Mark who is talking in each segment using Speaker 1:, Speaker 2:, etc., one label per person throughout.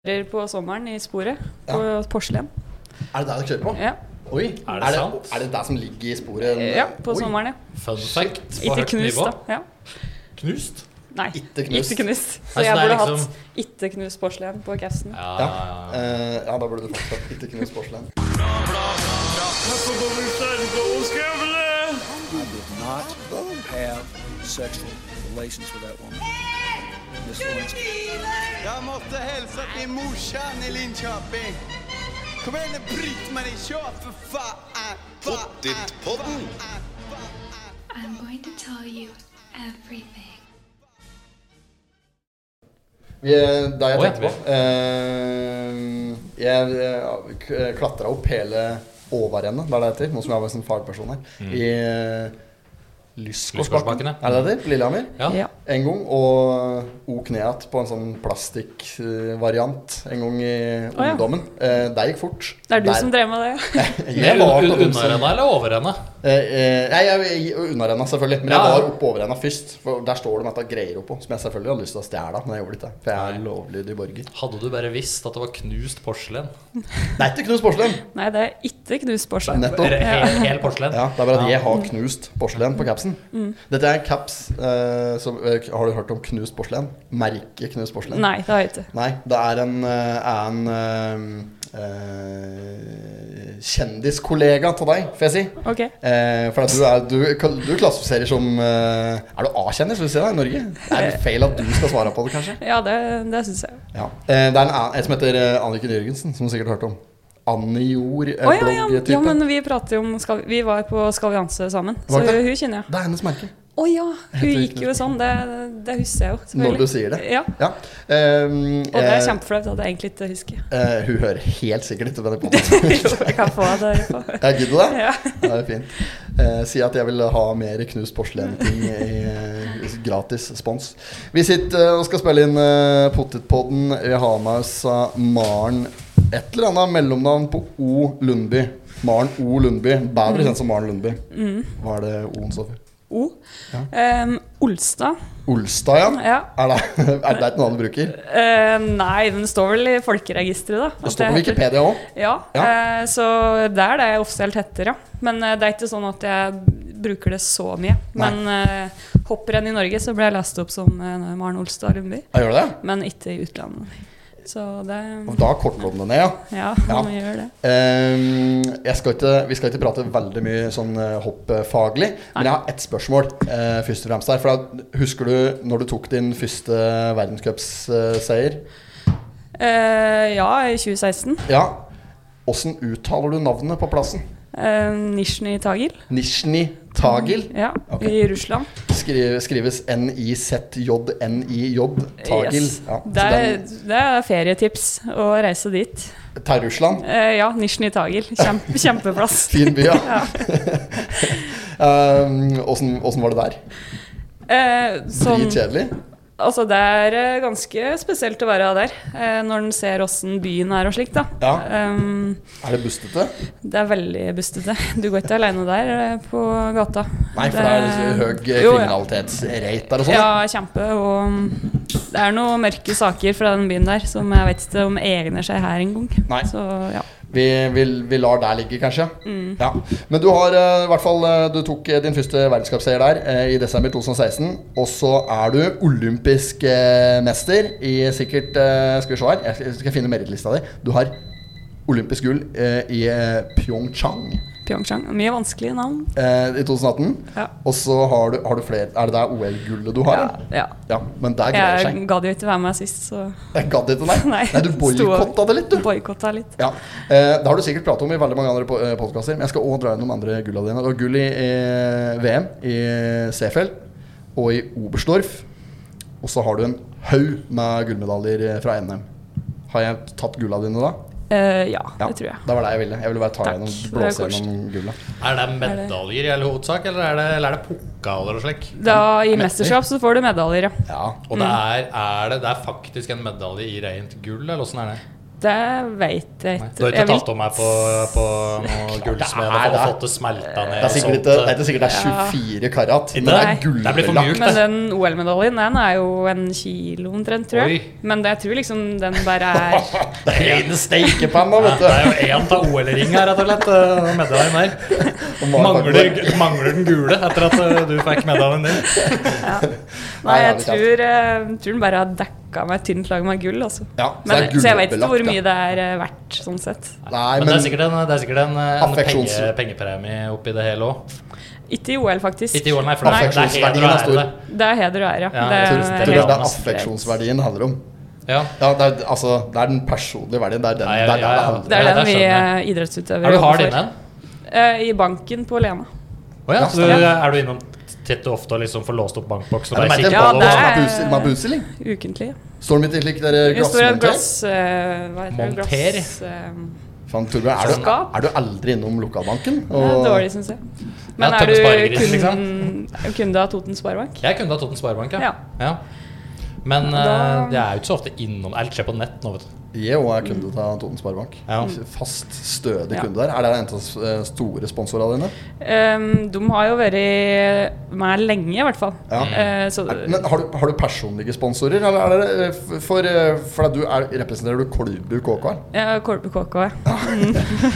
Speaker 1: kjører på sommeren i sporet
Speaker 2: Ja.
Speaker 1: på porselen.
Speaker 2: Er det der dere kjører på?
Speaker 1: Ja.
Speaker 2: Oi,
Speaker 3: Er det sant?
Speaker 2: Er det der som ligger i sporet?
Speaker 1: ja, på
Speaker 2: Oi,
Speaker 1: sommeren, ja.
Speaker 3: Fun fact på
Speaker 1: Ikke
Speaker 3: høyt
Speaker 1: knust,
Speaker 3: nivå.
Speaker 1: da. Ja.
Speaker 3: Knust?
Speaker 1: Nei,
Speaker 2: Ikke knust.
Speaker 1: ikke knust. Så
Speaker 3: Nei, så
Speaker 1: jeg
Speaker 3: det er
Speaker 1: burde
Speaker 3: liksom-
Speaker 1: hatt ikke knust porselen på capsen.
Speaker 3: Ja,
Speaker 2: Ja.
Speaker 3: ja, ja.
Speaker 2: Eh, ja, da burde du fortsatt ikke knust porselen.
Speaker 4: not have sexual relations with that woman. Miss Lewinsky.
Speaker 5: Jeg måtte hilse til morsan i Linköping. Kom igjen, Britt-Marie, kjør for faen! Pottitpodden!
Speaker 6: I'm going to tell you everything.
Speaker 2: Vi, eh, da jeg
Speaker 3: Oi.
Speaker 2: tenkte på eh, Jeg eh, k- klatra opp hele Åvarennet, hva er det det heter? Nå som jeg var en fagperson her. I eh, Lysgårdsbakken.
Speaker 3: Lysgårdsbakken, Mm. ja.
Speaker 2: Er det det heter? På Lillehammer.
Speaker 3: Ja.
Speaker 1: Ja.
Speaker 2: En gang, og ok ned igjen på en sånn plastikkvariant en gang i
Speaker 1: Å, ja.
Speaker 2: ungdommen. Eh, det gikk fort.
Speaker 1: Det er du
Speaker 2: Der-
Speaker 1: som drev med det?
Speaker 2: Jeg var på den
Speaker 3: Under
Speaker 2: som-
Speaker 3: henne eller over henne?
Speaker 2: Eh, eh, Nei, jeg, jeg, unnarenna selvfølgelig. Men
Speaker 3: Ja,
Speaker 2: jeg
Speaker 3: ja.
Speaker 2: var oppe over henne først. For der står det med dette greier oppå, som jeg selvfølgelig hadde lyst til å stjele. Men jeg gjorde det ikke. For jeg er lovlydig borger.
Speaker 3: Hadde du bare visst at det var knust porselen?
Speaker 2: Det er ikke knust porselen!
Speaker 1: Nei, det er ikke knust porselen.
Speaker 2: Nettopp.
Speaker 3: Eller hel, hel porselen?
Speaker 2: Ja, det er bare at jeg har knust porselen på capsen. Dette er en caps eh, som eh, Har du hørt om knust porselen? Merket knust porselen?
Speaker 1: Nei, det har jeg ikke.
Speaker 2: Nei, det er en, eh, er en eh, eh, kjendiskollega til deg, får jeg si.
Speaker 1: Ok.
Speaker 2: Eh, for at du, er, du, du klassifiserer som eh, Er du A-kjendis, vil du si det, i Norge? Det er litt feil at du skal svare på det, kanskje?
Speaker 1: Ja, det, det syns jeg.
Speaker 2: Ja. Eh, det er en annen en som heter eh, Anniken Jørgensen, som du sikkert har hørt om. Annie Jord, eh,
Speaker 1: Å ja, ja,
Speaker 2: bloggtype.
Speaker 1: ja, men vi prater jo om skal, Vi var på Skal vi danse sammen, så
Speaker 2: Var det?
Speaker 1: hun kjenner jeg.
Speaker 2: Det er hennes merke.
Speaker 1: Å ja, hun
Speaker 2: Heter
Speaker 1: gikk jo sånn. Det, det husker jeg jo.
Speaker 2: Når du
Speaker 1: selvfølgelig.
Speaker 2: sier det.
Speaker 1: Ja.
Speaker 2: Ja. Eh,
Speaker 1: Og det er
Speaker 2: eh,
Speaker 1: kjempeflaut at jeg egentlig ikke husker.
Speaker 2: eh, hun hører helt sikkert ikke på den podkasten.
Speaker 1: Jo, jeg kan få det på.
Speaker 2: Jeg gidder det?
Speaker 1: Ja.
Speaker 2: Det er fint. Eh, si at jeg vil ha mer knust porselen-ting i eh, gratis spons. Vi sitter eh, og skal spille inn eh, Potetpodden. Vi har med oss eh, Maren Et eller annet mellomnavn på O. Lundby. Maren O. Lundby. Bedre kjent som Maren Lundby. Hva er det O-en står for?
Speaker 1: O. Em, Olstad.
Speaker 2: Olstad, ja.
Speaker 1: Ja.
Speaker 2: Er det, er det ikke noe annet du bruker?
Speaker 1: Eh, nei, den står vel i folkeregisteret, da.
Speaker 2: Det står på Wikipedia òg.
Speaker 1: Ja,
Speaker 2: Ja.
Speaker 1: eh, så det er det jeg offisielt heter, ja. Men eh, det er ikke sånn at jeg bruker det så mye.
Speaker 2: Nei.
Speaker 1: Men eh, hopprenn i Norge så ble jeg lest opp som eh, Maren Olstad Lundby,
Speaker 2: Gjør det det?
Speaker 1: men ikke i utlandet. Så det
Speaker 2: Og Da kortlå den ned, ja.
Speaker 1: Ja,
Speaker 2: Ja.
Speaker 1: man gjør det.
Speaker 2: Ehm, jeg skal ikke, vi skal ikke prate veldig mye sånn eh, hoppfaglig, men jeg har ett spørsmål. eh, først og fremst her, for da, Husker du når du tok din første verdenscupseier?
Speaker 1: Eh, ja, i 2016.
Speaker 2: ja. Åssen uttaler du navnet på plassen?
Speaker 1: Uh, Nizjnij Tagil.
Speaker 2: Nizjnij Tagil.
Speaker 1: Ja,
Speaker 2: Ok.
Speaker 1: i Russland.
Speaker 2: Skri- skrives N-I-Z-J-N-I-J. Tagil.
Speaker 1: Yes.
Speaker 2: Ja,
Speaker 1: det,
Speaker 2: så
Speaker 1: er,
Speaker 2: den,
Speaker 1: det er ferietips å reise dit.
Speaker 2: til Russland.
Speaker 1: Eh, ja, Nizjnij Tagil. Kjempe, kjempeplass.
Speaker 2: Fin by, ja.
Speaker 1: Ja.
Speaker 2: Ehm, Åssen åssen var det der?
Speaker 1: Eh, sånn-
Speaker 2: Dritkjedelig?
Speaker 1: Altså, det er eh, ganske spesielt å være der, eh, når en ser åssen byen er og slikt, da.
Speaker 2: Ja.
Speaker 1: Ehm,
Speaker 2: Er det bustete?
Speaker 1: det er veldig bustete. Du går ikke aleine der eh, på gata.
Speaker 2: Nei, for det er høy
Speaker 1: Jo, ja.
Speaker 2: kriminalitetsrate der og sånn.
Speaker 1: Ja, kjempe. Og mm, det er noen mørke saker fra den byen der som jeg vet ikke om egner seg her engang.
Speaker 2: Nei.
Speaker 1: Så ja.
Speaker 2: Vi, vi, vi lar der ligge, kanskje.
Speaker 1: Mm.
Speaker 2: Ja. Men du har eh, i hvert fall eh, Du tok eh, din første verdenscupseier der eh, i desember 2016. Og så er du olympisk eh, mester i sikkert eh, Skal vi se her, jeg skal- skal finne merittlista di. Du har olympisk gull eh, i eh, Pyeongchang
Speaker 1: Pyeongchang. Mye vanskelige navn.
Speaker 2: eh, i 2018.
Speaker 1: Ja.
Speaker 2: Og så har du, har du flere Er det der OL-gullet du har? eller?
Speaker 1: ja.
Speaker 2: ja men der greier
Speaker 1: Jeg
Speaker 2: seg.
Speaker 1: gadd jo ikke være med sist, så
Speaker 2: Jeg gadd ikke, nei.
Speaker 1: Nei,
Speaker 2: nei du
Speaker 1: sto-
Speaker 2: boikotta det litt, du.
Speaker 1: boikotta litt.
Speaker 2: Ja, eh, Det har du sikkert pratet om i veldig mange andre po- eh, podkaster. Men jeg skal òg dra inn noen andre gulla dine. Du har gull i eh, VM i Seefeld og i Oberstdorf. Og så har du en haug med gullmedaljer eh, fra NM. Har jeg tatt gulla dine da?
Speaker 1: Eh, ja, det tror jeg.
Speaker 2: Det var det jeg ville. Jeg ville bare ta
Speaker 1: Takk.
Speaker 2: gjennom,
Speaker 1: Det er
Speaker 2: blåse
Speaker 1: koselig.
Speaker 2: gjennom gulla.
Speaker 3: Er det medaljer i all hovedsak, eller er det, eller er det pokaler og slik?
Speaker 1: Da, I
Speaker 2: Mester.
Speaker 1: mesterskap så får du medaljer, ja.
Speaker 2: Ja.
Speaker 3: Mm. Og det er, er det, det er faktisk en medalje i rent gull, eller åssen er det?
Speaker 1: Det veit jeg
Speaker 3: Du
Speaker 1: ikke.
Speaker 3: har
Speaker 1: Jeg
Speaker 3: ikke
Speaker 1: vil-
Speaker 3: tatt om meg på, på noe gullsmed
Speaker 2: det er
Speaker 3: og
Speaker 2: det.
Speaker 3: fått det smelta ned?
Speaker 2: Det er
Speaker 3: og
Speaker 2: sikkert,
Speaker 3: sånt.
Speaker 2: ikke- det er ikke sikkert det er 24 karat. Men det er
Speaker 1: Nei.
Speaker 3: Det blir for
Speaker 2: gullbelagt.
Speaker 3: mjukt,
Speaker 1: Men
Speaker 3: det.
Speaker 1: den OL-medaljen den er jo en kilo omtrent, tror jeg.
Speaker 3: Oi.
Speaker 1: Men jeg tror liksom den bare er
Speaker 2: Det er rene steikepanna,
Speaker 3: Ja,
Speaker 2: vet
Speaker 3: Det er
Speaker 2: du.
Speaker 3: jo én av OL-ringa, rett og slett. eh, Medaljen der. Mangler,
Speaker 2: Mangler
Speaker 3: mangler den gule etter at eh, du fikk medaljen din.
Speaker 1: Nei,
Speaker 2: Nei,
Speaker 1: jeg
Speaker 2: det er litt
Speaker 1: tror, eh, tror den bare har dekka meg et tynt lag med gull, altså.
Speaker 2: Ja, så
Speaker 1: Men,
Speaker 2: det er
Speaker 1: så jeg vet ikke
Speaker 2: gullbelagt,
Speaker 1: hvor
Speaker 2: ja.
Speaker 1: mye det er eh, verdt, sånn sett.
Speaker 2: Nei,
Speaker 3: Men det er
Speaker 2: men
Speaker 3: sikkert en, det er sikkert en, eh, en penge,
Speaker 2: Affeksjons-
Speaker 3: pengepremie oppi det hele òg.
Speaker 1: Ikke i OL, faktisk.
Speaker 3: Ikke i år, nei, for det er- det er heder
Speaker 2: Affeksjonsverdien
Speaker 3: og
Speaker 2: er
Speaker 3: ære.
Speaker 2: stor.
Speaker 1: Det er heder og ære, ja.
Speaker 3: Ja,
Speaker 1: Det
Speaker 3: jeg
Speaker 1: er
Speaker 3: tror-
Speaker 2: jeg tror det er det
Speaker 1: helt
Speaker 2: affeksjonsverdien handler om.
Speaker 3: det. Ja.
Speaker 2: Ja, det er, altså, det er den personlige verdien. Det er den
Speaker 3: Ja, ja,
Speaker 2: det er der
Speaker 3: ja,
Speaker 2: det
Speaker 3: ja.
Speaker 2: handler om.
Speaker 1: Det er
Speaker 3: Ja,
Speaker 1: den
Speaker 3: det
Speaker 1: vi
Speaker 3: skjønner
Speaker 1: eh, idrettsutøvere
Speaker 3: Er du hard
Speaker 1: jobber
Speaker 3: inne?
Speaker 1: for. Eh, I banken på Lena.
Speaker 3: Å ja,
Speaker 2: Ja,
Speaker 3: så du,
Speaker 2: stemmer.
Speaker 3: er du innom titt og ofte og liksom får låst opp bankboksen? og
Speaker 2: Er
Speaker 3: bare
Speaker 2: det
Speaker 3: kikker
Speaker 1: Ja,
Speaker 2: merkelig?
Speaker 3: på alle
Speaker 1: det er-
Speaker 3: og
Speaker 2: Babusi- Mabusili?
Speaker 1: Ukentlig.
Speaker 2: Står den midt i slik dere
Speaker 1: Vi står i et
Speaker 2: glassmonter?
Speaker 1: glass eh, Hva heter det?
Speaker 3: Monter.
Speaker 1: Glass, eh,
Speaker 2: Faen, Torbjørn, er, du,
Speaker 1: Skap.
Speaker 2: er du aldri innom lokalbanken?
Speaker 1: Det er
Speaker 2: Og-
Speaker 1: dårlig, syns jeg. Men
Speaker 3: Ja,
Speaker 1: er
Speaker 3: tømme
Speaker 1: du
Speaker 3: sparegrisen,
Speaker 1: kunden,
Speaker 3: liksom.
Speaker 1: kunde av Toten Sparebank?
Speaker 3: sånn. Jeg er kunde av Toten Sparebank, ja.
Speaker 1: Ja.
Speaker 3: ja. Men
Speaker 1: Da-
Speaker 3: eh, jeg er jo ikke så ofte innom Alt skjer på nett nå, vet du.
Speaker 2: Jeg òg er kunde til Toten Sparebank.
Speaker 3: Ja.
Speaker 2: Fast, stødig
Speaker 1: Ja.
Speaker 2: kunde der. Er det en av de s- eh, store sponsorene dine?
Speaker 1: Ehm, de har jo vært med lenge, i hvert fall.
Speaker 2: Ja.
Speaker 1: Eh, så
Speaker 2: Er, men har du, har du personlige sponsorer, eller er det eh, f- for, eh, for at du er, representerer du Kolbu KK? her?
Speaker 1: ja, Kolbe KK. ja.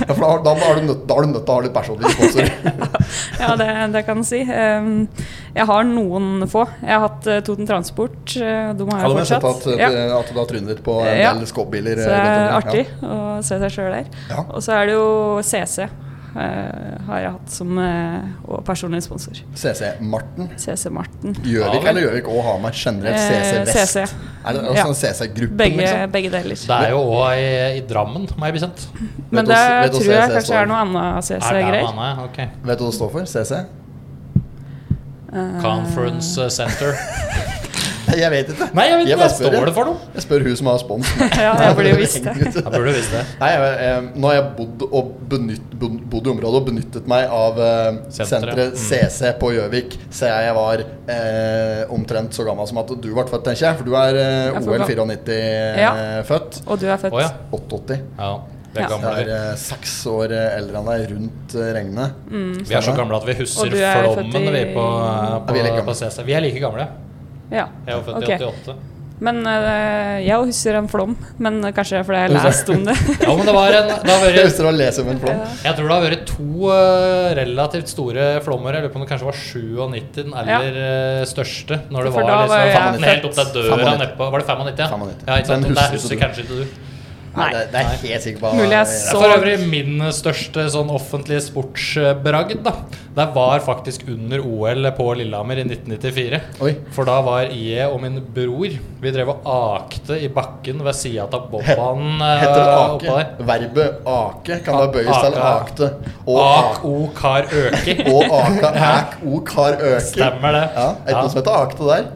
Speaker 2: Ja, for da, har- da, er du nødt, da er du nødt til å ha litt personlige sponsorer.
Speaker 1: Ja, det, det kan du si. Ehm, jeg har noen få. Jeg har hatt eh, Toten Transport. eh, De har
Speaker 2: Har
Speaker 1: jeg
Speaker 2: du sett
Speaker 1: fortsatt.
Speaker 2: at, eh,
Speaker 1: Ja.
Speaker 2: at du har trynet litt på en
Speaker 1: Ja.
Speaker 2: del skobbiler? eh,
Speaker 1: Så det er artig å se seg sjøl der.
Speaker 2: Ja.
Speaker 1: Og så er det jo CC. eh, har jeg hatt som eh, og personlig sponsor.
Speaker 2: CC Marten.
Speaker 1: CC Marten.
Speaker 2: Gjøvik
Speaker 3: Ja, vel.
Speaker 2: eller Gjøvik og Hamar generelt? CC
Speaker 1: Eh,
Speaker 2: Vest.
Speaker 1: CC.
Speaker 2: Er det
Speaker 1: Ja.
Speaker 2: altså CC-gruppen,
Speaker 1: Begge,
Speaker 2: liksom?
Speaker 1: begge deler.
Speaker 3: Det er jo òg i, i Drammen, må jeg bli kjent.
Speaker 1: Men
Speaker 2: Vet
Speaker 1: det
Speaker 2: oss- vet oss
Speaker 1: tror jeg
Speaker 2: CC
Speaker 1: kanskje
Speaker 2: står.
Speaker 1: er noe annet
Speaker 3: Er det Eh.
Speaker 1: CC-greier.
Speaker 3: Anna, ja, ok.
Speaker 2: Vet du hva det står for? CC?
Speaker 1: Eh,
Speaker 3: Conference Center.
Speaker 2: Jeg vet ikke.
Speaker 3: Nei, jeg vet
Speaker 2: Jeg
Speaker 3: ikke.
Speaker 2: bare
Speaker 3: Jeg
Speaker 2: spør,
Speaker 3: står
Speaker 2: ja.
Speaker 3: det for noe?
Speaker 2: Jeg spør hun som har spons.
Speaker 1: Ja, jeg burde jo visst det.
Speaker 3: Jeg burde visst det.
Speaker 2: Nei, jeg, eh, nå har jeg bodd, og benytt, bod- bodd i området og benyttet meg av eh,
Speaker 3: Senteret.
Speaker 2: senteret
Speaker 3: Mm.
Speaker 2: CC på Gjøvik siden jeg var eh, omtrent så gammel som at du ble født, tenker jeg. For du er eh,
Speaker 1: Jeg er
Speaker 2: OL
Speaker 1: født.
Speaker 2: 94 eh,
Speaker 1: Ja.
Speaker 2: født.
Speaker 1: Og du er født.
Speaker 3: Å ja.
Speaker 2: 88.
Speaker 3: ja. Vi
Speaker 1: Ja.
Speaker 3: er gamle.
Speaker 2: Jeg er
Speaker 3: vi.
Speaker 2: eh, seks år eh, eldre enn deg rundt eh, regnet.
Speaker 1: Mm.
Speaker 3: Vi er så gamle at vi
Speaker 1: Og
Speaker 3: husker
Speaker 1: du er født
Speaker 3: flommen
Speaker 1: i-
Speaker 3: vi på,
Speaker 2: Ja,
Speaker 3: på,
Speaker 2: vi er like
Speaker 3: på
Speaker 2: gamle.
Speaker 3: CC. Vi er like gamle.
Speaker 1: Ja.
Speaker 3: Jeg er jo født
Speaker 1: Ok.
Speaker 3: i 88.
Speaker 1: Men eh, jeg husker en flom, men kanskje det er fordi jeg har lest om det.
Speaker 3: Ja, men det var en det har
Speaker 2: Jeg
Speaker 3: vært,
Speaker 2: husker å lese om en flom.
Speaker 3: Jeg tror det har vært to eh, relativt store flommer. Jeg lurer på om det kanskje var 97 eller eh, største. Når det
Speaker 1: For
Speaker 3: var,
Speaker 1: da var
Speaker 3: liksom,
Speaker 1: jeg
Speaker 3: faen, helt opp til døra
Speaker 2: 95.
Speaker 3: nedpå. Var det 95? Ja,
Speaker 2: 95.
Speaker 3: ja ikke sant?
Speaker 2: Den
Speaker 3: Det
Speaker 2: husker
Speaker 3: husker
Speaker 2: ikke
Speaker 3: kanskje ikke du.
Speaker 2: Nei, det, det er jeg helt sikker på.
Speaker 1: Mulig jeg
Speaker 3: Det
Speaker 1: så-
Speaker 3: er for øvrig min største sånn offentlige sportsbragd. da Det var faktisk under OL på Lillehammer i 1994.
Speaker 2: Oi.
Speaker 3: For da var jeg og min bror Vi drev og akte i bakken ved sida av bobbanen. eh,
Speaker 2: Heter det
Speaker 3: oppå der.
Speaker 2: ake? Verbet ake kan da bøyes til
Speaker 3: Aka.
Speaker 2: akte. Og ak-
Speaker 3: Ak, o, kar, øki.
Speaker 2: Og aka, ak, ok, har øker.
Speaker 3: Stemmer det.
Speaker 2: Ja, er det noe som heter akte der?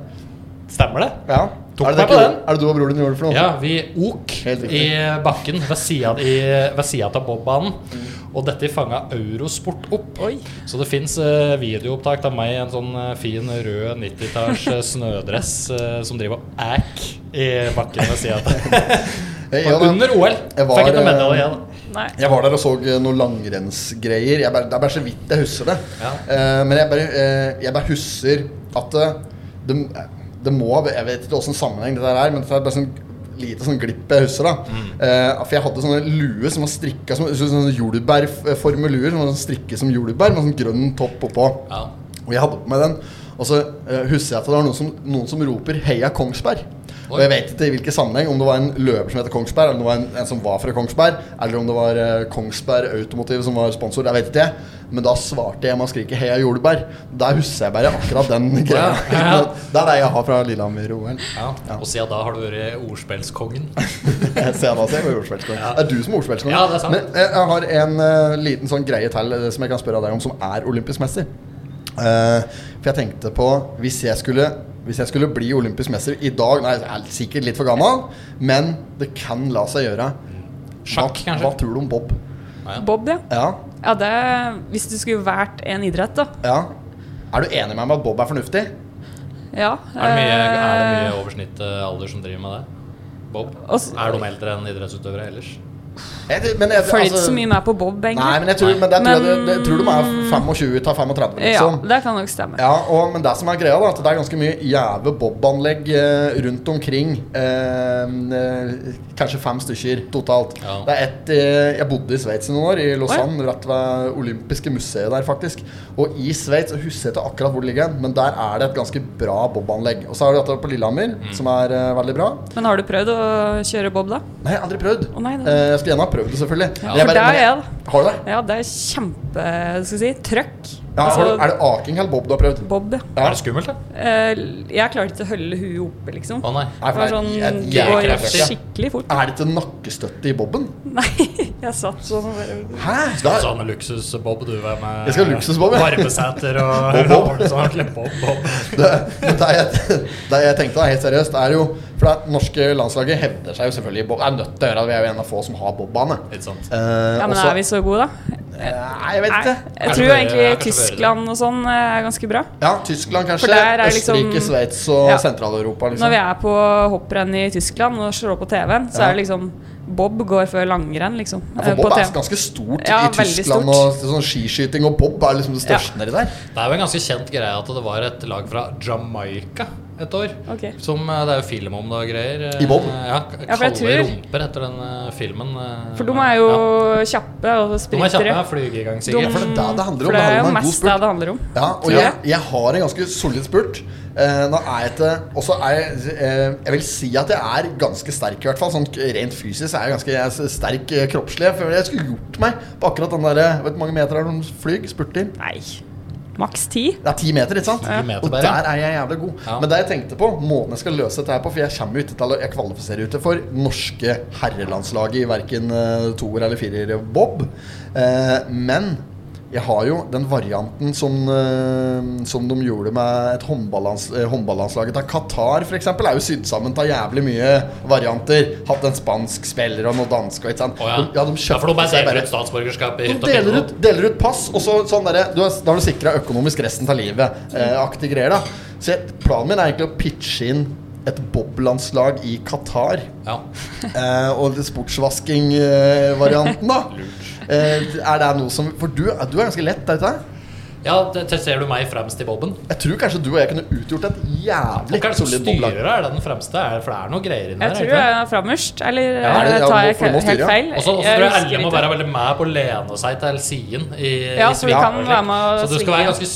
Speaker 3: Stemmer det?
Speaker 2: Ja.
Speaker 3: Tok
Speaker 2: er, det
Speaker 3: meg på
Speaker 2: ikke-
Speaker 3: den.
Speaker 2: er det du og broren din gjorde for noe?
Speaker 3: Ja, vi ok
Speaker 2: Helt riktig.
Speaker 3: i bakken ved sida i- ved sida av bobbanen. Og dette fanga Eurosport opp. Så det fins videoopptak av meg i en sånn eh, fin rød 90-talls eh, snødress eh, som driver og æk i bakken ved sida av.
Speaker 2: Jeg, jeg,
Speaker 3: Under OL.
Speaker 2: Jeg var,
Speaker 3: Fikk ikke noe medalje
Speaker 2: eh,
Speaker 3: igjen.
Speaker 1: Nei.
Speaker 2: jeg var der og så eh, noen langrennsgreier. Jeg bare, det er bare så vidt jeg husker det.
Speaker 3: Ja.
Speaker 2: Eh, men jeg bare, eh, jeg bare husker at det, det, det må ha- Jeg vet ikke åssen sammenheng det der er, men det er bare sånn lite sånn glipp jeg husker. da Eh, For jeg hadde sånne lue som var strikka som sånne jordbærformeluer. Som var sånn strikke som jordbær med sånn grønn topp oppå.
Speaker 3: Ja.
Speaker 2: Og jeg hadde på meg den. Og så eh, husker jeg at det var noen som, noen som roper 'Heia Kongsberg'. Og jeg vet ikke i hvilken sammenheng, om det var en løper som heter Kongsberg, eller om det var en, en som var fra Kongsberg, eller om det var eh, Kongsberg Automotiv som var sponsor. Jeg vet ikke. Men da svarte jeg med å skrike 'Heia Jordbær'. Der husker jeg bare akkurat den greia.
Speaker 3: Ja.
Speaker 2: Det er det jeg har fra Lillehammer-OL.
Speaker 3: Ja. Og siden da har du vært ordspillskongen.
Speaker 2: Jeg ser da, ser jeg er ordspillskonge. Det er du som er ordspillskonge.
Speaker 3: Ja, det er sant.
Speaker 2: Men jeg, jeg har en eh, liten sånn greie til eh, som jeg kan spørre deg om, som er olympisk mester. Eh, for jeg tenkte på hvis jeg, skulle, hvis jeg skulle bli olympisk mester i dag Nei, jeg er sikkert litt for gammel, men det kan la seg gjøre.
Speaker 3: Sjakk,
Speaker 2: hva,
Speaker 3: kanskje?
Speaker 2: hva tror du om Bob?
Speaker 1: Bob, ja.
Speaker 2: Ja,
Speaker 1: ja det, hvis du skulle vært en idrett, da.
Speaker 2: ja. Er du enig med meg at Bob er fornuftig?
Speaker 1: Ja.
Speaker 3: Er det mye, er det
Speaker 1: eh,
Speaker 3: mye over snittet alder som driver med det? Bob.
Speaker 1: Og s-
Speaker 3: Er de eldre enn idrettsutøvere ellers?
Speaker 2: Jeg- men jeg-
Speaker 1: Følger
Speaker 2: altså-
Speaker 1: ikke så mye med på Bob, egentlig.
Speaker 2: Nei, men jeg tror, men der tror jeg,
Speaker 1: Men-
Speaker 2: det- jeg tror de er 25 til 35,
Speaker 1: ja,
Speaker 2: liksom.
Speaker 1: det kan nok stemme.
Speaker 2: Ja, og, men det som er greia, da, at det er ganske mye jæve bobanlegg eh, rundt omkring. Eh, eh, kanskje fem stykker totalt.
Speaker 3: Ja.
Speaker 2: Det er ett eh, Jeg bodde i Sveits i noen år, i Lausanne,
Speaker 1: Å,
Speaker 2: rett ved olympiske museet der, faktisk. Og i Sveits, jeg husker ikke akkurat hvor det ligger, men der er det et ganske bra bobanlegg. Og så har du dette på Lillehammer, som er eh, veldig bra.
Speaker 1: Men har du prøvd å kjøre Bob, da?
Speaker 2: Nei, jeg har aldri prøvd.
Speaker 1: Å, nei, det-
Speaker 2: Eh, jeg skulle gjerne ha prøvd det, selvfølgelig. Men
Speaker 1: For der
Speaker 2: men
Speaker 1: er jeg,
Speaker 2: Har du det?
Speaker 1: Ja, det er kjempe Skal vi si trøkk.
Speaker 2: Ja,
Speaker 1: Altså,
Speaker 2: har du, er det aking eller bob du har prøvd?
Speaker 1: Bob, ja.
Speaker 2: Ja.
Speaker 3: Er det skummelt, da?
Speaker 1: Eh, Jeg klarte ikke å holde huet oppe, liksom.
Speaker 3: Å nei.
Speaker 2: Nei,
Speaker 1: Det
Speaker 2: for
Speaker 1: var sånn,
Speaker 2: det er et
Speaker 1: det
Speaker 2: jævlig
Speaker 1: går
Speaker 2: kraftig.
Speaker 1: skikkelig fort.
Speaker 2: Er det ikke nakkestøtte i bobben?
Speaker 1: Nei, jeg satt sånn og bare
Speaker 2: Hæ? Da,
Speaker 3: Sånn luksus-Bob du er med
Speaker 2: Jeg skal ha luksus-Bob, jeg.
Speaker 3: varmeseter og
Speaker 2: Og Bob.
Speaker 3: sånn ordentlig Bob, Bob.
Speaker 2: det, men det, jeg, det jeg tenkte da, helt seriøst, det er jo For det norske landslaget hevder seg jo selvfølgelig i bob. Er nødt til å gjøre det. Vi er jo en av få som har bobbane.
Speaker 3: Ikke sant.
Speaker 2: Eh,
Speaker 1: Ja, men
Speaker 2: også-
Speaker 1: er vi så gode, da?
Speaker 2: Nei, jeg vet
Speaker 1: Nei,
Speaker 2: ikke.
Speaker 1: jeg
Speaker 3: Kanskje
Speaker 1: tror
Speaker 3: bedre-
Speaker 1: egentlig
Speaker 3: kanskje
Speaker 1: Tyskland og sånn eh, er ganske bra.
Speaker 2: Ja, Tyskland kanskje.
Speaker 1: For der er liksom-
Speaker 2: Østerrike, Sveits og
Speaker 1: Ja.
Speaker 2: Sentral-Europa. Liksom.
Speaker 1: Når vi er på hopprenn i Tyskland og slår på TV-en, så
Speaker 2: Ja.
Speaker 1: er det liksom Bob går før langrenn, liksom.
Speaker 2: ja,
Speaker 1: eh,
Speaker 2: for
Speaker 1: på
Speaker 2: bob er
Speaker 1: TV.
Speaker 2: ganske stort
Speaker 1: Ja,
Speaker 2: i
Speaker 1: veldig
Speaker 2: Tyskland.
Speaker 1: stort.
Speaker 2: Og sånn skiskyting og bob er liksom det største nedi der.
Speaker 3: Det er jo en ganske kjent greie at det var et lag fra Jamaica et år.
Speaker 1: Ok.
Speaker 3: Som eh, det er jo film om det og greier. eh,
Speaker 2: I Bob?
Speaker 3: Ja,
Speaker 1: Ja, for jeg
Speaker 3: Kalle
Speaker 1: tror-
Speaker 3: rumper etter den eh, filmen. eh,
Speaker 1: For de er jo
Speaker 3: ja.
Speaker 1: kjappe og
Speaker 3: De er kjappe,
Speaker 1: sprintere.
Speaker 3: flyger i gang
Speaker 1: De-
Speaker 3: sikkert.
Speaker 2: For det er det det handler om.
Speaker 1: For det
Speaker 2: det
Speaker 1: er
Speaker 2: handler om
Speaker 1: jo
Speaker 2: en god
Speaker 1: mest
Speaker 2: spurt.
Speaker 1: det det handler om.
Speaker 2: Ja, og
Speaker 1: Tror
Speaker 2: jeg,
Speaker 1: jeg.
Speaker 2: jeg har en ganske solid spurt. Eh, nå er jeg ikke Og så er jeg eh, Jeg vil si at jeg er ganske sterk, i hvert fall. Sånn rent fysisk er jeg ganske jeg er s- sterk eh, kroppslig. Jeg føler jeg skulle gjort meg på akkurat den derre Vet du hvor mange meter er det de flyr? Spurter?
Speaker 1: Nei. Maks ti.
Speaker 2: Det er ti meter, ikke sant?
Speaker 3: Ti meter
Speaker 2: Og
Speaker 3: bare,
Speaker 2: der
Speaker 3: ja.
Speaker 2: er jeg jævlig god.
Speaker 3: Ja.
Speaker 2: Men det jeg tenkte på, måten jeg skal løse dette her på For jeg kommer jo ikke til å jeg kvalifiserer jo ikke for norske herrelandslaget i verken toer eller firer bob. Eh, men jeg har jo den varianten som, eh, som de gjorde med et håndballans, eh, håndballandslaget til Qatar, f.eks. Er jo sydd sammen av jævlig mye varianter. Hatt en spansk spiller og noe dansk og ikke sant.
Speaker 3: Å, ja.
Speaker 2: De- ja, de
Speaker 3: ja, for de bare
Speaker 2: kjøpte seg
Speaker 3: deler ut statsborgerskap i
Speaker 2: de
Speaker 3: hytt og
Speaker 2: deler
Speaker 3: pine.
Speaker 2: ut, deler ut pass, og så sånn derre du har- Da har du sikra økonomisk resten av livet. Eh,
Speaker 3: Mm.
Speaker 2: aktige greier, da. Så jeg, planen min er egentlig å pitche inn et boblandslag i Qatar.
Speaker 3: Ja.
Speaker 2: Eh, og sportsvasking-varianten, da. Eh, er det noe som For du, du er ganske lett, er du ikke det?
Speaker 3: ja, det- det ser du meg fremst i boben?
Speaker 2: Jeg tror kanskje du og jeg kunne utgjort et
Speaker 3: Og
Speaker 2: jævlig
Speaker 3: kanskje
Speaker 2: solid boblag.
Speaker 3: styrer er det den fremste, er, for det er noe greier inni
Speaker 1: Jeg tror jeg er framerst, eller
Speaker 3: Ja,
Speaker 2: det-
Speaker 1: eh,
Speaker 2: ja,
Speaker 1: tar jeg
Speaker 2: for du må
Speaker 1: helt
Speaker 2: styre, ja.
Speaker 1: feil?
Speaker 3: Og så og så tror jeg
Speaker 1: husker
Speaker 3: alle må
Speaker 1: ikke.
Speaker 3: være veldig med på å lene seg til siden. I,
Speaker 1: Ja,
Speaker 3: i
Speaker 1: så vi
Speaker 3: svingen
Speaker 1: kan
Speaker 3: og slik.
Speaker 1: være med og
Speaker 3: Så du skal
Speaker 1: svinge.
Speaker 3: være ganske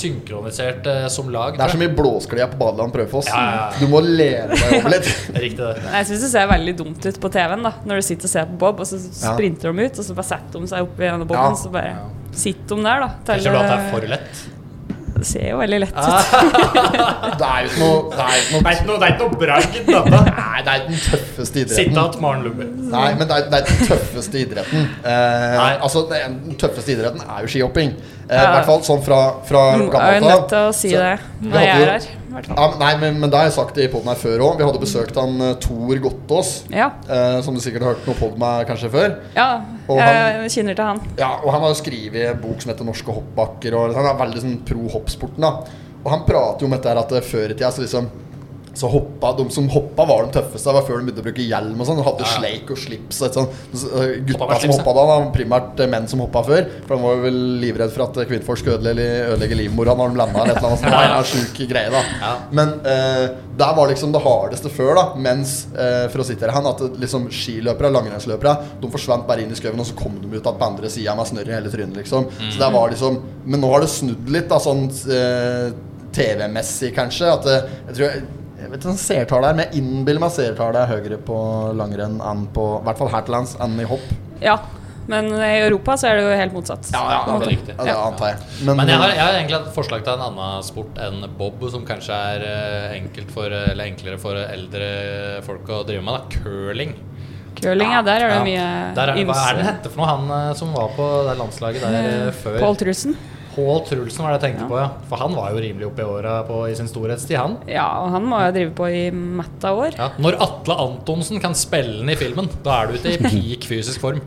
Speaker 3: synkronisert eh, som lag.
Speaker 2: Det er
Speaker 3: tror
Speaker 2: som
Speaker 3: jeg.
Speaker 2: i Blåsklia på badeland Prøyfoss.
Speaker 3: Ja, ja, ja.
Speaker 2: Du må lene deg over litt.
Speaker 3: Riktig det.
Speaker 1: Nei, Jeg syns det ser veldig dumt ut på TV-en, da når du sitter og ser på Bob, og så sprinter de ut, og så bare setter de seg oppi denne boben,
Speaker 2: Ja.
Speaker 1: så bare sitter de der, da. til-
Speaker 3: Tenker du at det er for lett?
Speaker 1: Det ser jo veldig lett ut.
Speaker 2: Ah, Det er jo ikke noe Det er jo ikke noe
Speaker 3: ikke noe, det er ikke noe bragd, dette.
Speaker 2: Nei, det er den tøffeste idretten.
Speaker 3: Sitte att Maren Lubbe.
Speaker 2: Nei, men det er, det er den tøffeste idretten. Eh,
Speaker 3: Nei.
Speaker 2: altså, det er- Den tøffeste idretten er jo skihopping. Eh, I
Speaker 1: Ja.
Speaker 2: hvert fall sånn fra, fra
Speaker 1: Du er jo
Speaker 2: gammelt
Speaker 1: nødt til å si
Speaker 2: Så-
Speaker 1: det
Speaker 2: vi
Speaker 1: når jeg
Speaker 2: hadde
Speaker 1: er
Speaker 2: jo-
Speaker 1: her. i hvert fall.
Speaker 2: Ja, men- nei, men, men det har jeg sagt i poden her før òg. Vi hadde besøkt han eh, Tor Gottaas.
Speaker 1: Ja.
Speaker 2: Eh, som du sikkert har hørt noe pod med kanskje før.
Speaker 1: ja.
Speaker 2: Og han-
Speaker 1: Jeg kjenner til han.
Speaker 2: Ja, og han har jo skrevet en bok som heter 'Norske hoppbakker'. Og han er veldig sånn pro hoppsporten. da Og han prater jo om dette her at eh, før i tida så liksom så hoppa, De som hoppa, var de tøffeste. Det var før de begynte å bruke hjelm og sånn. De hadde
Speaker 3: Ja, ja.
Speaker 2: sleik og slips. Og et sånt. Så, eh,
Speaker 3: Hoppa
Speaker 2: Gutta
Speaker 3: med
Speaker 2: som
Speaker 3: slips,
Speaker 2: hoppa da, var primært eh, menn som hoppa før. For han var jo vel livredd for at eh, kvinnfolk skulle ødelegge, ødelegge livmora når de landa. Eller et eller annet sånt. Det er en sjuk greie, da.
Speaker 3: Ja.
Speaker 2: Men eh, der var liksom det hardeste før, da. Mens, eh, for å sitere han, at det liksom skiløpere, langrennsløpere, de forsvant bare inn i skauen, og så kom de ut igjen på andre sida med snørr i hele trynet, liksom. Så der var liksom Men nå har det snudd litt, da, sånn eh, TV-messig, kanskje. At eh, jeg tror jeg jeg vet ikke om seertallet er, men jeg innbiller meg seertallet er høyere på langrenn enn på I hvert fall her til lands enn i hopp.
Speaker 1: Ja. Men i Europa så er det jo helt motsatt.
Speaker 3: ja,
Speaker 1: På en måte.
Speaker 3: det er riktig.
Speaker 2: Ja, det antar jeg.
Speaker 3: Men jeg
Speaker 2: Mm.
Speaker 3: har, jeg har egentlig et forslag til en annen sport enn bob, som kanskje er eh, enkelt for, eller enklere for eh, eldre folk å drive med. da Curling.
Speaker 1: Curling, ja. Der er det
Speaker 3: Ja. Der
Speaker 1: mye
Speaker 3: er, hva er det
Speaker 1: ymse.
Speaker 3: hette for noe, han eh, som var på det landslaget der eh, før?
Speaker 1: Pål Trusen.
Speaker 3: Pål Trulsen var det jeg tenkte på, ja. For han var jo rimelig oppe i åra på- i sin storhetstid, han.
Speaker 1: Ja, og han må jo drive på i metta år.
Speaker 3: Ja. Når Atle Antonsen kan spille den i filmen, da er du ikke i peak fysisk form.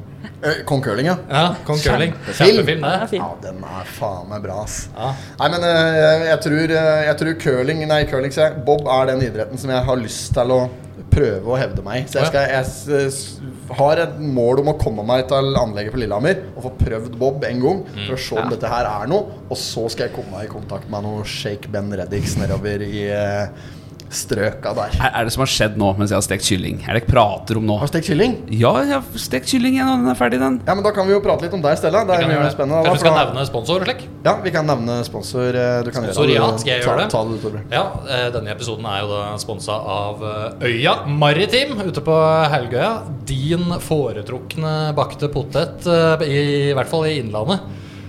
Speaker 2: Eh, Kong Curling, ja.
Speaker 3: Ja, Kong Curling.
Speaker 2: Film.
Speaker 3: Kjempefilm,
Speaker 1: Den er
Speaker 3: det.
Speaker 1: fin.
Speaker 2: Ja, den er faen meg bra, ass.
Speaker 3: Ja.
Speaker 2: Nei, men eh, jeg, jeg, tror, eh, jeg tror curling Nei, curling, sier jeg. Bob er den idretten som jeg har lyst til å prøve å hevde meg i. Så jeg, skal, jeg s- s- har et mål om å komme meg til anlegget på Lillehammer og få prøvd Bob en gang.
Speaker 3: Mm.
Speaker 2: For å se om dette her er noe. Og så skal jeg komme meg i kontakt med noe Shake Ben Reddicks nedover i eh, strøka der.
Speaker 7: Er, er det som har skjedd nå mens jeg har stekt kylling? Er det jeg prater om nå?
Speaker 2: Har du stekt kylling?
Speaker 7: Ja, jeg har stekt kylling igjen, og den er ferdig, den.
Speaker 2: Ja, men Da kan vi jo prate litt om deg, Stella. Det er mye mer spennende. da,
Speaker 3: Kanskje vi skal
Speaker 2: for da-
Speaker 3: nevne sponsor og slik?
Speaker 2: Ja, Vi kan nevne sponsor. eh, Du kan
Speaker 3: Sponsor, ja, skal jeg
Speaker 2: ta,
Speaker 3: gjøre det?
Speaker 2: ta det, Torbjørn.
Speaker 3: Ja, eh, denne episoden er jo da sponsa av eh, Øya Maritim ute på Helgøya. Din foretrukne bakte potet, eh, i, i hvert fall i Innlandet.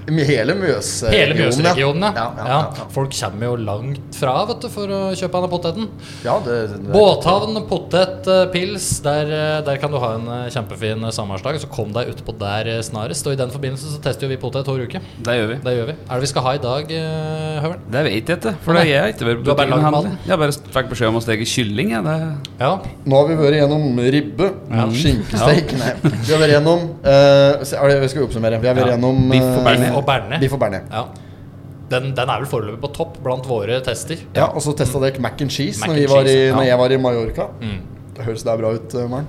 Speaker 2: M- Hele Mjøsregionen.
Speaker 3: Hele Mjøsregionen, ja.
Speaker 2: Eh, Ja, ja, ja, ja.
Speaker 3: Folk kommer jo langt fra vet du, for å kjøpe denne poteten.
Speaker 2: ja det, det,
Speaker 3: Båthavn potet eh, pils, der, eh, der kan du ha en eh, kjempefin eh, samværsdag. Så kom deg utpå der eh, snarest. Og i den forbindelse så tester jo vi potet hver uke.
Speaker 7: Det gjør vi.
Speaker 3: Det gjør vi. Er det vi skal ha i dag, eh, Høveren?
Speaker 7: Det vet jeg ikke, for det er jeg ikke vært
Speaker 3: Du har bare
Speaker 7: butikken
Speaker 3: lagd
Speaker 7: og handlet.
Speaker 3: maten.
Speaker 7: Jeg har bare fikk beskjed om å steke kylling, jeg. Det
Speaker 3: Ja.
Speaker 2: Nå har vi vært gjennom ribbe, skinkesteik Nei, vi har vært gjennom eh, se- er det- Skal vi oppsummere? Vi har vært
Speaker 7: Ja.
Speaker 2: gjennom
Speaker 7: Biff og
Speaker 2: eh,
Speaker 7: bearnés.
Speaker 3: Og bearnés.
Speaker 2: Biff og bearnés.
Speaker 3: ja. Den, den er vel foreløpig på topp blant våre tester.
Speaker 2: Ja, og så testa dere mac and cheese
Speaker 3: Mac
Speaker 2: når, vi
Speaker 3: and
Speaker 2: var i,
Speaker 3: cheese, ja. Mm.
Speaker 2: når jeg var i Mallorca. Det høres det er bra ut, eh, Maren.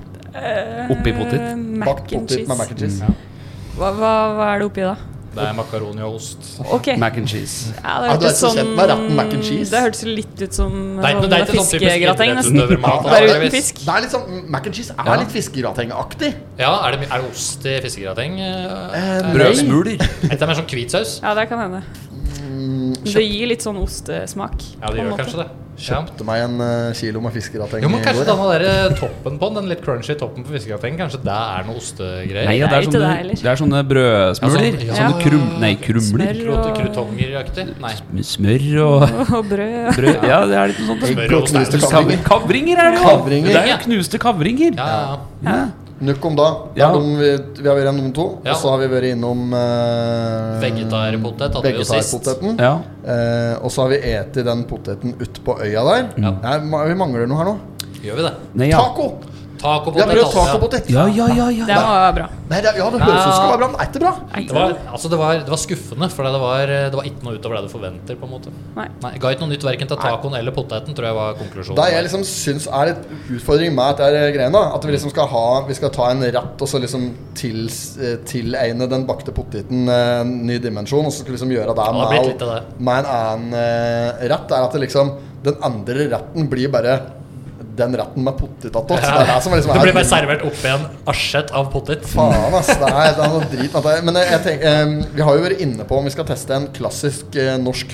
Speaker 7: Oppi potet.
Speaker 1: Eh,
Speaker 2: Bakt
Speaker 1: Mac and
Speaker 2: potet med mac
Speaker 1: cheese.
Speaker 2: and
Speaker 3: Mm.
Speaker 2: cheese.
Speaker 1: Hva, hva, hva er det oppi da?
Speaker 3: Det er makaroni og ost.
Speaker 1: Ok.
Speaker 7: Mac and cheese.
Speaker 1: Ja, det
Speaker 2: Ja, Ah, du er
Speaker 1: hørtes
Speaker 2: ikke så kjent med retten mac and cheese.
Speaker 1: Det hørtes litt ut som
Speaker 3: Det er ikke- det er ikke sånn typisk
Speaker 1: fiskegrateng, nesten.
Speaker 3: idrettsutøvermat,
Speaker 1: Bare uten
Speaker 3: antageligvis.
Speaker 1: fisk.
Speaker 2: Det er litt sånn, Mac and cheese er litt fiskegratengaktig.
Speaker 3: Ja, er det, my- er det ost i fiskegrateng?
Speaker 2: Eh,
Speaker 3: Eh,
Speaker 2: nei.
Speaker 7: Brødsmuler.
Speaker 3: Er det mer sånn hvitsaus?
Speaker 1: Ja, det kan hende.
Speaker 2: Mm,
Speaker 1: Det gir litt sånn ostesmak.
Speaker 3: Ja,
Speaker 1: på
Speaker 3: det
Speaker 1: en
Speaker 3: gjør
Speaker 1: måte.
Speaker 3: kanskje det. Ja.
Speaker 2: Kjøpte meg en eh, kilo med fiskerateng.
Speaker 3: Jo, men
Speaker 2: i går,
Speaker 3: kanskje
Speaker 2: ja.
Speaker 3: denne der eh, toppen på den, den litt crunchy toppen på fiskegrateng, kanskje det er noe ostegreier?
Speaker 7: Nei, ja, det,
Speaker 1: Nei,
Speaker 7: er
Speaker 1: ikke
Speaker 7: sånne,
Speaker 1: det heller.
Speaker 7: det er sånne brødsmuler.
Speaker 3: Ja, sånn-
Speaker 7: Sånne krum... Nei, krumler.
Speaker 1: Smør
Speaker 3: Krut-
Speaker 1: og-
Speaker 3: Krutongeraktig? Nei.
Speaker 7: Med smør og
Speaker 1: Og brød.
Speaker 7: brød. Ja, det er litt sånn- noe sånt.
Speaker 2: Egg og knuste kavringer.
Speaker 7: Kavringer. kavringer er det jo!
Speaker 2: Kavringer.
Speaker 7: Det er jo knuste kavringer.
Speaker 3: Ja, ja.
Speaker 7: Ja.
Speaker 2: Nok om da. Det
Speaker 7: Ja.
Speaker 2: er de vi, vi har vært gjennom to.
Speaker 3: Ja.
Speaker 2: Og så har vi vært innom eh,
Speaker 3: Vegetarpotet hadde vi jo sist.
Speaker 2: vegetarpoteten.
Speaker 7: ja.
Speaker 2: Eh, og så har vi eti den poteten ute på øya der. Nei, ma- vi mangler noe her nå.
Speaker 3: Gjør vi det?
Speaker 7: Nei, ja.
Speaker 2: Taco!
Speaker 3: Tacopotet.
Speaker 2: Vi har prøvd
Speaker 3: altså.
Speaker 2: tacopotet.
Speaker 7: Ja, ja, ja, ja.
Speaker 1: Det var bra.
Speaker 2: Nei, det, ja, det høres ut som det skal være bra, men det er ikke bra.
Speaker 3: Det var, altså det, var, det var skuffende, for det var, det var ikke noe utover det du forventer. på en måte
Speaker 1: Nei.
Speaker 3: Nei, Ga ikke noe nytt verken til tacoen eller poteten, tror jeg var konklusjonen.
Speaker 2: Det jeg liksom syns er litt utfordring med dette her greiene, da, at vi liksom skal ha Vi skal ta en ratt og så liksom tils, eh, tilegne den bakte poteten eh, en ny dimensjon, og så skal vi liksom gjøre det
Speaker 3: Ja, det har blitt
Speaker 2: med,
Speaker 3: litt av det.
Speaker 2: med en annen eh, rett. Er at det liksom Den andre retten blir bare den retten med poteta til. Det er det som liksom
Speaker 3: Det
Speaker 2: er
Speaker 3: blir bare servert oppi en asjett av potet.
Speaker 2: Faen, ass. Det er, det er noe drit. med dette. Men jeg, jeg tenker, eh, vi har jo vært inne på om vi skal teste en klassisk eh, norsk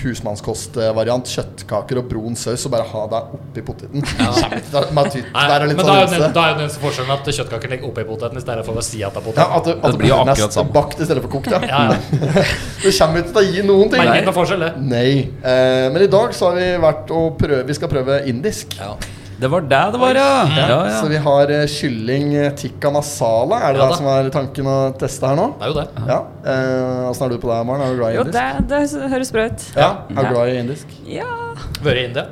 Speaker 2: husmannskostvariant. Kjøttkaker og brun saus, og bare ha det oppi poteten. Kjempe- Med tytt,
Speaker 3: Nei,
Speaker 2: der er litt
Speaker 3: men da er jo
Speaker 2: sånn
Speaker 3: den,
Speaker 2: ymse.
Speaker 3: da er jo den eneste forskjellen at kjøttkaker ligger oppi poteten i stedet for ved sida av
Speaker 2: ja,
Speaker 3: poteten.
Speaker 2: at, det- at
Speaker 7: Det blir jo
Speaker 2: blir
Speaker 7: akkurat
Speaker 2: mest
Speaker 7: samme.
Speaker 2: bakt i stedet for kokt. Ja.
Speaker 3: Ja, ja.
Speaker 2: Det kommer ikke til å gi noen ting.
Speaker 3: Merker ikke noe forskjell, det.
Speaker 2: Nei. Eh, men i dag så har vi vært og prøve, vi skal prøve indisk.
Speaker 3: Ja.
Speaker 7: Det var det det var, ja. ja,
Speaker 2: Så
Speaker 7: ja.
Speaker 2: vi har eh, kylling eh, tikka masala. Er det
Speaker 3: Ja da.
Speaker 2: det som er tanken å teste her nå?
Speaker 3: Det er jo det.
Speaker 2: Ja. Eh, Åssen er du på det, Maren? Er du glad i
Speaker 1: Jo,
Speaker 2: indisk?
Speaker 1: det, det høres bra ut.
Speaker 2: Ja,
Speaker 3: Mm.
Speaker 2: er du glad i indisk?
Speaker 1: Ja
Speaker 3: Vært i India?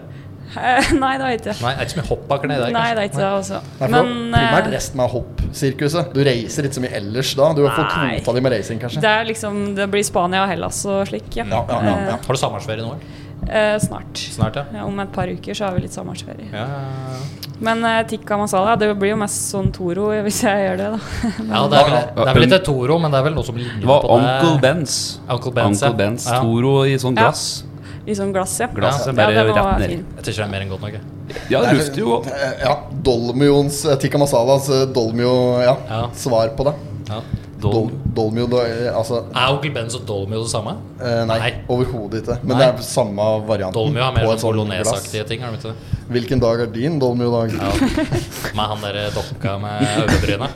Speaker 1: Eh, Nei, det er ikke det.
Speaker 3: Nei, det er ikke så mye hoppaker nedi
Speaker 1: Nei,
Speaker 3: der. kanskje.
Speaker 1: det er ikke det, altså.
Speaker 2: Nei, for
Speaker 1: Men
Speaker 2: det er primært
Speaker 1: eh,
Speaker 2: resten av hoppsirkuset. Du reiser ikke så mye ellers da. Du får
Speaker 1: Nei.
Speaker 2: kvota di med racing, kanskje.
Speaker 1: det er liksom Det blir Spania og Hellas og slik, ja.
Speaker 2: Ja, ja, ja, ja.
Speaker 3: Har du sommerferie nå? eller?
Speaker 1: Eh, snart.
Speaker 3: Snart, ja.
Speaker 1: Ja, om et par uker så har vi litt sommerferie.
Speaker 3: Ja, ja, ja.
Speaker 1: Men eh, tikka masala, det blir jo mest sånn Toro hvis jeg gjør det, da.
Speaker 3: Ja, det er, vel, det er vel ikke Toro, men det er vel noe som ligner
Speaker 7: Det var
Speaker 3: på det.
Speaker 7: Uncle Bens.
Speaker 3: Uncle Ben's, ja.
Speaker 7: Uncle Ben's
Speaker 3: Ja.
Speaker 7: Toro i sånn
Speaker 1: Ja.
Speaker 7: glass.
Speaker 1: I sånn glass, ja.
Speaker 7: Glass,
Speaker 1: ja,
Speaker 7: bare
Speaker 1: den var
Speaker 7: rett ned.
Speaker 1: fin.
Speaker 3: Jeg tror ikke det er mer enn godt nok. jeg.
Speaker 7: Ja, det lukter jo godt.
Speaker 2: Eh, Ja. Dolmions eh, tikka masalas eh, Dolmio ja,
Speaker 3: Ja.
Speaker 2: Svar på det.
Speaker 3: Ja.
Speaker 2: Dol,
Speaker 7: Dol-
Speaker 2: dolmio do, eh, Altså
Speaker 3: Er Uncle Ben's og Dolmio det samme?
Speaker 2: eh, Nei,
Speaker 3: Nei.
Speaker 2: overhodet ikke. Men
Speaker 3: Nei.
Speaker 2: det er samme varianten.
Speaker 3: Dolmio har mer
Speaker 2: på
Speaker 3: sånn
Speaker 2: et sånt
Speaker 3: bolognese-aktige ting. har de ikke det?
Speaker 2: glass. Hvilken dag er din dolmio-dag?
Speaker 3: Med han derre dokka med øyebrynet.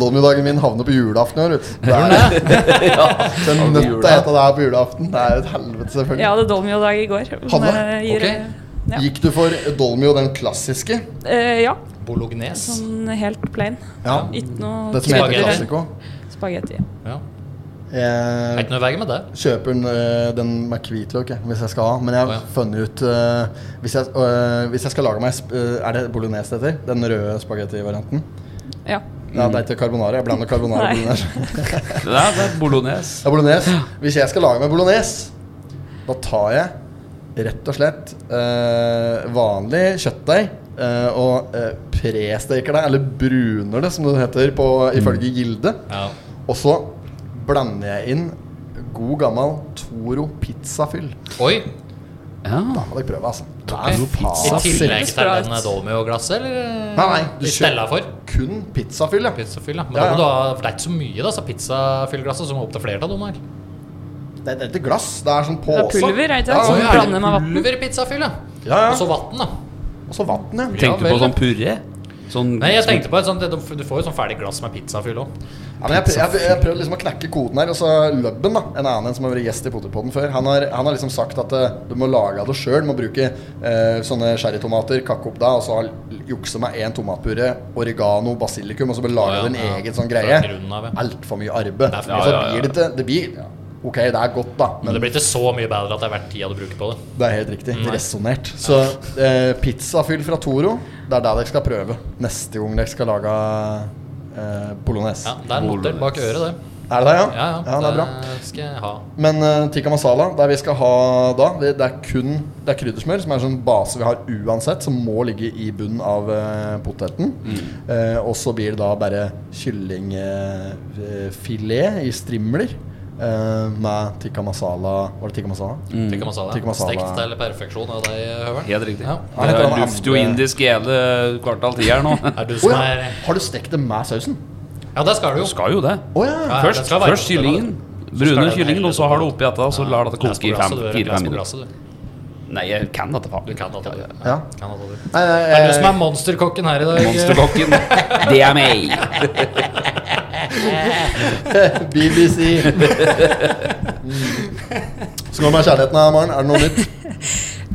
Speaker 2: Dolmio-dagen min havner på julaften i år, vet du. Det er Så jeg er nødt til å hete det her på julaften. Det er jo et helvete, selvfølgelig.
Speaker 1: Jeg hadde dolmio-dag i går. men,
Speaker 2: Hadde?
Speaker 1: eh, gir-
Speaker 3: Ok.
Speaker 1: Ja.
Speaker 2: Gikk du for dolmio, den klassiske?
Speaker 1: Eh, ja.
Speaker 3: Bolognese.
Speaker 1: Sånn helt plain.
Speaker 2: Ja.
Speaker 1: Ikke noe
Speaker 2: Det som heter
Speaker 3: Spagetti.
Speaker 2: classico. Eh,
Speaker 1: spagetti.
Speaker 3: Ja. Det er
Speaker 2: Jeg
Speaker 3: ikke noe i veien med det.
Speaker 2: kjøper den, øh, den med hvitløk jeg, hvis jeg skal ha. Men jeg har
Speaker 3: Å, ja.
Speaker 2: funnet ut øh, hvis, jeg, eh, øh, hvis jeg skal lage meg sp- øh, Er det bolognese det heter? Den røde spagettivarianten?
Speaker 1: Ja.
Speaker 2: Ja,
Speaker 3: Mm.
Speaker 2: det er ikke carbonara. Jeg blander
Speaker 1: Nei.
Speaker 2: carbonara og bolognese.
Speaker 7: Det er, det er bolognese.
Speaker 2: Ja, bolognese. Hvis jeg skal lage meg bolognese, da tar jeg rett og slett eh, vanlig kjøttdeig eh, og eh, presteker det, eller bruner det, som det heter på,
Speaker 3: Mm.
Speaker 2: ifølge Gilde.
Speaker 3: Ja.
Speaker 2: Og så blander jeg inn god gammel Toro pizzafyll.
Speaker 3: Oi!
Speaker 7: Ja.
Speaker 2: Da må dere prøve, altså. Det er
Speaker 3: Ok. I
Speaker 2: faen
Speaker 3: tillegg
Speaker 1: Høres
Speaker 3: til
Speaker 1: bra
Speaker 3: den eh,
Speaker 1: ut.
Speaker 3: Dolmio-glasset, eller?
Speaker 2: Nei, nei, du kjø-
Speaker 3: I stella for?
Speaker 2: kun pizzafyll, ja.
Speaker 3: Pizzafyll, ja. Men
Speaker 2: Ja,
Speaker 3: da
Speaker 2: ja.
Speaker 3: må du ha, for det er ikke så mye, da, så pizzafyllglasset, så må opp til flere av dem her.
Speaker 2: Det er ikke glass, det er sånn
Speaker 1: Det
Speaker 2: påse.
Speaker 1: er pulver, er det ikke
Speaker 2: Ja,
Speaker 1: det? Som
Speaker 2: ja,
Speaker 1: du
Speaker 2: ja.
Speaker 1: blander med vann.
Speaker 3: Pulverpizzafill, ja.
Speaker 2: Ja, ja.
Speaker 3: Og så vann, da.
Speaker 2: Og så vann, ja.
Speaker 7: Tenkte du
Speaker 3: Ja, vel.
Speaker 7: på sånn puré? Sånn
Speaker 3: Nei, jeg tenkte på et sånt, Du får jo sånn ferdig glass med pizzafyll òg.
Speaker 2: Ja, men jeg, prøv- jeg, jeg prøvde liksom å knekke koden her. Og så Løbben, da, en annen en som har vært gjest i Potetpodden før, han har, han har liksom sagt at eh, du må lage av det sjøl. Du må bruke eh, sånne sherrytomater, kakke opp da, og så ha- jukse med én tomatpuré, oregano, basilikum, og så bare lage
Speaker 3: Ja, ja,
Speaker 2: din
Speaker 3: ja.
Speaker 2: egen sånn
Speaker 3: Fra
Speaker 2: greie.
Speaker 3: grunnen av, ja.
Speaker 2: Altfor mye arbeid.
Speaker 3: Det er for
Speaker 2: Og
Speaker 3: mye.
Speaker 2: så
Speaker 7: Ja, ja,
Speaker 2: blir
Speaker 7: ja.
Speaker 2: det ikke Det blir ja, Ok, det er godt, da,
Speaker 3: Men
Speaker 2: men
Speaker 3: det blir ikke så mye bedre at det er verdt tida du bruker på det.
Speaker 2: det er helt riktig. Resonnert. Så eh, pizzafyll fra Toro, det er det dere skal prøve neste gang dere skal lage eh, bolognese.
Speaker 3: Ja, Det er noter bak øret, det.
Speaker 2: Er det det, ja?
Speaker 3: Ja, ja.
Speaker 2: ja det er bra.
Speaker 3: skal jeg ha.
Speaker 2: Men eh, tikka masala, der vi skal ha da Det, det er kun det er kryddersmør, som er en sånn base vi har uansett, som må ligge i bunnen av eh, poteten. Eh, og så blir det da bare kyllingfilet i strimler eh, med tikka masala Var det tikka masala?
Speaker 3: Tikka masala.
Speaker 2: Tikka masala.
Speaker 3: Stekt til perfeksjon av deg, Høveren.
Speaker 7: Helt riktig.
Speaker 3: Ja.
Speaker 7: Det er luft jo indisk i hele kvartal ti her nå.
Speaker 3: Er du
Speaker 2: Å
Speaker 3: som er
Speaker 2: ja! Har du stekt det med sausen?
Speaker 3: Ja, det skal du jo.
Speaker 7: Skal jo det.
Speaker 2: Å ja!
Speaker 3: Ja, det
Speaker 7: Først,
Speaker 3: skal være-
Speaker 7: først kyllingen.
Speaker 3: skal
Speaker 7: Brune
Speaker 3: det
Speaker 7: kyllingen,
Speaker 3: hele-
Speaker 7: og så har du oppi dette, og så lar det
Speaker 3: Les på
Speaker 7: koke i
Speaker 3: glasset, du, Les på
Speaker 7: fire-fem minutter.
Speaker 3: glasset, du.
Speaker 7: Nei, jeg kan dette
Speaker 3: Du
Speaker 7: faen.
Speaker 3: kan alt det.
Speaker 2: ja.
Speaker 3: Kan alt det.
Speaker 2: Nei, nei,
Speaker 3: Det er du
Speaker 2: eh,
Speaker 3: som er monsterkokken her i dag.
Speaker 7: Monsterkokken. Det er meg.
Speaker 2: BBC. Skål med kjærligheten, da, Maren. Er det noe nytt?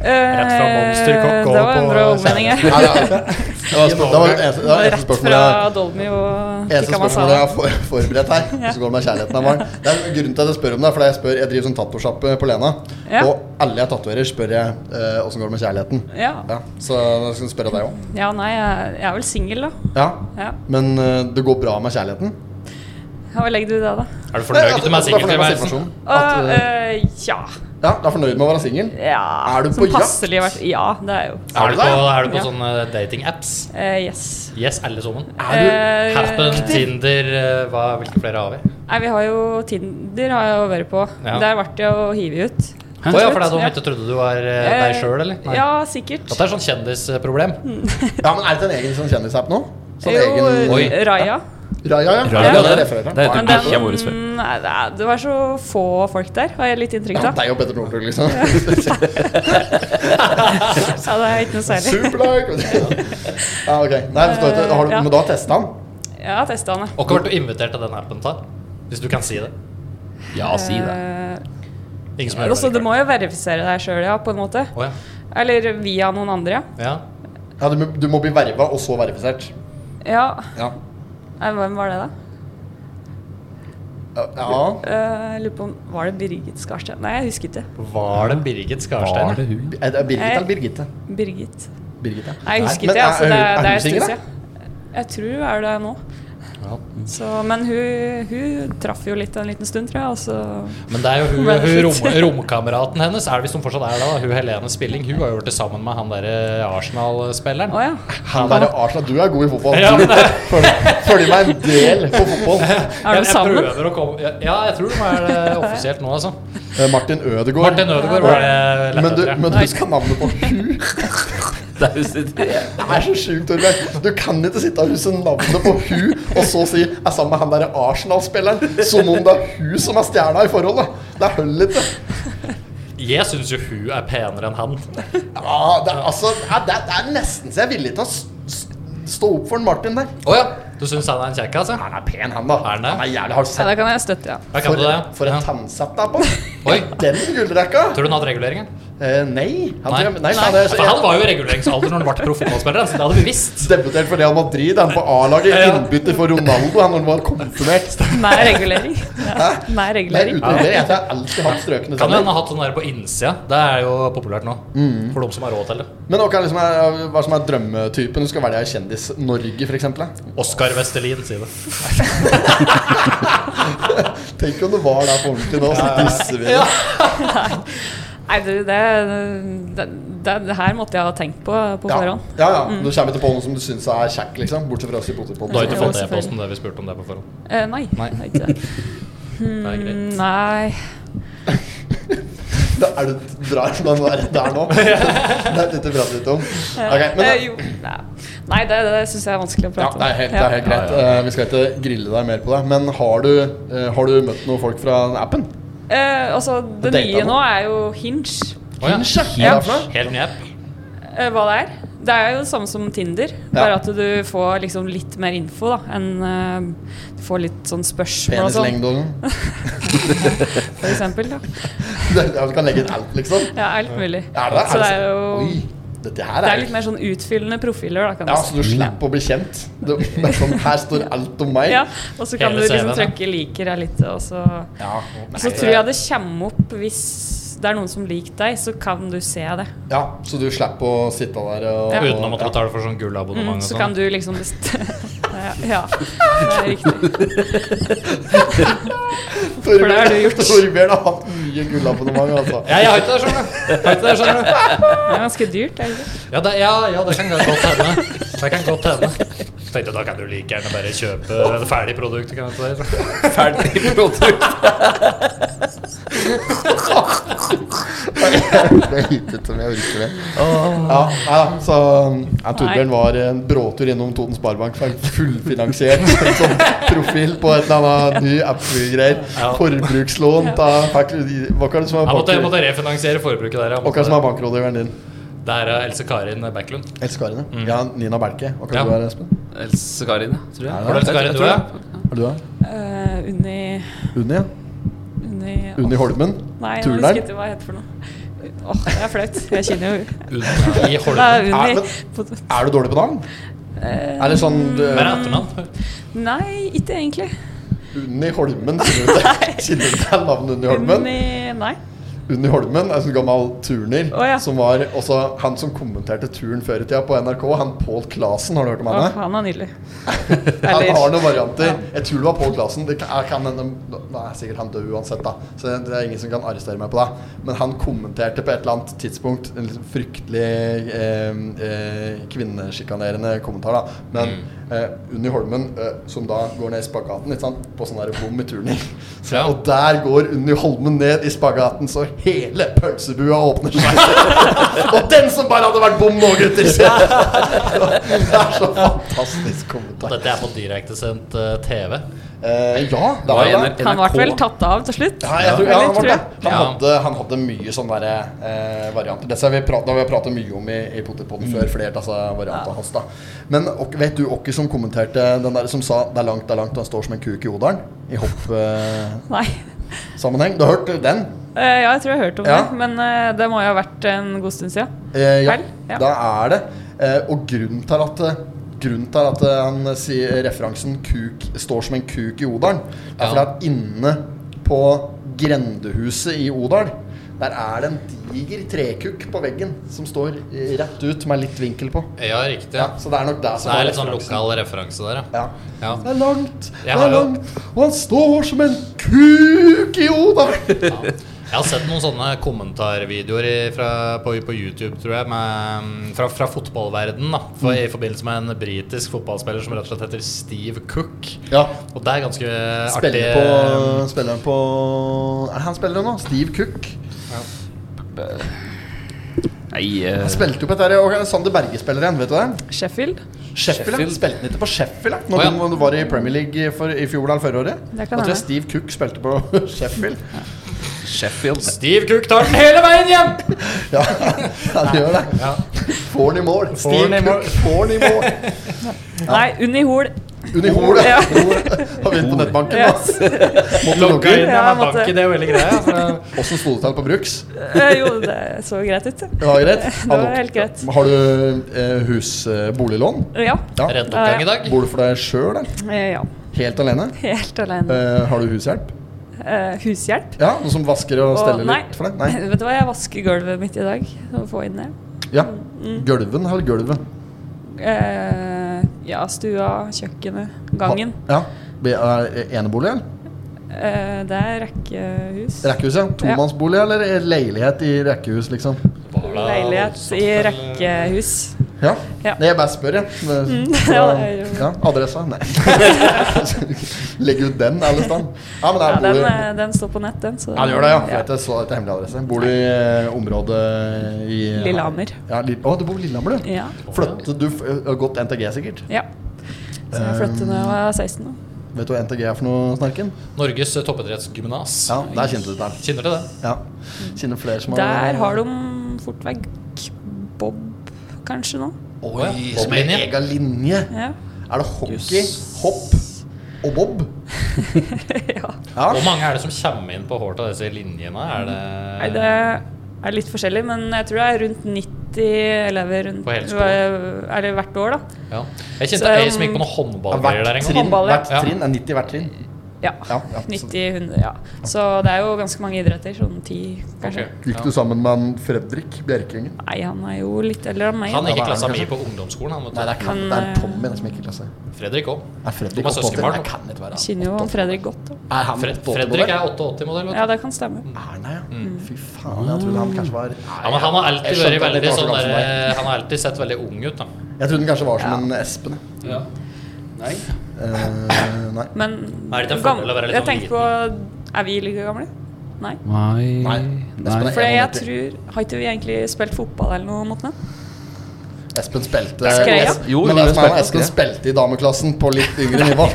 Speaker 3: Rett fra monsterkokk
Speaker 1: Eh, Det var
Speaker 3: over
Speaker 1: en
Speaker 3: på
Speaker 1: bra omvending her.
Speaker 2: Nei, det er- det var spør- det var det eneste det var det eneste
Speaker 1: Rett
Speaker 2: spørsmålet
Speaker 1: fra
Speaker 2: jeg
Speaker 1: Dolmy og
Speaker 2: Eneste
Speaker 1: tikka
Speaker 2: spørsmålet
Speaker 1: masala.
Speaker 2: jeg har for, forberedt her. Hvis det går med kjærligheten av barn. Det er grunnen til at jeg spør om det. For jeg, spør, jeg driver sånn tatosjappe på Lena.
Speaker 1: Ja.
Speaker 2: Og alle jeg tatoverer, spør jeg eh, åssen går det med kjærligheten.
Speaker 1: Ja.
Speaker 2: Ja, så da skal jeg spørre deg òg.
Speaker 1: ja, nei, jeg jeg er vel singel, da.
Speaker 2: Ja.
Speaker 1: Ja.
Speaker 2: Men eh, det går bra med kjærligheten? altså,
Speaker 1: Hva legger du i det, da?
Speaker 3: Er du fornøyd med singeltilværelsen?
Speaker 2: situasjonen?
Speaker 1: Åh,
Speaker 2: At, eh,
Speaker 1: eh, ja.
Speaker 2: ja, du er fornøyd med å være singel?
Speaker 1: ja.
Speaker 2: Er du på
Speaker 1: Som
Speaker 2: jakt?
Speaker 1: passelig vært Ja, det er jo
Speaker 3: Er du på, er du på
Speaker 1: Ja.
Speaker 3: sånne dating-apps?
Speaker 1: Eh, Yes.
Speaker 3: Yes, alle sammen.
Speaker 1: Eh,
Speaker 3: Happen, Tinder, eh, hva, hvilke flere har vi?
Speaker 1: Nei, vi har jo Tinder har jeg jo vært på.
Speaker 3: Ja.
Speaker 1: Der ble det å hive ut.
Speaker 3: Å ja, for det er
Speaker 1: Ja.
Speaker 3: de ikke trodde du var eh, deg
Speaker 1: Eh,
Speaker 3: sjøl, eller? Nei.
Speaker 1: Ja, Mm. sikkert.
Speaker 3: At det er sånn kjendisproblem.
Speaker 2: Ja, men er det ikke en egen sånn kjendisapp nå? Sånn
Speaker 1: jo, eh,
Speaker 2: egen
Speaker 3: Oi.
Speaker 1: Raja.
Speaker 2: Raja, ja.
Speaker 7: Raja,
Speaker 2: ja.
Speaker 7: det-
Speaker 2: det refererer jeg til.
Speaker 7: det heter
Speaker 1: Men
Speaker 7: ikke jeg
Speaker 1: den,
Speaker 7: vår før.
Speaker 1: nei, det er- det var så få folk der, har jeg litt inntrykk
Speaker 2: Ja,
Speaker 1: av.
Speaker 2: Deg og Petter Northug, liksom.
Speaker 1: Ja, det er ikke noe særlig.
Speaker 2: Superlag! Ja, ok. Nei, forstår ikke. Har du,
Speaker 1: Ja.
Speaker 2: men da testa han?
Speaker 1: Jeg har testa han, jeg.
Speaker 3: Og hva ble du invitert til den appen til? Hvis du kan si det.
Speaker 7: Ja, si det.
Speaker 1: Eh,
Speaker 3: Ingen som hører
Speaker 1: Også,
Speaker 3: det.
Speaker 1: du må jo verifisere deg sjøl, ja, på en måte.
Speaker 3: Å, ja.
Speaker 1: Eller via noen andre, ja.
Speaker 3: Ja.
Speaker 2: Ja, du, må- du må bli verva og så verifisert.
Speaker 1: ja.
Speaker 2: Ja.
Speaker 1: Nei, Hvem var det, da?
Speaker 2: ja.
Speaker 1: Eh, lurer på om Var det Birgit Skarstein? Nei, jeg husker ikke.
Speaker 3: Var det Birgit Skarstein?
Speaker 7: Var det hun?
Speaker 2: Er det Birgit
Speaker 1: Eh.
Speaker 2: eller Birgitte?
Speaker 1: Birgit.
Speaker 2: Birgit, ja.
Speaker 1: Nei, jeg husker
Speaker 2: men eh,
Speaker 1: ikke. Altså, det,
Speaker 2: er
Speaker 1: er- det er
Speaker 2: hun
Speaker 1: en stund
Speaker 2: singel, da?
Speaker 1: siden. Jeg tror hun er det nå.
Speaker 2: mm.
Speaker 1: Så, men hun, hun traff jo litt en liten stund, tror jeg. Og så
Speaker 3: Men det er jo hun,
Speaker 1: Men
Speaker 3: hun rom,
Speaker 1: slutt.
Speaker 3: romkameraten hennes, er det hvis hun fortsatt er det, da. Hun Helene Spilling, hun har jo vært det sammen med han derre Arsenal-spilleren.
Speaker 1: Å ja.
Speaker 2: Han derre Arsenal, du er god i fotball.
Speaker 3: Ja, men
Speaker 2: Du følger, følger meg en del på fotball.
Speaker 1: Er de
Speaker 3: jeg, jeg
Speaker 1: sammen?
Speaker 3: prøver å komme Ja, ja, jeg tror de er det offisielt nå, altså.
Speaker 2: Eh, Martin Ødegaard.
Speaker 3: Martin Ødegaard var det lett
Speaker 2: Men du,
Speaker 3: etter. ja.
Speaker 2: men du skal navnet på Hu.
Speaker 7: Det er jo sitt-
Speaker 2: Det er så sjukt, Torbjørn. Du kan ikke sitte og huske navnet på Hu, og så si 'jeg er sammen med han derre Arsenal-spilleren', som om det er Hu som er stjerna i forholdet. Det er høll ikke.
Speaker 3: Jeg syns jo hun er penere enn han.
Speaker 2: Ja, det, er- altså, ja, det, er- det er nesten så jeg er villig til å s- s- stå opp for en Martin der.
Speaker 3: Å ja. Du syns han er en kjekkas, ja?
Speaker 2: Han er pen, han, da.
Speaker 3: Er han det?
Speaker 2: Han er jævlig, har du
Speaker 1: Ja,
Speaker 2: sett
Speaker 1: det kan jeg støtte, ja.
Speaker 3: Ja, kan
Speaker 2: For,
Speaker 3: du det?
Speaker 2: for
Speaker 3: Ja.
Speaker 2: en tannsett det er på.
Speaker 3: Oi.
Speaker 2: Den gullrekka!
Speaker 3: Tror du hun har hatt reguleringer?
Speaker 2: Eh, nei. Han,
Speaker 3: Nei,
Speaker 2: tror jeg- nei,
Speaker 3: nei,
Speaker 2: sa det-
Speaker 3: for han var jo i reguleringsalder når han ble proff fotballspiller, så det hadde vi visst.
Speaker 2: Debutert for Real Madrid. Han på A-laget.
Speaker 3: Ja.
Speaker 2: Innbytter for Ronaldo. Han når han var konfirmert.
Speaker 1: Nei regulering. Ja. Nei
Speaker 2: Nei,
Speaker 1: regulering.
Speaker 2: uten det. Jeg har alltid hatt strøkne
Speaker 3: Kan jo hende
Speaker 2: tenner.
Speaker 3: ha hatt sånn der på innsida. Det er jo populært nå.
Speaker 2: Mm.
Speaker 3: For de som har råd til det.
Speaker 2: Men hva er, liksom er, hva som er drømmetypen? Du skal velge Kjendis-Norge, f.eks.
Speaker 3: Oskar Vestelin, sier det.
Speaker 2: Tenk om det var der på ordentlig nå, så disser vi det.
Speaker 1: Nei, du, det, det, det, det her måtte jeg ha tenkt på på
Speaker 2: Ja,
Speaker 1: forhånd. Mm.
Speaker 2: ja, ja. Du kommer ikke på noe som du syns er kjekk, liksom. Bortsett fra oss i
Speaker 3: Du har ikke
Speaker 2: potetpodden.
Speaker 1: Jo,
Speaker 3: fått
Speaker 1: selvfølgelig.
Speaker 3: e-posten der vi spurte om det på forhånd.
Speaker 1: Eh, nei.
Speaker 3: Nei.
Speaker 1: jeg har Ikke det.
Speaker 3: Det er greit.
Speaker 1: Nei.
Speaker 2: Da Er du drar du den der, der nå? Det er dette vi prater litt om. Ok, men,
Speaker 1: eh, jo. Nei, Nei, det, det syns jeg er vanskelig å
Speaker 2: ja,
Speaker 1: prate om.
Speaker 2: det er helt, det er helt greit. Eh, Vi skal ikke grille deg mer på det. Men har du, eh, har du møtt noen folk fra den appen?
Speaker 1: Eh, altså, det
Speaker 2: Data
Speaker 1: nye
Speaker 2: nå?
Speaker 1: nå er jo Hinge.
Speaker 3: Å ja.
Speaker 2: Hinge, hva er det for noe?
Speaker 3: Helt ny app.
Speaker 1: Eh, hva det er? Det er jo det samme som Tinder, bare at du får liksom litt mer info. da enn, eh, Du får litt sånn spørsmål og sånn,
Speaker 2: Penislengde og noe?
Speaker 1: for eksempel. Da.
Speaker 2: Ja, Du kan legge inn alt, liksom?
Speaker 1: Ja, alt mulig.
Speaker 2: Er det, sånn,
Speaker 1: Så det er jo
Speaker 2: Oi, dette her
Speaker 1: Det
Speaker 2: er,
Speaker 1: er litt mer sånn utfyllende profiler, da, kan
Speaker 2: Ja,
Speaker 1: du si.
Speaker 2: så du slipper å bli kjent. Du, det er sånn, her står alt om meg.
Speaker 1: Ja, og så kan du
Speaker 3: Hele
Speaker 1: liksom
Speaker 3: CV-en, da.
Speaker 1: trykke 'liker' her litt, og så
Speaker 2: Ja,
Speaker 1: Så tror jeg det kommer opp hvis det er noen som liker deg, så kan du se det.
Speaker 2: ja, så du slipper å sitte der og
Speaker 3: Uten å måtte
Speaker 2: ja.
Speaker 3: betale for sånn gullabonnement og
Speaker 1: Så
Speaker 3: sånn.
Speaker 1: kan du liksom bestemme Ja, det er riktig.
Speaker 2: Torbjørn,
Speaker 1: det har du gjort.
Speaker 2: Torbjørn har hatt mye gullabonnement, altså.
Speaker 3: Ja, jeg har ikke det, skjønner du. Jeg har ikke det, skjønner du.
Speaker 1: Det er ganske dyrt, er det ikke?
Speaker 3: Ja, det, ja, ja, det kan godt hende. Det kan godt hende. Tenkte da kan du like gjerne bare kjøpe det ferdige produktet. Kan jeg ikke si.
Speaker 7: Ferdig produkt.
Speaker 2: Det er lite som jeg orker det. Ja, ja, så ja, Torbjørn var en bråtur innom Toten Sparebank. for en Fullfinansiert sånn profil på et eller annet ny app-greier.
Speaker 3: Ja.
Speaker 2: Forbrukslån ta, fikk- Hva er det som er
Speaker 3: Jeg måtte, jeg
Speaker 2: bank-
Speaker 3: måtte refinansiere forbruket der. Jeg
Speaker 2: hva er det som
Speaker 3: måtte,
Speaker 2: er bankrådgiveren din?
Speaker 3: det er eh, Else Karin Backlund.
Speaker 2: Else Karin, ja. ja. Nina Belke. Hva kan
Speaker 3: Mm. Ja.
Speaker 2: du være, Espen?
Speaker 7: Else Karin, ja, tror jeg.
Speaker 3: Var det Else Karin du er?
Speaker 2: Er du der?
Speaker 1: Eh, Unni
Speaker 2: Unni, ja.
Speaker 1: Unni,
Speaker 2: Unni Holmen.
Speaker 1: Nei, jeg
Speaker 2: Turneren.
Speaker 1: husker ikke hva jeg heter for noe. Åh, det er flaut. Jeg kjenner jo
Speaker 3: Unn i
Speaker 1: Det
Speaker 3: Holmen.
Speaker 1: er
Speaker 2: Ja,
Speaker 1: Unni.
Speaker 2: men-
Speaker 1: På-
Speaker 2: Er du dårlig på navn?
Speaker 1: Eh,
Speaker 2: er det sånn du,
Speaker 3: Hva er etternavn?
Speaker 1: Nei, ikke egentlig.
Speaker 2: Unni Holmen? sier du det? Kjenner du til navnet Unni Holmen?
Speaker 1: Unni Nei.
Speaker 2: Unni Holmen er en sånn gammel turner.
Speaker 1: Å, ja.
Speaker 2: Som var også han som kommenterte turn før i tida på NRK. Han Pål Clasen, har du hørt om
Speaker 1: Åh,
Speaker 2: henne?
Speaker 1: han er nydelig.
Speaker 2: Han
Speaker 1: Eller-
Speaker 2: har noen varianter. Jeg tror det var Pål Clasen. Det kan, jeg kan, hende- nå er sikkert han død uansett, da. Så det er ingen som kan arrestere meg på det. Men han kommenterte på et eller annet tidspunkt en liksom fryktelig eh, eh, kvinnesjikanerende kommentar, da. Men eh, Unni Holmen, eh, som da går ned i spagaten, ikke sant? på sånn der bom i turning så,
Speaker 3: Ja.
Speaker 2: Og der går Unni Holmen ned i spagaten, så hele pølsebua åpner seg. og den som bare hadde vært bom nå, gutter! det er så fantastisk kommentar.
Speaker 3: Dette er på direktesendt eh, TV.
Speaker 2: Eh, ja, det
Speaker 7: Var
Speaker 2: var
Speaker 7: det
Speaker 2: det.
Speaker 7: NRK?
Speaker 1: Han ble vel tatt av til slutt?
Speaker 2: Ja, jeg tror, ja, han, var
Speaker 1: Eller,
Speaker 2: det.
Speaker 1: tror jeg.
Speaker 2: Han,
Speaker 3: Ja.
Speaker 2: hadde, han hadde mye sånne der, eh, varianter. Dette har vi prat, det har vi pratet mye om i, i Potetpodden før. Flere altså, varianter hans da Men ok, vet du hvem som kommenterte den der som sa 'det er langt, det er langt', og han står som en kuk i odalen? I hoppsammenheng.
Speaker 1: Nei.
Speaker 2: du har hørt den?
Speaker 1: Eh, ja, jeg tror jeg har hørt om
Speaker 2: Ja.
Speaker 1: det, men eh, det må jo ha vært en god stund siden.
Speaker 2: Eh, ja,
Speaker 1: Vel, ja.
Speaker 2: da er det. Eh, og grunnen til at eh, Grunnen til at eh, han sier referansen kuk, 'står som en kuk i Odalen', er fordi at inne på grendehuset i Odal, der er det en diger trekukk på veggen som står eh, rett ut, med litt vinkel på.
Speaker 3: Ja, riktig.
Speaker 2: Ja, så det er nok det som
Speaker 3: Det er litt sånn
Speaker 2: referansen.
Speaker 3: lokal referanse der, ja.
Speaker 2: Ja.
Speaker 3: ja.
Speaker 2: Det er langt, det
Speaker 3: Jeg
Speaker 2: er
Speaker 3: har jo-
Speaker 2: langt, og han står som en kuk i Odalen!
Speaker 3: Jeg har sett noen sånne kommentarvideoer i, fra, på, på YouTube, tror jeg, med, mm, fra, fra fotballverden da, for,
Speaker 2: Mm.
Speaker 3: i forbindelse med en britisk fotballspiller som rett og slett heter Steve Cook.
Speaker 2: Ja.
Speaker 3: Og det er ganske artig. eh, mm.
Speaker 2: Spiller på, spiller på Er det han spiller nå? Steve Cook.
Speaker 7: Nei, eh,
Speaker 2: Han spilte jo på et der, og Sander Berge spiller igjen, vet du det?
Speaker 1: Sheffield.
Speaker 2: Sheffield, ja.
Speaker 7: Sheffield.
Speaker 2: Spilte han ikke på Sheffield? da? Når
Speaker 3: Å, ja.
Speaker 2: du- når du var i Premier League for, i fjor eller forrige året?
Speaker 1: Det kan
Speaker 2: Da tror
Speaker 1: hende.
Speaker 2: jeg Steve Cook spilte på Sheffield.
Speaker 7: Sheffield.
Speaker 3: Steve Cook tar den hele veien hjem!
Speaker 2: Ja, han gjør det.
Speaker 3: Ja.
Speaker 2: Får han i mål. Steve
Speaker 3: han i mål.
Speaker 2: Cook får han i mål.
Speaker 1: Nei, Unni Hol.
Speaker 2: Unihol, ja.
Speaker 1: Ja.
Speaker 2: Unihol har vi på nettbanken. da.
Speaker 1: Yes.
Speaker 2: Måtte
Speaker 3: Logga
Speaker 2: logge.
Speaker 3: inn
Speaker 1: Ja,
Speaker 3: ja,
Speaker 1: jeg måtte-
Speaker 3: banken, det er veldig greia. altså. for-
Speaker 2: Åssen sto det til på Bruks?
Speaker 1: Eh, Jo, det så greit ut.
Speaker 2: Det var greit?
Speaker 1: Det var helt greit.
Speaker 2: Har du eh, hus, eh, boliglån?
Speaker 1: Ja.
Speaker 2: Ja.
Speaker 3: Redd oppgang i dag.
Speaker 2: Bor du for deg sjøl, eller?
Speaker 1: Eh, ja.
Speaker 2: Helt alene?
Speaker 1: Helt alene.
Speaker 2: Eh, har du hushjelp?
Speaker 1: Eh, hushjelp.
Speaker 2: Ja, Noen som vasker og
Speaker 1: Og-
Speaker 2: steller
Speaker 1: nei.
Speaker 2: litt for deg? Nei.
Speaker 1: Vet du hva, jeg vasker gulvet mitt i dag. Så Få inn det.
Speaker 2: Ja. Gulven eller gulvet?
Speaker 1: Eh, ja, stua, kjøkkenet, gangen.
Speaker 2: Ha, ja. Be- Er enebolig, eller?
Speaker 1: Eh, det er rekkehus.
Speaker 2: Rekkehus, ja. Tomannsbolig eller leilighet i rekkehus, Sånn, eh, liksom?
Speaker 3: Var det
Speaker 1: Leilighet
Speaker 3: voldsomt,
Speaker 1: i
Speaker 3: eller?
Speaker 1: rekkehus.
Speaker 2: Ja.
Speaker 1: Ja. Mm.
Speaker 2: Nei, jeg bare spør, jeg. Men-
Speaker 1: ja, det er jo-
Speaker 2: ja, adressa? Nei. Legg ut den alle steder. Ja, men
Speaker 1: Ja,
Speaker 2: der
Speaker 1: den,
Speaker 2: bor du.
Speaker 1: eh, den står på nett, den. Så
Speaker 2: Ja, det gjør det, ja. For jeg så etter hemmelig adresse. Bor du i eh, området i
Speaker 1: Lillehammer.
Speaker 2: Ja, Lill- Å, du bor i Lillehammer, du?
Speaker 1: Ja.
Speaker 2: Flyttet du f- har gått NTG, sikkert?
Speaker 1: ja. Så
Speaker 2: Eh,
Speaker 1: jeg flyttet da jeg var 16. da.
Speaker 2: Vet du hva NTG er for noe, Snerken?
Speaker 3: Norges eh, toppidrettsgymnas.
Speaker 2: Ja, der kjente du til.
Speaker 3: Kjenner du det?
Speaker 2: Ja. Kjenner flere som
Speaker 1: Der har de fort vekk Bob, kanskje, nå.
Speaker 3: Åja,
Speaker 2: Bob
Speaker 3: som
Speaker 2: med
Speaker 3: er inni.
Speaker 2: egen linje.
Speaker 1: Ja.
Speaker 2: Er det hockey, hopp og bob?
Speaker 1: ja.
Speaker 2: Ja.
Speaker 3: Hvor mange er det som kommer inn på håret av disse linjene? Er det,
Speaker 1: Nei, det er litt forskjellig, men jeg tror det er rundt 90 elever rundt,
Speaker 3: På hele skolen?
Speaker 1: er det hvert år, da.
Speaker 3: ja. Jeg kjente
Speaker 1: Så, um,
Speaker 3: ei som gikk på noen
Speaker 2: Ja,
Speaker 3: håndballgreier
Speaker 2: Hvert
Speaker 3: der en gang.
Speaker 2: trinn,
Speaker 1: Håndball, ja.
Speaker 2: hvert trinn er 90 hvert trinn.
Speaker 1: Ja.
Speaker 2: Ja, ja, så-
Speaker 1: 90, 100, ja. Så det er jo ganske mange idretter. Sånn ti, kanskje.
Speaker 3: Ok.
Speaker 2: Gikk du sammen med han Fredrik Bjerkengen?
Speaker 1: Nei, han er jo litt eldre enn meg.
Speaker 3: Han gikk
Speaker 2: Ja,
Speaker 3: i klassa
Speaker 2: kanskje.
Speaker 3: mi på ungdomsskolen. Han, vet du.
Speaker 2: Nei, det er, ikke han, det
Speaker 1: Han,
Speaker 2: er
Speaker 1: eh,
Speaker 2: Tommy det som gikk i klasse.
Speaker 3: Fredrik òg.
Speaker 2: Er Fredrik
Speaker 3: De er
Speaker 2: 88?
Speaker 3: søskenbarn,
Speaker 2: Jeg
Speaker 3: da.
Speaker 2: kan ikke være
Speaker 1: Jeg kjenner jo han Fredrik godt. Da.
Speaker 2: Er han
Speaker 3: Fred,
Speaker 2: 88
Speaker 3: Fredrik
Speaker 2: modell?
Speaker 3: er 88-modell.
Speaker 1: Ja, det kan stemme.
Speaker 2: Er han det, ja? Fy faen, jeg trodde han kanskje var
Speaker 3: Ja, men han har
Speaker 2: Jeg
Speaker 3: alltid
Speaker 2: skjønte
Speaker 3: vært
Speaker 2: at det var
Speaker 3: veldig
Speaker 2: så
Speaker 3: sånn
Speaker 2: gammel
Speaker 3: der,
Speaker 2: som meg.
Speaker 3: Han har alltid sett veldig ung ut, da.
Speaker 2: Jeg trodde han kanskje var som en Espen. jeg.
Speaker 7: Ja. Nei.
Speaker 2: Eh, nei.
Speaker 1: Men
Speaker 3: Er det ikke en
Speaker 1: gam-
Speaker 3: fordel å være litt
Speaker 1: jeg
Speaker 3: sånn
Speaker 1: tenker på Er vi like gamle? Nei.
Speaker 7: Nei.
Speaker 2: Espen er
Speaker 1: For jeg
Speaker 2: 91.
Speaker 1: tror Har ikke vi egentlig spilt fotball eller noe mot den?
Speaker 2: Espen spilte
Speaker 1: Skreia?
Speaker 2: Es-
Speaker 7: Jo,
Speaker 2: Men
Speaker 7: Rune
Speaker 2: det som er
Speaker 7: spilte
Speaker 2: Espen
Speaker 7: skreia.
Speaker 2: spilte i dameklassen på litt yngre nivå.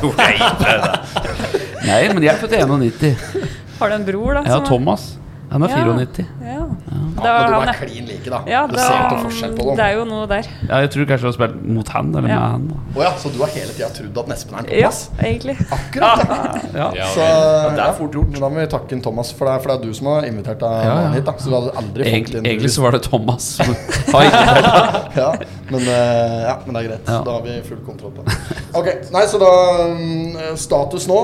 Speaker 7: Nei, men jeg er født i 91.
Speaker 1: Har du en bror, da?
Speaker 7: Jeg har
Speaker 1: som er-
Speaker 7: Thomas. Han er
Speaker 1: Ja.
Speaker 7: 94.
Speaker 1: Ja. Da
Speaker 2: Men
Speaker 1: er
Speaker 2: de
Speaker 1: han
Speaker 2: er
Speaker 1: det.
Speaker 2: klin like, da.
Speaker 1: Ja,
Speaker 2: du
Speaker 1: da,
Speaker 2: ser ikke forskjell på
Speaker 1: det
Speaker 2: dem.
Speaker 1: er jo noe der.
Speaker 7: Ja, jeg tror kanskje jeg har spilt mot han, eller
Speaker 1: Ja.
Speaker 7: med han. da.
Speaker 2: Å ja, så du har hele tida trodd at Espen er en
Speaker 1: Ja,
Speaker 2: Thomas?
Speaker 1: egentlig.
Speaker 2: Akkurat! Ja.
Speaker 7: Ja.
Speaker 3: Ja,
Speaker 2: Så
Speaker 3: vel.
Speaker 7: det er fort gjort.
Speaker 2: Men Da må vi takke en Thomas, for det er, for det er du som har invitert deg
Speaker 7: Ja, ja.
Speaker 2: hit. da Så du hadde aldri fått
Speaker 7: Egentlig,
Speaker 2: inn
Speaker 7: egentlig så var det Thomas. som- Oi.
Speaker 2: ja, men, eh, ja, men det er greit.
Speaker 7: Ja.
Speaker 2: Da har vi full kontroll på det. Ok, nei, så da mm, Status nå.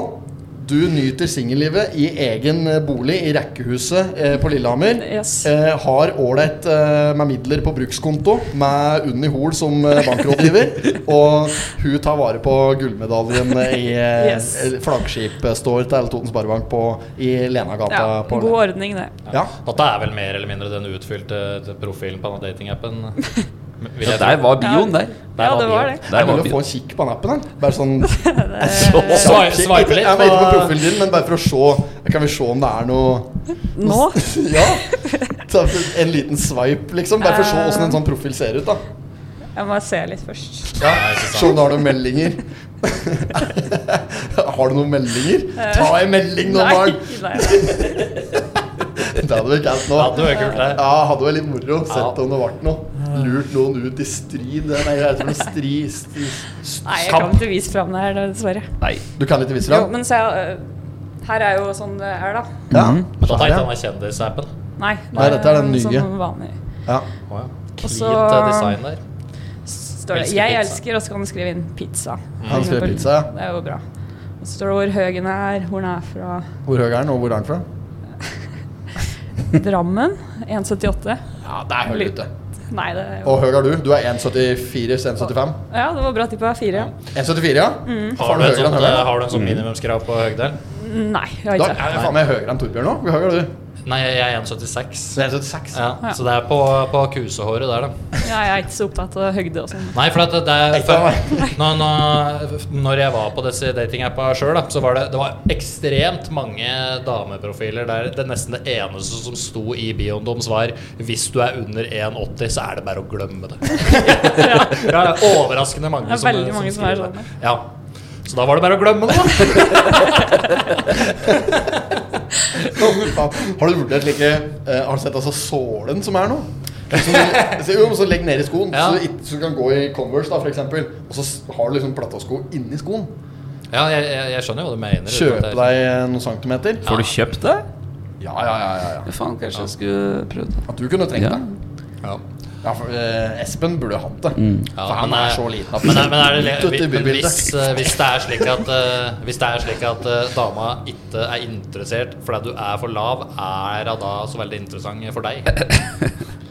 Speaker 2: Du nyter singellivet i egen eh, bolig i rekkehuset eh, på Lillehammer.
Speaker 1: Yes.
Speaker 2: Eh, har ålreit eh, med midler på brukskonto, med Unni Hoel som eh, bankrådgiver. og hun tar vare på gullmedaljen i eh,
Speaker 1: Yes.
Speaker 2: eh, flaggskipstår til Totens Sparebank på, i Lenagata.
Speaker 1: Ja,
Speaker 2: på
Speaker 1: god ordning, det.
Speaker 2: ja.
Speaker 3: Dette er vel mer eller mindre den utfylte eh, profilen på denne datingappen. vil jeg
Speaker 7: Der
Speaker 3: tro.
Speaker 7: var bioen der.
Speaker 1: Ja, det var det.
Speaker 2: Det
Speaker 7: Der
Speaker 2: er
Speaker 7: var
Speaker 2: mulig å få
Speaker 7: bioen.
Speaker 2: en kikk på den appen. da. Bare sånn
Speaker 3: Og swi- Swipe litt.
Speaker 2: Jeg vet ikke på
Speaker 3: på-
Speaker 2: profilen din, men bare for å se Kan vi se om det er noe
Speaker 1: Nå?
Speaker 2: Ja! Ta En liten swipe, liksom. Bare for å se åssen en sånn profil ser ut. da
Speaker 1: Jeg må se litt først.
Speaker 3: Nei, ikke sant.
Speaker 2: Se om du har noen meldinger. Har du noen meldinger?
Speaker 3: Eh.
Speaker 2: Ta en melding nå,
Speaker 1: Nei,
Speaker 2: barn!
Speaker 1: nei.
Speaker 2: Det hadde vært galt
Speaker 3: Ja,
Speaker 2: nå.
Speaker 3: det var kult, det.
Speaker 2: Ja, hadde vært litt moro. Sett
Speaker 3: Ja.
Speaker 2: om det ble noe. Lurt noen ut i strid. Nei, jeg tror det er stri, stri.
Speaker 1: nei, jeg kan ikke vise fram det her, dessverre.
Speaker 7: Nei.
Speaker 2: Du kan ikke vise
Speaker 1: Jo,
Speaker 2: fram?
Speaker 1: men se øh, Her er jo sånn det er, da.
Speaker 2: Ja.
Speaker 3: Men da
Speaker 2: Så her,
Speaker 3: tenkte
Speaker 2: ja.
Speaker 3: han var kjendisappen.
Speaker 1: Nei,
Speaker 2: Nei, dette er den nye.
Speaker 1: Sånn vanlig.
Speaker 2: Ja.
Speaker 3: Oh, ja.
Speaker 1: Og
Speaker 3: Cleant
Speaker 1: så-
Speaker 3: eh, design der.
Speaker 1: Står det
Speaker 3: Elsker
Speaker 1: 'Jeg
Speaker 3: pizza.
Speaker 1: elsker', og så kan du skrive inn 'pizza'. for
Speaker 2: Han skrev
Speaker 1: eksempel.
Speaker 2: pizza, ja.
Speaker 1: Det er jo bra. Og så står det hvor høy den er, hvor den er fra
Speaker 2: Hvor høy er den, og hvor er den fra?
Speaker 1: Drammen. 1,78.
Speaker 2: Ja, det er høyt ute.
Speaker 1: Nei, det er jo
Speaker 2: Og høy er du? Du er 1,74-1,75?
Speaker 1: Ja, det var bra tippa. Fire.
Speaker 2: 1,74, ja?
Speaker 3: Har
Speaker 2: Faen,
Speaker 3: du, et
Speaker 2: høyere enn
Speaker 3: sånt,
Speaker 2: høyere?
Speaker 3: eh, har du en sånn minimumskrav på høyde?
Speaker 1: Nei, jeg har
Speaker 2: Da
Speaker 1: ikke det.
Speaker 2: er jeg faen meg høyere enn Torbjørn nå. Hvor høy er du?
Speaker 3: Nei, jeg er 1,76.
Speaker 2: Så jeg er 1,76.
Speaker 3: Ja, Så det er på, på kusehåret der, da.
Speaker 1: Ja, jeg er ikke så opptatt av høgde og sånn.
Speaker 3: Nei, for at det er
Speaker 2: Ikke
Speaker 3: for, når, når, når jeg var på disse datingappa sjøl, så var det, det var ekstremt mange dameprofiler der det nesten det eneste som sto i bioen deres, var hvis du er under 1,80, så er det bare å glemme det. ja, det er overraskende mange
Speaker 1: Det er veldig mange som er
Speaker 3: skriver
Speaker 1: sånn,
Speaker 3: det. Ja. Så da var det bare å glemme det, da.
Speaker 2: Å, fy faen. Har du vurdert like eh, Har du sett altså sålen som er nå? Så, jo, så legg ned i skoen,
Speaker 3: Ja.
Speaker 2: så, ikke- så du kan gå i Converse, da, for eksempel. Og så s- har du liksom platesko inni skoen.
Speaker 3: Ja, jeg, jeg, jeg skjønner jo hva du mener. uten
Speaker 2: Kjøpe
Speaker 3: at jeg-
Speaker 2: deg noen centimeter.
Speaker 7: Får du kjøpt det?
Speaker 2: Ja, ja, ja, ja, ja.
Speaker 7: Faen, kanskje jeg skulle prøvd det.
Speaker 2: At du kunne trengt
Speaker 7: Ja.
Speaker 2: det.
Speaker 3: Ja.
Speaker 2: Ja, for eh, Espen burde hatt det.
Speaker 3: Ja,
Speaker 2: for han
Speaker 3: men,
Speaker 2: er
Speaker 3: eh,
Speaker 2: så liten at
Speaker 3: Men, er- men er det,
Speaker 2: Ut ut i
Speaker 3: men
Speaker 2: bybildet.
Speaker 3: hvis, eh, hvis det er slik at, eh, hvis det er slik at eh, dama ikke er interessert fordi du er for lav, er hun da så veldig interessant for deg? Nei,
Speaker 7: Nei.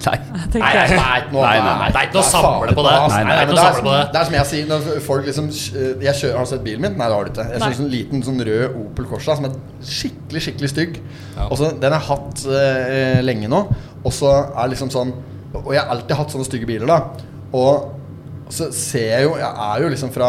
Speaker 1: tenker
Speaker 3: nei,
Speaker 1: jeg.
Speaker 3: nei, nå-
Speaker 7: Nei,
Speaker 3: nei,
Speaker 7: nei, nei.
Speaker 3: det er ikke noe å
Speaker 2: Det er farlig
Speaker 3: samle på det.
Speaker 2: ass.
Speaker 3: Nei,
Speaker 2: Nei,
Speaker 3: det er
Speaker 2: men
Speaker 3: ikke noe å samle på
Speaker 2: er- sånn
Speaker 3: det.
Speaker 2: det er som jeg sier når folk liksom eh, jeg kjører, Har du sett bilen min? Nei, det har du ikke. Jeg
Speaker 1: Nei.
Speaker 2: kjører sånn liten sånn rød Opel Corsa som er skikkelig, skikkelig stygg.
Speaker 3: Ja.
Speaker 2: Og så Den har jeg hatt eh, lenge nå, og så er liksom sånn Og jeg har alltid hatt sånne stygge biler, da. Og så ser jeg jo Jeg er jo liksom fra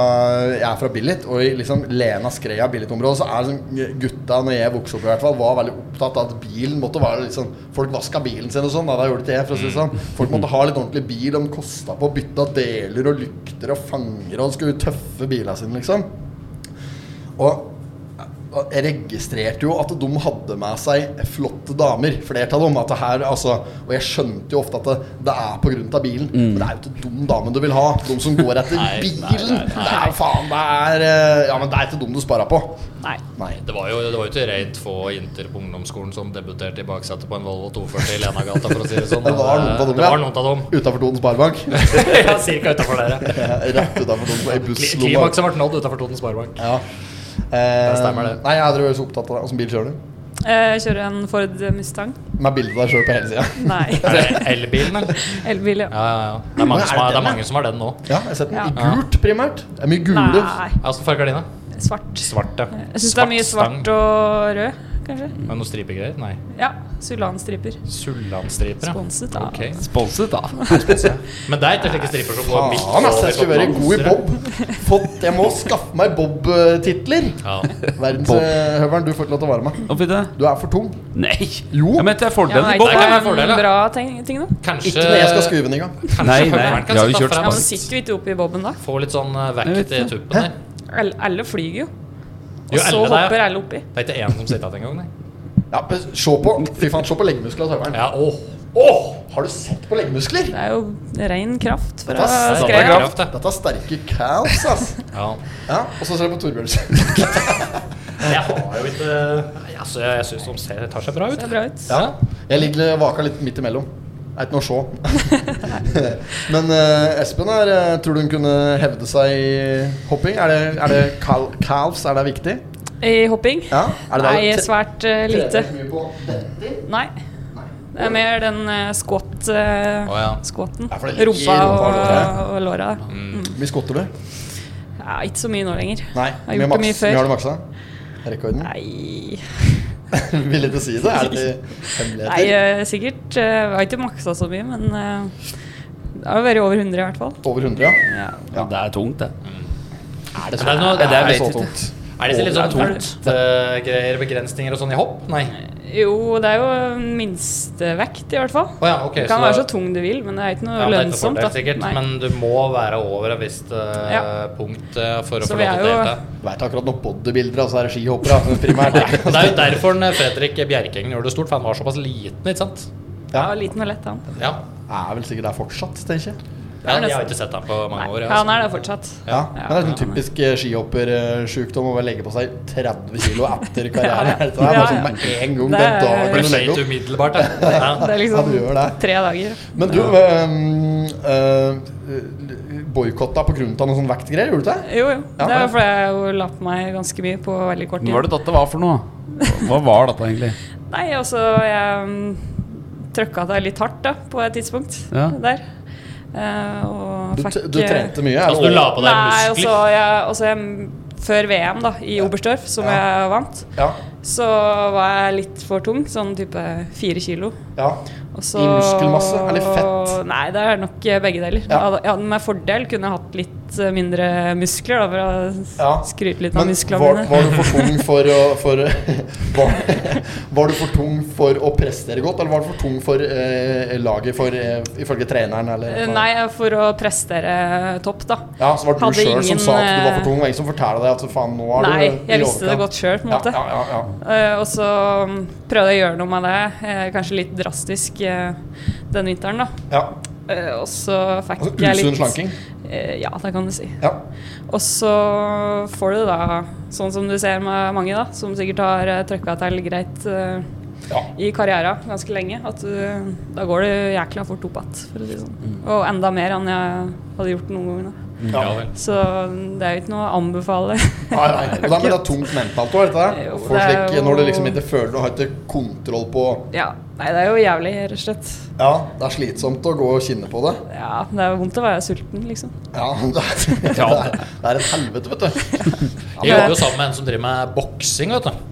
Speaker 2: Jeg er fra Billit, og i liksom Lena Skreia Billit-området, så er liksom gutta, når jeg vokste opp i hvert fall, var veldig opptatt av at bilen måtte være liksom Folk vaska bilen sin og sånn, da, da gjorde ikke jeg, for å si det sånn. Folk måtte ha litt ordentlig bil, og den kosta på å bytte av deler og lykter og fanger, og de skulle tøffe bilene sine, liksom. Og og jeg registrerte jo at de hadde med seg flotte damer, flere av dem. At det her, altså, og jeg skjønte jo ofte at det, det er på grunn av bilen. For det er jo ikke dum dame du vil ha. De som går etter
Speaker 3: Mm. Nei, nei,
Speaker 2: bilen.
Speaker 3: nei, nei.
Speaker 2: Det er jo faen, det er eh, Ja, men det er ikke dum du sparer på.
Speaker 1: Nei.
Speaker 2: Nei.
Speaker 3: Det var jo, det var jo ikke rent få jenter på ungdomsskolen som debuterte i baksetet på en Volvo 240 i Lenagata, for å si det sånn.
Speaker 2: Det var noen av dem,
Speaker 3: Det var
Speaker 2: ja.
Speaker 3: noen av dem.
Speaker 2: Utafor Toten Sparebank.
Speaker 3: Ja, cirka utenfor dere.
Speaker 2: Rett utafor Toten i
Speaker 3: Kli-
Speaker 2: busslomma.
Speaker 3: Klimakset ble nådd utenfor Toten Sparebank.
Speaker 2: Ja. Eh,
Speaker 3: Det stemmer det.
Speaker 2: Nei, jeg er aldri så opptatt av det. Åssen bil kjører du?
Speaker 1: Eh, Jeg kjører en Ford Mustang.
Speaker 2: Med bilde av deg sjøl på hele sida.
Speaker 1: Nei.
Speaker 3: Er det elbilen, eller?
Speaker 1: Elbil, ja.
Speaker 3: Ja, ja, ja. Det er mange som har, det er mange som har den nå.
Speaker 2: Ja, jeg har sett den
Speaker 1: Ja.
Speaker 2: i gult, primært. Det er mye gule.
Speaker 1: Nei.
Speaker 3: Åssen farge er dine?
Speaker 1: Svart.
Speaker 3: Svart, ja.
Speaker 1: Jeg syns det er mye svart og rød, kanskje.
Speaker 3: stang. Med noen stripegreier? Nei.
Speaker 1: Ja. Sulanstriper.
Speaker 3: Sullandstriper, ja.
Speaker 1: Sponset av
Speaker 3: Ok.
Speaker 7: Sponset, da.
Speaker 3: Men det er ikke slike striper som går midt
Speaker 2: Faen, ass, jeg skulle være god i
Speaker 3: lanser,
Speaker 2: Bob. Fått, jeg må skaffe meg Bob-titler.
Speaker 3: Ja.
Speaker 7: Bob.
Speaker 2: Verdenshøveren, du får ikke lov til å være med.
Speaker 7: Oppi det?
Speaker 2: Du er for tung.
Speaker 7: Nei.
Speaker 2: Jo.
Speaker 7: Ja, men det er
Speaker 1: Ja,
Speaker 7: fordelen
Speaker 1: men
Speaker 7: i
Speaker 1: er
Speaker 7: Bob.
Speaker 3: Det kan
Speaker 1: ikke
Speaker 3: være
Speaker 1: det
Speaker 3: fordeler.
Speaker 1: en bra ting, ting da?
Speaker 3: Kanskje
Speaker 2: Ikke når jeg skal skue den i gang.
Speaker 3: Kanskje
Speaker 7: Nei, nei,
Speaker 3: høveren kan
Speaker 7: jeg har jo
Speaker 3: sitte
Speaker 7: kjørt
Speaker 3: frem.
Speaker 1: Ja, men
Speaker 7: Pass.
Speaker 1: sitter jo ikke oppi boben, da.
Speaker 3: Få litt sånn eh,
Speaker 7: Jeg
Speaker 3: vekt
Speaker 7: vet
Speaker 3: i
Speaker 7: ikke.
Speaker 3: tuppen der.
Speaker 1: Alle, alle flyger jo. Og
Speaker 3: Jo,
Speaker 1: så
Speaker 3: alle der, ja.
Speaker 1: hopper alle oppi.
Speaker 3: Det er ikke én som sitter igjen engang, nei.
Speaker 2: Ja, men se på Fy faen, se på leggmuskler til høveren.
Speaker 3: Ja, åh.
Speaker 2: Har du sett på leggmuskler?
Speaker 1: Det er jo ren kraft
Speaker 2: Dette
Speaker 1: fra
Speaker 2: er
Speaker 3: skrev
Speaker 2: sterke,
Speaker 3: jeg.
Speaker 1: skreia.
Speaker 3: kraft, det.
Speaker 2: dette er sterke calves, ass.
Speaker 3: Ja.
Speaker 2: Ja, og så ser du på Torbjørnsen.
Speaker 3: Jeg har jo ikke Nei, altså, jeg, jeg syns de ser, tar seg bra ut.
Speaker 1: Ser bra ut.
Speaker 3: Ja.
Speaker 2: Jeg ligger vaka litt midt imellom. Er ikke noe å se. Men eh, Espen, her, eh, tror du hun kunne hevde seg i hopping? Er det, er det cal calves? Er det viktig?
Speaker 1: I hopping?
Speaker 2: Ja, er det
Speaker 1: Nei,
Speaker 2: det?
Speaker 1: svært eh, lite.
Speaker 2: Trener mye på dette?
Speaker 1: Nei. Det er mer den eh, squat eh,
Speaker 3: Å, ja.
Speaker 1: squaten.
Speaker 2: Ja, for det ligger i
Speaker 1: Rumpa
Speaker 2: rumpa og
Speaker 1: og,
Speaker 2: låret.
Speaker 1: og låra.
Speaker 2: Hvor mye skotter du?
Speaker 1: Ja, ikke så mye nå lenger.
Speaker 2: Nei,
Speaker 1: Jeg har gjort det mye
Speaker 2: mye har du
Speaker 1: før.
Speaker 2: maksa? Rekorden?
Speaker 1: Nei,
Speaker 2: Vil ikke si det? Er det
Speaker 1: Nei
Speaker 2: hemmeligheter?
Speaker 1: eh, sikkert. eh, Jeg har ikke maksa så mye, men eh, det har jo vært over 100 i hvert fall.
Speaker 2: Over 100, ja?
Speaker 1: Ja.
Speaker 7: Ja, Det er tungt, det.
Speaker 2: Er det
Speaker 3: så- Nei, nå- det
Speaker 2: er så
Speaker 3: vet jeg ikke.
Speaker 2: tungt?
Speaker 3: Er disse litt
Speaker 2: Å,
Speaker 3: sånn
Speaker 2: det er
Speaker 3: pultgreier, begrensninger og sånn i hopp? Nei.
Speaker 1: Jo, det er jo minstevekt, i hvert fall.
Speaker 3: Å ja, ok,
Speaker 1: du kan
Speaker 3: så
Speaker 1: være
Speaker 3: da-
Speaker 1: så tung du vil, men det er ikke noe
Speaker 3: Ja, det er ikke
Speaker 1: lønnsomt.
Speaker 3: fordel,
Speaker 1: da.
Speaker 3: sikkert,
Speaker 1: Nei.
Speaker 3: men du må være over et visst eh,
Speaker 1: Ja.
Speaker 3: punkt eh, for å
Speaker 1: Så
Speaker 3: få
Speaker 1: vi
Speaker 3: lov
Speaker 1: er
Speaker 3: til å
Speaker 1: jo-
Speaker 3: delta.
Speaker 2: Du vet akkurat når bodybuildere, altså er det skihoppere da, primært.
Speaker 3: Men Det er jo derfor den, eh, Fredrik Bjerkengen gjorde det stort, for han var såpass liten, ikke sant?
Speaker 1: Ja, liten og lett, han.
Speaker 3: Ja.
Speaker 2: Er vel sikkert der fortsatt, tenker jeg.
Speaker 3: ja
Speaker 1: er
Speaker 3: jeg har
Speaker 1: nesten-
Speaker 3: ikke sett ham på mange år.
Speaker 1: Nei,
Speaker 3: jeg,
Speaker 1: han
Speaker 3: altså.
Speaker 1: er det fortsatt.
Speaker 2: Ja, men det er
Speaker 1: Ja,
Speaker 2: en typisk eh, skihoppersjukdom å bare legge på seg 30 kilo etter karrieren.
Speaker 1: Ja, ja.
Speaker 2: Det er bare
Speaker 1: Ja, ja.
Speaker 2: sånn med en gang
Speaker 1: Det
Speaker 2: den
Speaker 1: er-
Speaker 2: dagen
Speaker 3: Ble
Speaker 2: du legger
Speaker 3: feit
Speaker 2: opp.
Speaker 3: umiddelbart, ja.
Speaker 1: Det
Speaker 3: ja.
Speaker 1: er
Speaker 2: Ja,
Speaker 1: liksom
Speaker 2: du gjør det.
Speaker 1: tre dager.
Speaker 2: Men du, eh, eh, boikotta på grunn av noen sånne vektgreier, gjorde du det?
Speaker 1: Jo, jo.
Speaker 2: Ja,
Speaker 1: det er
Speaker 2: ja.
Speaker 1: jo fordi jeg jo la på meg ganske mye på veldig kort tid.
Speaker 7: Hva var det dette var for noe? Hva var dette egentlig?
Speaker 1: Nei, altså jeg mm, trøkka deg litt hardt da, på et tidspunkt
Speaker 7: Ja.
Speaker 1: der. Eh, og
Speaker 2: Du,
Speaker 1: fikk
Speaker 2: t- du
Speaker 1: eh,
Speaker 2: trente mye? er det
Speaker 3: Altså, du la på deg
Speaker 1: Nei, og så
Speaker 3: muskler.
Speaker 1: jeg, og så jeg mm, før VM da, i Oberstdorf, som
Speaker 2: Ja.
Speaker 1: jeg vant,
Speaker 2: Ja,
Speaker 1: så var jeg litt for tung, sånn type fire kilo.
Speaker 2: ja.
Speaker 1: Og så-
Speaker 2: I muskelmasse, eller fett?
Speaker 1: Nei, det er nok eh, begge deler.
Speaker 2: Ja.
Speaker 1: Jeg hadde- Jeg hadde med fordel kunne jeg hatt litt eh, mindre muskler, da, for å s-
Speaker 2: Ja.
Speaker 1: skryte litt av
Speaker 2: Men
Speaker 1: musklene
Speaker 2: var,
Speaker 1: mine.
Speaker 2: var du for tung for å for, var, var du for tung for å prestere godt, eller var du for tung for eh, laget for eh, ifølge treneren? Eller,
Speaker 1: Eh, Nei, for å prestere topp, da.
Speaker 2: Ja, så var det
Speaker 1: hadde
Speaker 2: du sjøl som
Speaker 1: ingen,
Speaker 2: sa at du var for
Speaker 1: eh,
Speaker 2: tung? Det var ingen som fortalte deg at faen, nå er
Speaker 1: Nei,
Speaker 2: du i
Speaker 1: jeg visste det
Speaker 2: overkant.
Speaker 1: godt sjøl, på en måte.
Speaker 2: Ja, ja, ja, ja.
Speaker 1: Eh, og så mm, prøvde jeg å gjøre noe med det, eh, kanskje litt drastisk. eh, den vinteren, da.
Speaker 2: Ja.
Speaker 1: Eh, og så fikk
Speaker 2: Altså
Speaker 1: jeg litt
Speaker 2: usunn slanking.
Speaker 1: Eh, ja, det kan du si.
Speaker 2: Ja.
Speaker 1: Og så får du da, sånn som du ser med mange, da, som sikkert har uh, trøkka til greit eh,
Speaker 2: Ja.
Speaker 1: i karrieren ganske lenge, at du, da går det jækla fort opp igjen, for å si det sånn.
Speaker 2: Mm.
Speaker 1: Og enda mer enn jeg hadde gjort noen gang. Da.
Speaker 3: Ja vel.
Speaker 1: Så mm, det er jo ikke noe å anbefale.
Speaker 2: Nei, nei. Og da, men det er tungt mentalt òg, dette her.
Speaker 1: Jo,
Speaker 2: Å få
Speaker 1: det er
Speaker 2: slik
Speaker 1: jo-
Speaker 2: når du liksom ikke føler du har ikke kontroll på
Speaker 1: ja, nei, det er jo jævlig, rett og slett.
Speaker 2: Ja, det er slitsomt å gå og kjenne på det.
Speaker 1: Ja, det er vondt å være sulten, liksom.
Speaker 2: Ja, det er, det er, det er et helvete, vet du.
Speaker 3: Jeg jobber jo sammen med en som driver med boksing, vet du.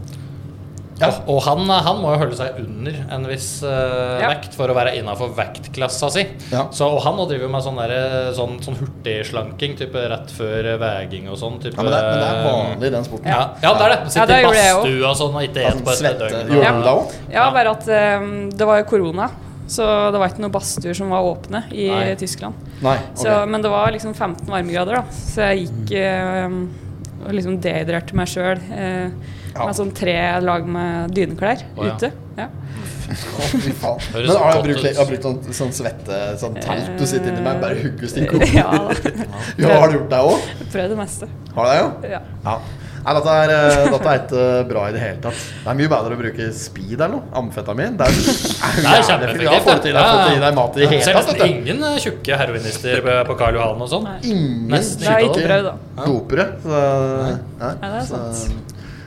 Speaker 2: Ja.
Speaker 3: Og- Og han, han må jo holde seg under en viss eh,
Speaker 1: Ja.
Speaker 3: vekt for å være innafor vektklassa si.
Speaker 2: Ja.
Speaker 3: Så, og han nå driver jo med sånn, derre- sånn, sånn hurtigslanking type rett før eh, veging og sånn. Type,
Speaker 2: Ja, men, det er, men det er vanlig i den sporten.
Speaker 3: Ja. ja, det er det.
Speaker 1: Ja,
Speaker 3: Sitter
Speaker 1: det
Speaker 3: i
Speaker 1: gjorde jeg
Speaker 3: badstua og sånn og ikke et på et
Speaker 2: Svette.
Speaker 3: døgn.
Speaker 2: Gjorde
Speaker 1: Ja.
Speaker 2: du det òg?
Speaker 1: Ja,
Speaker 3: Ja.
Speaker 1: bare at eh, det var jo korona, så det var ikke noen badstuer som var åpne i
Speaker 3: Nei.
Speaker 1: Tyskland.
Speaker 2: Nei.
Speaker 1: Så,
Speaker 2: ok.
Speaker 1: Men det var liksom 15 varmegrader, da. Så jeg gikk
Speaker 3: Mm.
Speaker 1: eh, og liksom dehydrerte meg sjøl. eh,
Speaker 2: Ja.
Speaker 1: Med sånn tre lag med dyneklær
Speaker 3: Å, ja.
Speaker 1: ute. Ja.
Speaker 2: Å, fy faen.
Speaker 3: Høres
Speaker 2: Men har jeg
Speaker 3: godt
Speaker 2: brukt,
Speaker 3: ut.
Speaker 2: jeg har brukt sånn, sånn svette Sånn telt du sitter inni med, bare hugger stikk opp?
Speaker 1: ja
Speaker 2: Ja, har du gjort det òg?
Speaker 1: Prøv det meste.
Speaker 2: Har du det, jo?
Speaker 1: Ja.
Speaker 2: Ja. Nei, dette er, eh, dette er ikke bra i det hele tatt. Det er mye bedre å bruke speed eller noe. Amfetamin. Det er, det
Speaker 3: Det
Speaker 2: Jeg har
Speaker 3: er
Speaker 2: fått i
Speaker 3: kjempeeffektivt.
Speaker 2: deg- fått i deg mat i det hele tatt.
Speaker 3: Selv
Speaker 2: vet du.
Speaker 3: ingen eh, tjukke heroinister på- på Karl Johan og sånn.
Speaker 2: Ingen
Speaker 3: Nesten
Speaker 1: Det har jeg
Speaker 3: ikke.
Speaker 1: ikke prøvd, da.
Speaker 2: dopere. Så, nei,
Speaker 1: Nei, det er
Speaker 2: så-
Speaker 1: sant.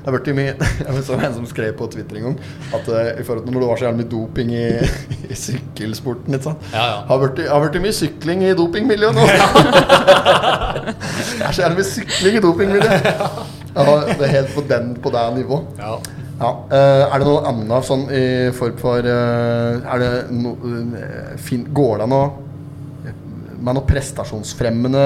Speaker 2: Det har vært mye Jeg så en som skrev på Twitter en gang at eh, i forhold til når det var så jævlig mye doping i, i sykkelsporten litt sånn
Speaker 3: Ja, ja.
Speaker 2: Har vært, har vært mye sykling i dopingmiljøet nå. det er så jævlig mye sykling i dopingmiljøet. Ja, det er helt på den på det nivået.
Speaker 3: Ja.
Speaker 2: Ja, eh, er det noe annet sånn i form for eh, Er det no, eh, fin, Går det an å med noen prestasjonsfremmende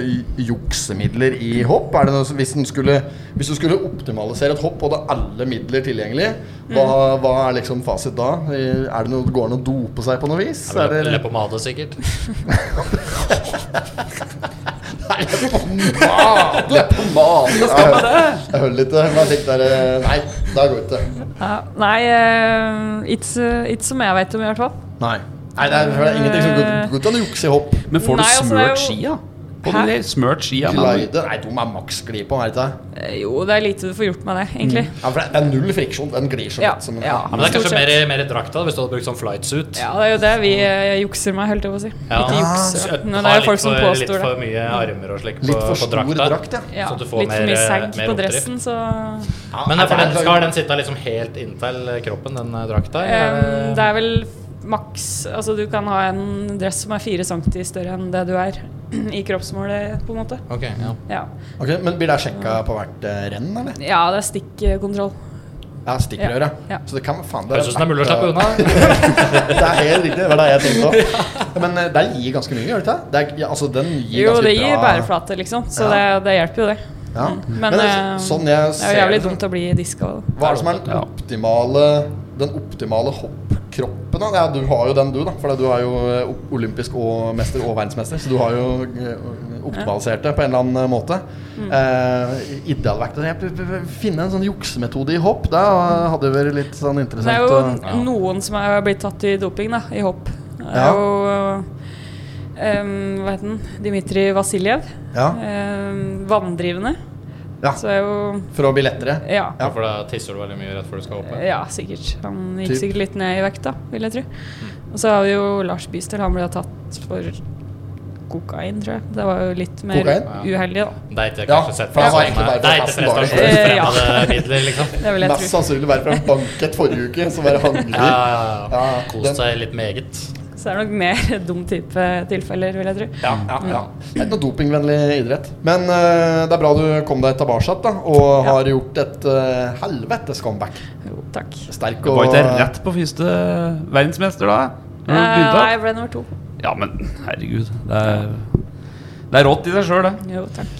Speaker 2: j- juksemidler i hopp? Er det noe, som- hvis, den skulle, hvis du skulle optimalisere et hopp, og det er alle midler tilgjengelig, hva, hva er liksom fasit da? I- Er det noe, går det an å dope seg på noe vis? Er det,
Speaker 3: Leppepomade, sikkert.
Speaker 2: leppepomade! Jeg, jeg hører litt, men jeg tenkte der, eh, Nei, det går ikke.
Speaker 1: Ja. Nei, eh, ikke så- ikke som jeg vet om, i hvert fall.
Speaker 2: Nei. Nei, det er, det er ingenting som går- går ikke an å jukse i hopp.
Speaker 7: Men
Speaker 1: Nei,
Speaker 7: får du
Speaker 1: altså, det er
Speaker 7: smørt
Speaker 1: jo-
Speaker 7: skia? Får du
Speaker 1: Hæ?
Speaker 7: det? Smørt skia? Men,
Speaker 2: Glider Nei, de er maksgli på, er det ikke det?
Speaker 1: Eh, Jo, det er lite du får gjort med det, egentlig.
Speaker 2: Ja, for det er null friksjon. Den glir så
Speaker 1: Ja,
Speaker 2: lett som
Speaker 1: ja.
Speaker 3: Ja, men det er
Speaker 1: Stort
Speaker 3: kanskje
Speaker 1: sett.
Speaker 3: mer, i- mer i drakta hvis du hadde brukt sånn flightsuit.
Speaker 1: Ja, det er jo det vi eh, jukser med, holdt jeg på å si.
Speaker 3: Ja.
Speaker 1: Ikke
Speaker 3: Så-
Speaker 1: jukser. Men det
Speaker 3: ha
Speaker 1: er
Speaker 3: litt
Speaker 1: jo folk som
Speaker 3: for- Litt
Speaker 1: påstår
Speaker 3: for
Speaker 1: det.
Speaker 3: mye armer og slik på,
Speaker 2: Litt for
Speaker 3: på
Speaker 2: stor
Speaker 3: drakta.
Speaker 2: drakt, ja.
Speaker 1: Ja,
Speaker 3: sånn at
Speaker 1: litt
Speaker 3: du får
Speaker 1: for
Speaker 3: mer-
Speaker 1: mye segg på
Speaker 3: mer oppdrift.
Speaker 1: dressen, så
Speaker 3: Men
Speaker 2: Nei,
Speaker 3: for den
Speaker 2: det er-
Speaker 3: skal den sitte liksom helt inntil kroppen, den eh, drakta?
Speaker 1: Eh,
Speaker 3: eller?
Speaker 1: Det er vel maks Altså, du kan ha en dress som er fire centi større enn det du er i kroppsmålet, på en måte.
Speaker 3: Ok, ja.
Speaker 1: Ja,
Speaker 2: Ok, Men blir det sjekka på hvert eh, renn, eller?
Speaker 1: ja det er stikkontroll.
Speaker 2: Ja, stikkrør, ja.
Speaker 1: Ja.
Speaker 2: Så det kan faen
Speaker 3: Høres ut som det er mulig å slappe unna.
Speaker 2: det er helt riktig. Det var det jeg tenkte òg. Men eh, den gir ganske mye, gjør det ikke det? det? er- Ja, altså, den gir
Speaker 1: Jo,
Speaker 2: ganske
Speaker 1: det gir
Speaker 2: bra-
Speaker 1: bæreflate, liksom, så
Speaker 2: Ja.
Speaker 1: det, det hjelper jo, det.
Speaker 2: Ja.
Speaker 1: Men,
Speaker 2: Men,
Speaker 1: eh,
Speaker 2: sånn jeg
Speaker 1: Det er jo
Speaker 2: ser
Speaker 1: jævlig
Speaker 2: det,
Speaker 1: dumt å bli diska.
Speaker 2: Hva er det som er den
Speaker 7: Ja.
Speaker 2: optimale Den optimale hoppkroppen? da? Ja, du har jo den, du, da. For du er jo eh, o- olympisk og mester og verdensmester. Så du har jo eh, optimalisert det på en eller annen måte.
Speaker 1: Mm.
Speaker 2: Eh, Idealvekt Jeg prøver- prøver å Finne en sånn juksemetode i hopp. Det hadde vært litt sånn
Speaker 1: Det er
Speaker 2: interessant.
Speaker 1: jo
Speaker 2: å-
Speaker 1: n- noen som er blitt tatt i doping, da, i hopp. Det
Speaker 2: Ja.
Speaker 1: er jo eh, hva heter den? Dmitrij Vasiljev.
Speaker 2: ja.
Speaker 1: Eh, vanndrivende.
Speaker 2: Ja.
Speaker 1: Så er jo
Speaker 2: For å bli lettere.
Speaker 1: Ja.
Speaker 2: Ja.
Speaker 3: For da tisser du veldig mye rett før du skal hoppe.
Speaker 1: Ja, sikkert. Han gikk
Speaker 2: Typ. Mm.
Speaker 1: sikkert litt ned i vekt, da, vil jeg tro. Og så har vi jo Lars Bystel. Han ble jo tatt for kokain, tror jeg. Det var jo litt mer
Speaker 2: Kokain?
Speaker 1: uheldig, da.
Speaker 3: Det er ikke
Speaker 2: Ja,
Speaker 3: kanskje sett
Speaker 2: for
Speaker 3: på
Speaker 2: han var
Speaker 3: som,
Speaker 2: egentlig
Speaker 3: eh,
Speaker 2: bare
Speaker 3: Det er
Speaker 2: for
Speaker 3: ikke
Speaker 2: kassen bare.
Speaker 3: prestasjonsfremmende
Speaker 1: Eh,
Speaker 3: midler, liksom.
Speaker 1: Det vil jeg
Speaker 2: Mest
Speaker 1: tro.
Speaker 2: sannsynlig bare fra en banket forrige uke, så bare hang
Speaker 3: Ja,
Speaker 2: de.
Speaker 3: ja, ja.
Speaker 2: Ja, den-
Speaker 3: Kost deg litt meget.
Speaker 1: Så det er nok mer dum type tilfeller, vil jeg tro.
Speaker 2: Ja, ja, ja. Det er ikke noe dopingvennlig idrett. Men eh, det er bra du kom deg tilbake igjen, da, og har gjort et uh, helvetes comeback.
Speaker 1: Jo, takk.
Speaker 2: Sterk
Speaker 7: det
Speaker 2: og
Speaker 7: var ikke rett på første verdensmester, da? Når du
Speaker 1: Eh,
Speaker 7: begynte?
Speaker 1: nei, jeg ble nummer to.
Speaker 7: Ja, men herregud. Det er, det er rått i seg sjøl, det.
Speaker 1: Jo, takk.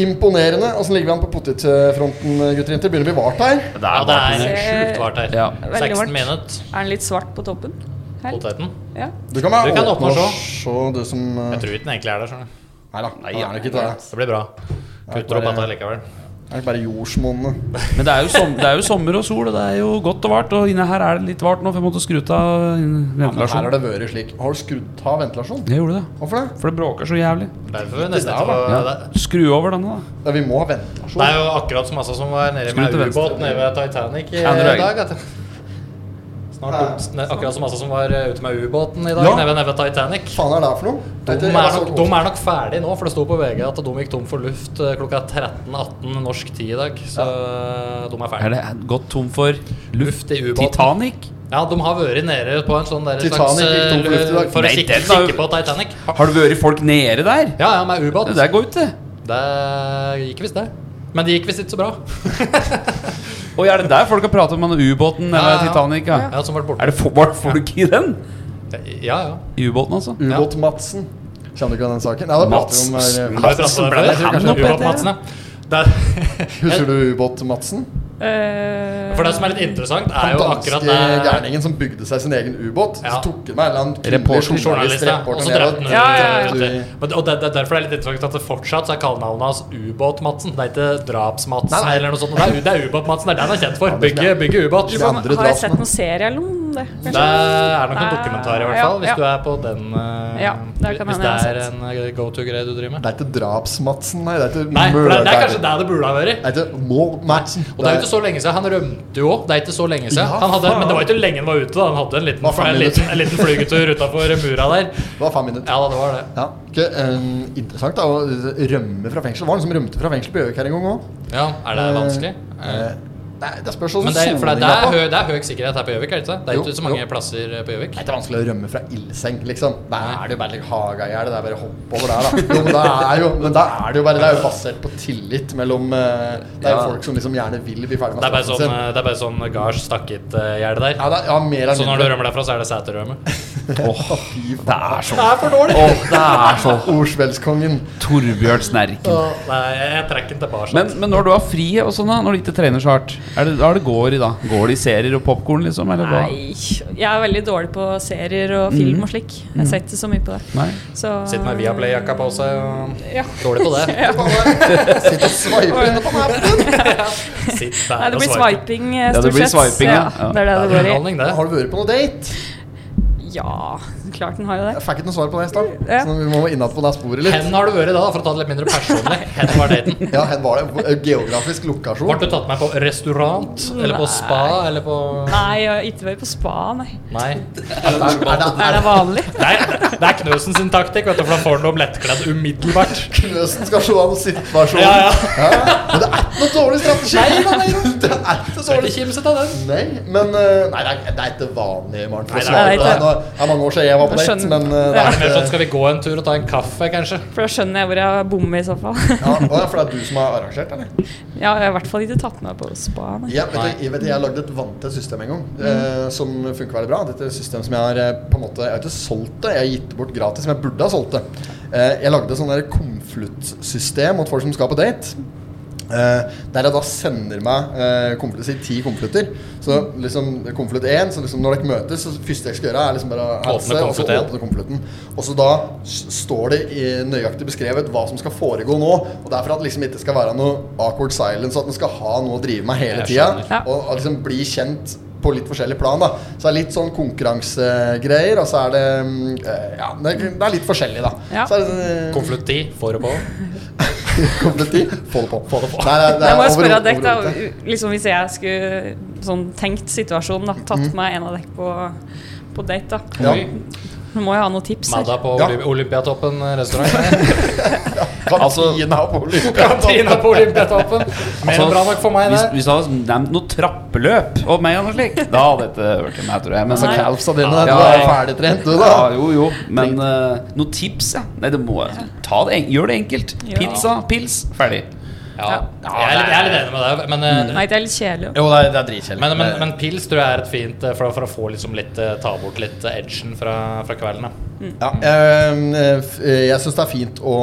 Speaker 2: imponerende. Åssen ligger vi an på potetfronten, gutter og jenter? Begynner å bli vart her.
Speaker 3: Ja,
Speaker 7: Det er
Speaker 3: det
Speaker 7: bare
Speaker 3: er sjukt vart her.
Speaker 7: Ja.
Speaker 1: Veldig
Speaker 3: 16
Speaker 1: vart.
Speaker 3: minutter.
Speaker 1: Er den litt svart på toppen? Her?
Speaker 3: Poteten.
Speaker 1: Ja.
Speaker 2: Du kan være
Speaker 3: Du kan åpne og
Speaker 2: og
Speaker 3: se.
Speaker 2: se, du som eh,
Speaker 3: Jeg tror ikke den egentlig er der. skjønner du.
Speaker 2: Nei da, han er nok ikke det.
Speaker 3: Det blir bra. Kutter opp dette likevel.
Speaker 2: Er det bare jordsmonnet?
Speaker 7: Men det er, jo som, det er jo sommer og sol, og det er jo godt og vart. Og inne her er det litt vart nå, for jeg måtte skru
Speaker 2: Her
Speaker 7: av
Speaker 2: har
Speaker 7: ventilasjonen.
Speaker 2: det vært slik. Har du skrudd av ventilasjonen?
Speaker 7: Jeg gjorde det.
Speaker 2: Hvorfor det?
Speaker 7: For det bråker så jævlig.
Speaker 3: Derfor vi nesten
Speaker 2: der,
Speaker 3: ikke
Speaker 2: da.
Speaker 3: få det.
Speaker 7: Skru over denne, da.
Speaker 2: Ja, vi må ha ventilasjon.
Speaker 3: Det er jo akkurat som altså som var nede
Speaker 7: Skru
Speaker 3: med
Speaker 7: til venstre.
Speaker 3: ubåt nede ved Titanic i
Speaker 7: Andre
Speaker 3: dag.
Speaker 7: veien.
Speaker 3: At det- Snart opp, ne, akkurat som altså som var eh, ute med ubåten i dag
Speaker 2: Ja.
Speaker 3: nede ved- nede ved Titanic.
Speaker 2: Faen er altså det her for noe?
Speaker 3: De
Speaker 2: Vet du,
Speaker 3: er,
Speaker 2: jeg så-
Speaker 3: nok, de er nok ferdig nå, for det sto på VG at de gikk tom for luft eh, klokka 13.18 norsk tid i dag. Så eh, de er
Speaker 7: Er
Speaker 3: ferdig.
Speaker 7: det gått tom for luft
Speaker 3: Luft i ubåten.
Speaker 7: Titanic?
Speaker 3: Ja, de har vært nede på en sånn der
Speaker 2: Titanic
Speaker 3: slags
Speaker 2: gikk tom for luft i dag.
Speaker 3: eh, For å
Speaker 7: Nei,
Speaker 3: sikre,
Speaker 7: den var jo-
Speaker 3: sikre på Titanic.
Speaker 7: Har det vært folk nede der?
Speaker 3: Ja, ja, med ubåt.
Speaker 7: Det der går ut, det.
Speaker 3: Det gikk visst, det. Men det gikk visst ikke så bra.
Speaker 7: Oi, er det der folk har pratet om den ubåten
Speaker 3: Ja,
Speaker 7: eller
Speaker 3: ja, ja.
Speaker 7: Titanic? Ja.
Speaker 3: Ja, som ble borte.
Speaker 7: Er det for, var det folk i den?
Speaker 3: Ja, ja.
Speaker 7: I ubåten, altså?
Speaker 2: Ubåt-Madsen. Kjenner du ikke den saken? Ja, da
Speaker 7: Mats.
Speaker 2: prater vi om
Speaker 3: Har
Speaker 2: her.
Speaker 3: vi pratet om
Speaker 7: ble
Speaker 3: det
Speaker 7: det
Speaker 3: før?
Speaker 7: han
Speaker 3: Kanskje
Speaker 7: opp etter?
Speaker 3: Ubåt-Madsen, ja.
Speaker 2: Husker
Speaker 3: Det,
Speaker 2: du Ubåt-Madsen?
Speaker 1: Eh,
Speaker 3: for det som er litt interessant, er
Speaker 2: Den
Speaker 3: jo akkurat eh,
Speaker 2: danske
Speaker 3: det
Speaker 2: gærningen som bygde seg sin egen ubåt.
Speaker 3: Ja.
Speaker 2: Så tok han med en eller annen kvinnelig
Speaker 7: Reporter,
Speaker 2: journalist,
Speaker 3: journalist, ja. Og
Speaker 2: reporter
Speaker 3: så
Speaker 2: ned
Speaker 3: altså drepte
Speaker 2: og-
Speaker 3: den
Speaker 1: Ja, ja, ja.
Speaker 3: ut. Men- Og det, det, er derfor det er litt interessant at det fortsatt så er kallenavnet hans Ubåt-Madsen. Det er ikke Draps-Madsen eller noe sånt. Det er, det er Ubåt-Madsen. Det er det han er kjent for.
Speaker 2: det er-
Speaker 3: Bygge, bygge ubåt.
Speaker 2: Ja. andre
Speaker 1: Har jeg
Speaker 2: drapene.
Speaker 1: sett noen serie eller noe om det? kanskje?
Speaker 3: Det er nok en
Speaker 1: Nei,
Speaker 3: dokumentar, i hvert
Speaker 1: ja,
Speaker 3: fall. Hvis
Speaker 1: ja.
Speaker 3: du er på den eh,
Speaker 1: Ja, det kan hende
Speaker 3: Hvis det
Speaker 1: jeg har
Speaker 3: er
Speaker 1: sett.
Speaker 3: en eh, go to-greie du driver med.
Speaker 2: Det er ikke Draps-Madsen, nei. Det er ikke
Speaker 3: Nei, for det, det er kanskje
Speaker 2: Mørder-
Speaker 3: der det burde ha vært.
Speaker 2: Det er ikke Mål-Madsen.
Speaker 3: Og det er jo ikke så lenge siden. Han rømte jo òg. Det er ikke så lenge siden.
Speaker 2: Ja,
Speaker 3: Han hadde,
Speaker 2: faen.
Speaker 3: men det var ikke lenge han var ute. da Han hadde en liten,
Speaker 2: Hva faen
Speaker 3: en
Speaker 2: mener du?
Speaker 3: liten, en liten flygetur utafor mura der.
Speaker 2: Det var fem minutter.
Speaker 3: Ja, da, det var det.
Speaker 2: Ja, ikke, eh, Interessant da, å rømme fra fengsel. Var det noen som rømte fra fengsel på Gjøvik her en gang òg?
Speaker 3: Ja, Er det vanskelig?
Speaker 2: Eh, nei, det spørs hvordan
Speaker 3: Men det, er- for det, det,
Speaker 2: soninga
Speaker 3: er
Speaker 2: på.
Speaker 3: høy, det er høy sikkerhet her på Gjøvik. er Det ikke det? Det er
Speaker 2: Jo,
Speaker 3: ikke så mange
Speaker 2: jo.
Speaker 3: plasser eh, på Gjøvik.
Speaker 2: Det er ikke vanskelig å rømme fra ildseng, liksom. Da er det jo bare litt haga i hjel. Det er bare å hoppe over der, da. Jo, men, da er jo, men da er det jo bare Det er jo basert på tillit mellom eh, Det er jo
Speaker 3: Ja.
Speaker 2: folk som liksom gjerne vil bli ferdig med
Speaker 3: Det er bare
Speaker 2: straffen
Speaker 3: sånn,
Speaker 2: sin.
Speaker 3: eh, det er bare sånn gardstakket-gjerde
Speaker 2: altså,
Speaker 3: der.
Speaker 2: Ja, det er, ja, mer eller
Speaker 3: Så sånn når du rømmer derfra, så er det seterrømme.
Speaker 7: Det er så
Speaker 3: Det er for dårlig!
Speaker 7: Åh, det er så
Speaker 2: Ordsveldskongen.
Speaker 7: Torbjørn Snerken.
Speaker 3: Nei, jeg trekker den tilbake.
Speaker 7: Men, men når du har fri og sånn, da? Når du ikke trener så hardt? Er det, da er det går i, da? Går det i serier og popkorn, liksom? Eller hva? Mhm.
Speaker 1: Nei, jeg er veldig dårlig på serier og film og slik. Jeg ser ikke så mye på det.
Speaker 7: Nei.
Speaker 1: Så
Speaker 3: Sitter med Viaplay-jakka på seg og
Speaker 1: Ja.
Speaker 3: Dårlig på det.
Speaker 2: Sitter og sveiper inne på den her.
Speaker 3: Sitt
Speaker 1: Nei, det
Speaker 3: der og
Speaker 1: blir
Speaker 3: swipe.
Speaker 1: swiping eh,
Speaker 7: det
Speaker 1: stort
Speaker 7: blir
Speaker 1: sett.
Speaker 7: swiping, ja. Ja.
Speaker 1: Det er det
Speaker 3: Det er
Speaker 1: det går i.
Speaker 3: underholdning, det.
Speaker 2: Har du vært på noe date?
Speaker 1: Ja, klart den har jo det.
Speaker 2: Jeg fikk ikke noe svar på det i stad.
Speaker 1: Ja.
Speaker 2: Så vi må innad på det sporet litt.
Speaker 3: Hen har du vært da, for å ta det litt mindre personlig. Hen var daten.
Speaker 2: Ja, hen var det. Geografisk
Speaker 3: Ble
Speaker 2: lokasjon.
Speaker 3: du tatt med på restaurant? Eller på spa? Eller på
Speaker 1: Nei, jeg har ikke vært på spa, nei.
Speaker 3: Nei.
Speaker 2: Er det, er det,
Speaker 1: Er det vanlig?
Speaker 3: Det er, det er Knøsen sin taktikk, vet du, for da får han noe lettkledd umiddelbart.
Speaker 2: Knøsen skal se an situasjonen.
Speaker 3: Ja, ja.
Speaker 2: Men det er ikke noe dårlig strategi. Nei, nei, nei. Det er ikke noe dårlig
Speaker 3: Ikke kimset av den.
Speaker 2: Nei, men eh, nei, det, er, det er ikke vanlig, Maren. For å
Speaker 3: Nei,
Speaker 2: svare
Speaker 1: det er
Speaker 2: på det.
Speaker 1: ikke
Speaker 2: Nå, det er mange år siden jeg var på
Speaker 1: Jeg
Speaker 2: date,
Speaker 1: skjønner.
Speaker 2: men eh, det
Speaker 1: Ja.
Speaker 2: er
Speaker 3: Mer
Speaker 2: ikke
Speaker 3: sånn skal vi gå en tur og ta en kaffe, kanskje?
Speaker 1: For da skjønner jeg hvor jeg bommer i så fall.
Speaker 2: ja, å, ja, For det er du som har arrangert, eller?
Speaker 1: Jeg har i hvert fall ikke tatt meg på spa, nei.
Speaker 2: Ja, vet du, jeg, vet, du, jeg lagde et vanntett system en gang eh, som funker veldig bra. Dette er et system som jeg har eh, på en måte Jeg har ikke solgt det, jeg har gitt det bort gratis, men jeg burde ha solgt det. Eh, jeg lagde et sånn der konfluttsystem mot folk som skal på date. Eh, der jeg da sender meg eh, konvolutter, si ti konvolutter. Så liksom konvolutt 1 så liksom Når dere møtes, så første jeg skal gjøre, er liksom bare å hilse, og så
Speaker 3: konvolutt én.
Speaker 2: åpne konvolutten. Og så da s- står det i, nøyaktig beskrevet hva som skal foregå nå. Og det er for at liksom ikke skal være noe awkward silence, og at en skal ha noe å drive med hele
Speaker 3: Jeg
Speaker 2: tida.
Speaker 3: skjønner.
Speaker 1: Ja.
Speaker 2: Og, og liksom bli kjent på litt forskjellig plan. da Så det er litt sånn konkurransegreier, og så er det mm, eh, Ja, det er det er litt forskjellig, da.
Speaker 1: Ja.
Speaker 2: Så er det, eh,
Speaker 3: Konvolutt 10, får du på.
Speaker 2: konvolutt i, få det på.
Speaker 3: Få det på.
Speaker 2: Nei, det er- det er
Speaker 1: Jeg må jo spørre
Speaker 2: overhodet-
Speaker 1: dere, da.
Speaker 2: overhodet.
Speaker 1: Liksom hvis jeg skulle sånn tenkt situasjonen, da.
Speaker 7: Mhm.
Speaker 1: Tatt meg en av dere på, på date, da.
Speaker 2: Ja.
Speaker 3: Oi.
Speaker 1: Nå må jeg ha noen tips her.
Speaker 3: Madda på
Speaker 2: Ja.
Speaker 3: Olymp- Olympiatoppen eh, restaurant.
Speaker 2: Kantina på Olympia.
Speaker 3: Tina på Olympiatoppen. Mer enn bra nok
Speaker 2: Altså,
Speaker 3: for meg,
Speaker 7: hvis,
Speaker 3: det.
Speaker 7: hvis han hadde nevnt noe trappeløp og meg og noe slikt, da hadde dette hørt til meg, tror jeg. Men,
Speaker 2: Altså, calvsa dine, du
Speaker 7: Ja.
Speaker 2: er ferdigtrent, du, da.
Speaker 7: ja, jo, jo. Men eh, noen tips, ja. Nei, det må ta det en, Gjør det enkelt.
Speaker 1: Ja.
Speaker 7: Pizza, pils, ferdig.
Speaker 3: Ja, jeg er litt- jeg er litt enig med deg, men eh,
Speaker 1: Nei, det er litt kjedelig.
Speaker 2: Jo, det er, det er dritkjedelig.
Speaker 3: Men, men, men pils tror jeg er et fint eh, for, for å få liksom litt, eh, ta bort litt eh, edgen fra, fra kvelden.
Speaker 2: ja,
Speaker 3: Da.
Speaker 2: eh, f- eh, jeg syns det er fint å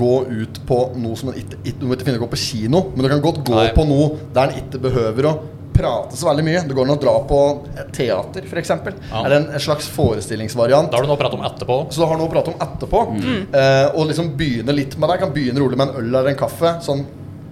Speaker 2: gå ut på noe som en ikke ikke- Du må ikke finne å gå på kino, men du kan godt gå
Speaker 3: Nei.
Speaker 2: på noe der en ikke behøver å prate så veldig mye. Det går an å dra på teater, f.eks.
Speaker 3: Ja.
Speaker 2: Er det en slags forestillingsvariant?
Speaker 3: da Mm. har du noe å prate om etterpå.
Speaker 2: Så du har noe å prate om etterpå. Eh, og liksom begynne litt med det. Jeg Kan begynne rolig med en øl eller en kaffe. Sånn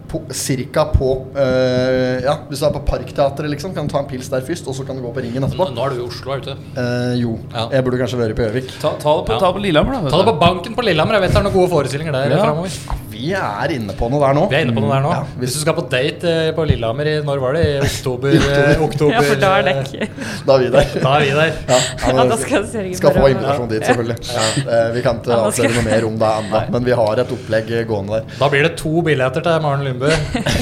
Speaker 2: på, cirka på eh, Ja, hvis du er på Parkteatret, liksom, kan du ta en pils der først, og så kan du gå på Ringen etterpå.
Speaker 3: Nå nå er du i Oslo, er du ikke?
Speaker 2: Eh, jo.
Speaker 3: Mm. Ja.
Speaker 2: Jeg burde kanskje vært på Gjøvik.
Speaker 7: Ta, ta, det på, ta det på Lillehammer, da. vet
Speaker 3: Ta det
Speaker 7: du.
Speaker 3: på banken på Lillehammer. Jeg vet det er noen gode forestillinger der
Speaker 7: Ja.
Speaker 3: fremover.
Speaker 2: Vi er inne på noe der nå.
Speaker 3: Vi er inne på noe der nå.
Speaker 2: Ja,
Speaker 3: hvis, du skal på date eh, på Lillehammer i Når var det? I oktober? eh, oktober
Speaker 1: Ja, for da er det
Speaker 3: eh,
Speaker 1: ikke
Speaker 2: Da er vi der.
Speaker 3: Da er vi der.
Speaker 2: Ja,
Speaker 1: Ja,
Speaker 2: men-
Speaker 1: da skal Sergen
Speaker 2: skal få
Speaker 1: bare-
Speaker 2: invitasjon dit, selvfølgelig. Eh, vi kan ikke
Speaker 1: Ja, da skal-
Speaker 2: avsløre noe mer om det ennå, men vi har et opplegg gående der.
Speaker 3: Da blir det to billetter til Maren Lundbø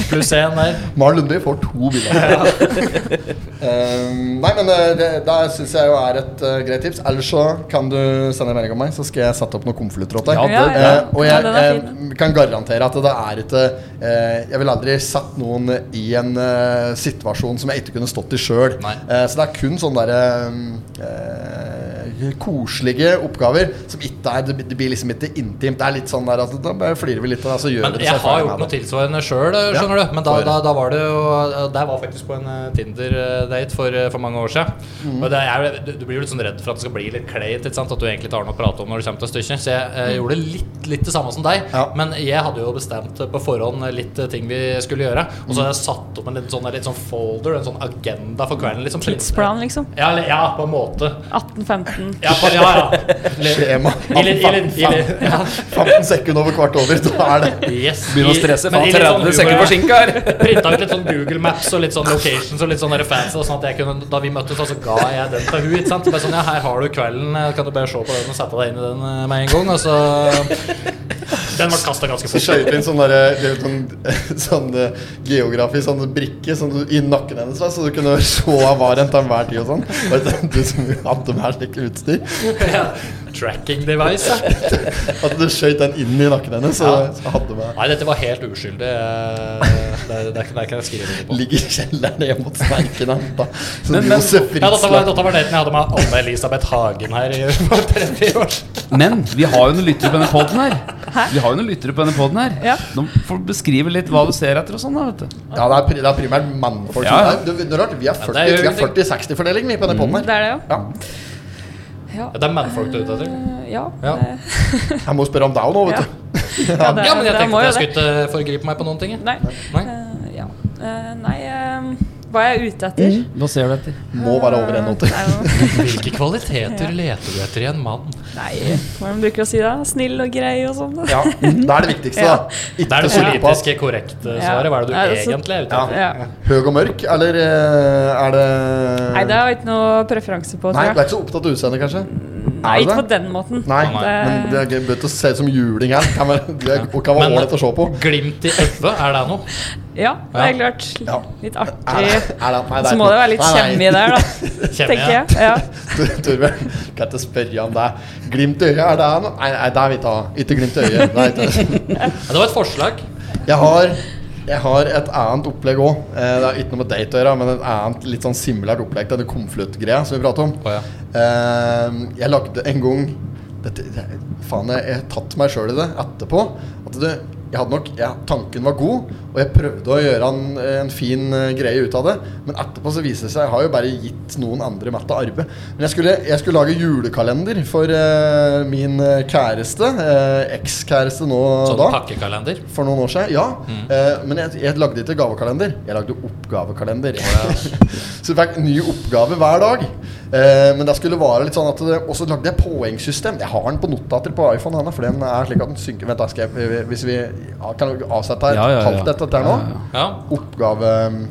Speaker 3: pluss én der.
Speaker 2: Maren Lundby får to bilder. Eh, nei, men eh, det, det syns jeg jo er et eh, greit tips. Ellers så kan du sende en melding om meg, så skal jeg sette opp noen konvolutter åt deg.
Speaker 7: Ja,
Speaker 1: Ja,
Speaker 7: det-
Speaker 1: ja.
Speaker 2: Eh, og
Speaker 1: ja,
Speaker 2: jeg,
Speaker 1: den er fin.
Speaker 2: eh, kan garantere at det er ikke eh, Jeg vil aldri satt noen i en eh, situasjon som jeg ikke kunne stått i sjøl.
Speaker 3: Nei.
Speaker 2: så det er kun sånne derre eh, koselige oppgaver som ikke er Det, det blir liksom ikke intimt. Det er litt sånn der at da bare flirer vi litt av det, så gjør
Speaker 3: Men
Speaker 2: dere
Speaker 3: jeg
Speaker 2: seg
Speaker 3: har
Speaker 2: ferdig
Speaker 3: gjort
Speaker 2: med
Speaker 3: noe tilsvarende sjøl, skjønner
Speaker 2: Ja.
Speaker 3: du. Men da,
Speaker 2: Få høre.
Speaker 3: da, da var det jo og Der var faktisk på en eh, Tinder-date for, eh, for mange år siden.
Speaker 2: Mm.
Speaker 3: Og det er, du- du blir jo litt sånn redd for at det skal bli litt kleint, ikke sant? at du egentlig ikke har noe å prate om når det kommer til stykket. Så jeg eh, gjorde litt, litt det samme som deg.
Speaker 2: Mm. Ja.
Speaker 3: Men jeg hadde jo bestemt eh, på forhånd eh, litt eh, ting vi skulle gjøre. Og så
Speaker 2: Mm.
Speaker 3: hadde jeg satt opp en litt sånn, litt sånn folder, en sånn agenda for kvelden. Liksom.
Speaker 1: tidsplan, liksom.
Speaker 3: Ja, eller- ja, på en måte.
Speaker 1: 18-15.
Speaker 3: Ja, på, ja, ja.
Speaker 2: Skjema.
Speaker 3: I litt- i litt- i litt- ja.
Speaker 2: 15 sekunder over kvart over, da er det
Speaker 3: Yes.
Speaker 7: Begynner å
Speaker 3: I-
Speaker 7: stresse.
Speaker 3: men i
Speaker 7: Faen,
Speaker 3: litt sånn
Speaker 7: 30 sekunder
Speaker 3: humor, ja.
Speaker 7: forsinka her!
Speaker 3: Printa ut litt sånn Google Maps og litt sånn locations og litt sånn der fancy. og Sånn at jeg kunne, da vi møttes, så ga jeg den til hun, ikke sant? Bare sånn, ja, her har du kvelden, eh, kan du bare se på den og sette deg inn i den eh, med en gang? Og så Den ble kasta ganske
Speaker 2: Så
Speaker 3: fort.
Speaker 2: skjøt vi inn sånn derre det er sånn, sånn eh, geografisk sånn brikke sånn, du- i nakken hennes, da, så du kunne se av var en til enhver tid og sånn. Og at du som hadde med her slikt utstyr.
Speaker 3: Ja. Tracking device. ja.
Speaker 2: At du skjøt den inn i nakken hennes. Så,
Speaker 3: Ja.
Speaker 2: så hadde med
Speaker 3: Nei, dette var helt uskyldig. eh, Det, det, det kan jeg skrive under på.
Speaker 2: Ligger i kjelleren hjemme mot snerken her, da. Så
Speaker 7: Men- men-
Speaker 2: Josef
Speaker 3: Ja, dette var,
Speaker 2: Fritzland
Speaker 3: dette var daten jeg hadde med Anne-Elisabeth Hagen her i for 30 år siden.
Speaker 7: Men vi har jo noen lyttere på denne podden her. Vi har jo noen lyttere på denne podden her.
Speaker 1: Ja.
Speaker 7: Nå får du beskrive litt hva du ser etter og sånn, da, vet du.
Speaker 2: Ja, det er, pri, det er primært mannfolk.
Speaker 7: Ja, ja.
Speaker 2: som- Det er- det er rart, Vi er
Speaker 3: Ja, det er jo Mm.
Speaker 2: 40 vi er 40-60-fordeling, vi, på den poden
Speaker 1: Det
Speaker 2: her.
Speaker 1: er det, ja.
Speaker 2: Ja.
Speaker 1: Ja.
Speaker 3: Det er mannfolk du er ute etter?
Speaker 1: Eh, Ja.
Speaker 3: Ja.
Speaker 1: det-
Speaker 2: Jeg må spørre om deg òg nå, vet
Speaker 1: Ja.
Speaker 2: du.
Speaker 1: ja, det-
Speaker 3: Ja, men jeg
Speaker 1: det
Speaker 3: tenkte
Speaker 1: må
Speaker 3: at
Speaker 1: jo
Speaker 3: jeg skulle ikke forgripe meg på noen ting. jeg.
Speaker 1: Nei.
Speaker 3: Nei.
Speaker 1: Eh, ja. Eh, nei eh, hva er jeg ute etter?
Speaker 2: Mm.
Speaker 7: Hva ser du etter?
Speaker 2: Må være over
Speaker 1: Eh,
Speaker 2: 1,80.
Speaker 1: det er jo-
Speaker 3: Hvilke kvaliteter leter du etter i en mann?
Speaker 1: Nei, hva er det de bruker å si da? Snill og grei og sånn.
Speaker 2: Ja, det er det viktigste,
Speaker 1: Ja.
Speaker 2: da.
Speaker 3: Det er det
Speaker 2: så lite på at-
Speaker 3: politisk korrekte svaret. Hva er det du
Speaker 1: Ja, altså-
Speaker 3: egentlig er ute
Speaker 2: Ja.
Speaker 3: etter?
Speaker 1: Ja.
Speaker 2: Høg og mørk, eller eh, er det
Speaker 1: Nei, det har jeg ikke noe preferanse på, tror
Speaker 2: Nei, du er
Speaker 1: jeg.
Speaker 2: ikke så opptatt av utseendet, kanskje?
Speaker 1: Nei,
Speaker 2: Er du
Speaker 1: ikke på
Speaker 2: det?
Speaker 1: den måten.
Speaker 2: Nei,
Speaker 3: Mm. Nei.
Speaker 2: men det er gøy det å se ut som juling her. Kan være, det er, og kan være
Speaker 3: Men-
Speaker 2: ålreit å se på.
Speaker 3: Glimt i øyet, er det noe?
Speaker 1: Ja, det er klart.
Speaker 2: Ja.
Speaker 1: Litt
Speaker 2: Er det,
Speaker 1: artig.
Speaker 2: er det, nei,
Speaker 1: Så må det være litt kjemi der, da.
Speaker 3: Kjenner
Speaker 1: Tenker jeg.
Speaker 3: jeg.
Speaker 1: Ja.
Speaker 2: der. Torbjørn, kan ikke spørre om det. Glimt i øyet, er det noe? Nei, nei, det er vi ikke. ha. Ikke glimt i øyet. Nei, ikke.
Speaker 3: Ja, det var et forslag.
Speaker 2: Jeg har jeg har et annet opplegg òg. Det er ikke noe med date å gjøre, men et annet litt sånn similært opplegg til det konvoluttgreia som vi prater om.
Speaker 3: Å, ja.
Speaker 2: Eh, jeg lagde en gang dette, jeg- Faen, jeg jeg har tatt meg sjøl i det etterpå. At det, jeg hadde nok, ja, Tanken var god, og jeg prøvde å gjøre en, en fin eh, greie ut av det. Men etterpå så viser det seg Jeg har jo bare gitt noen andre mett av arbeid. Men jeg skulle, jeg skulle lage julekalender for eh, min eh, kjæreste. eh, Ekskjæreste nå
Speaker 3: Sånn
Speaker 2: da
Speaker 3: pakkekalender.
Speaker 2: for noen år siden. Ja.
Speaker 7: Mm.
Speaker 2: Eh, men jeg, jeg lagde ikke gavekalender. Jeg lagde oppgavekalender. så jeg fikk ny oppgave hver dag. Eh, men det skulle være litt sånn at det, Og så lagde jeg poengsystem. Jeg har den på notater på iPhone. Anna, for den er slik at den synker Vent, da skal jeg Hvis vi ja, Kan vi avsette et
Speaker 7: Ja, ja, ja.
Speaker 2: halvt et dette her nå?
Speaker 7: Ja, ja.
Speaker 3: Ja.
Speaker 2: Oppgave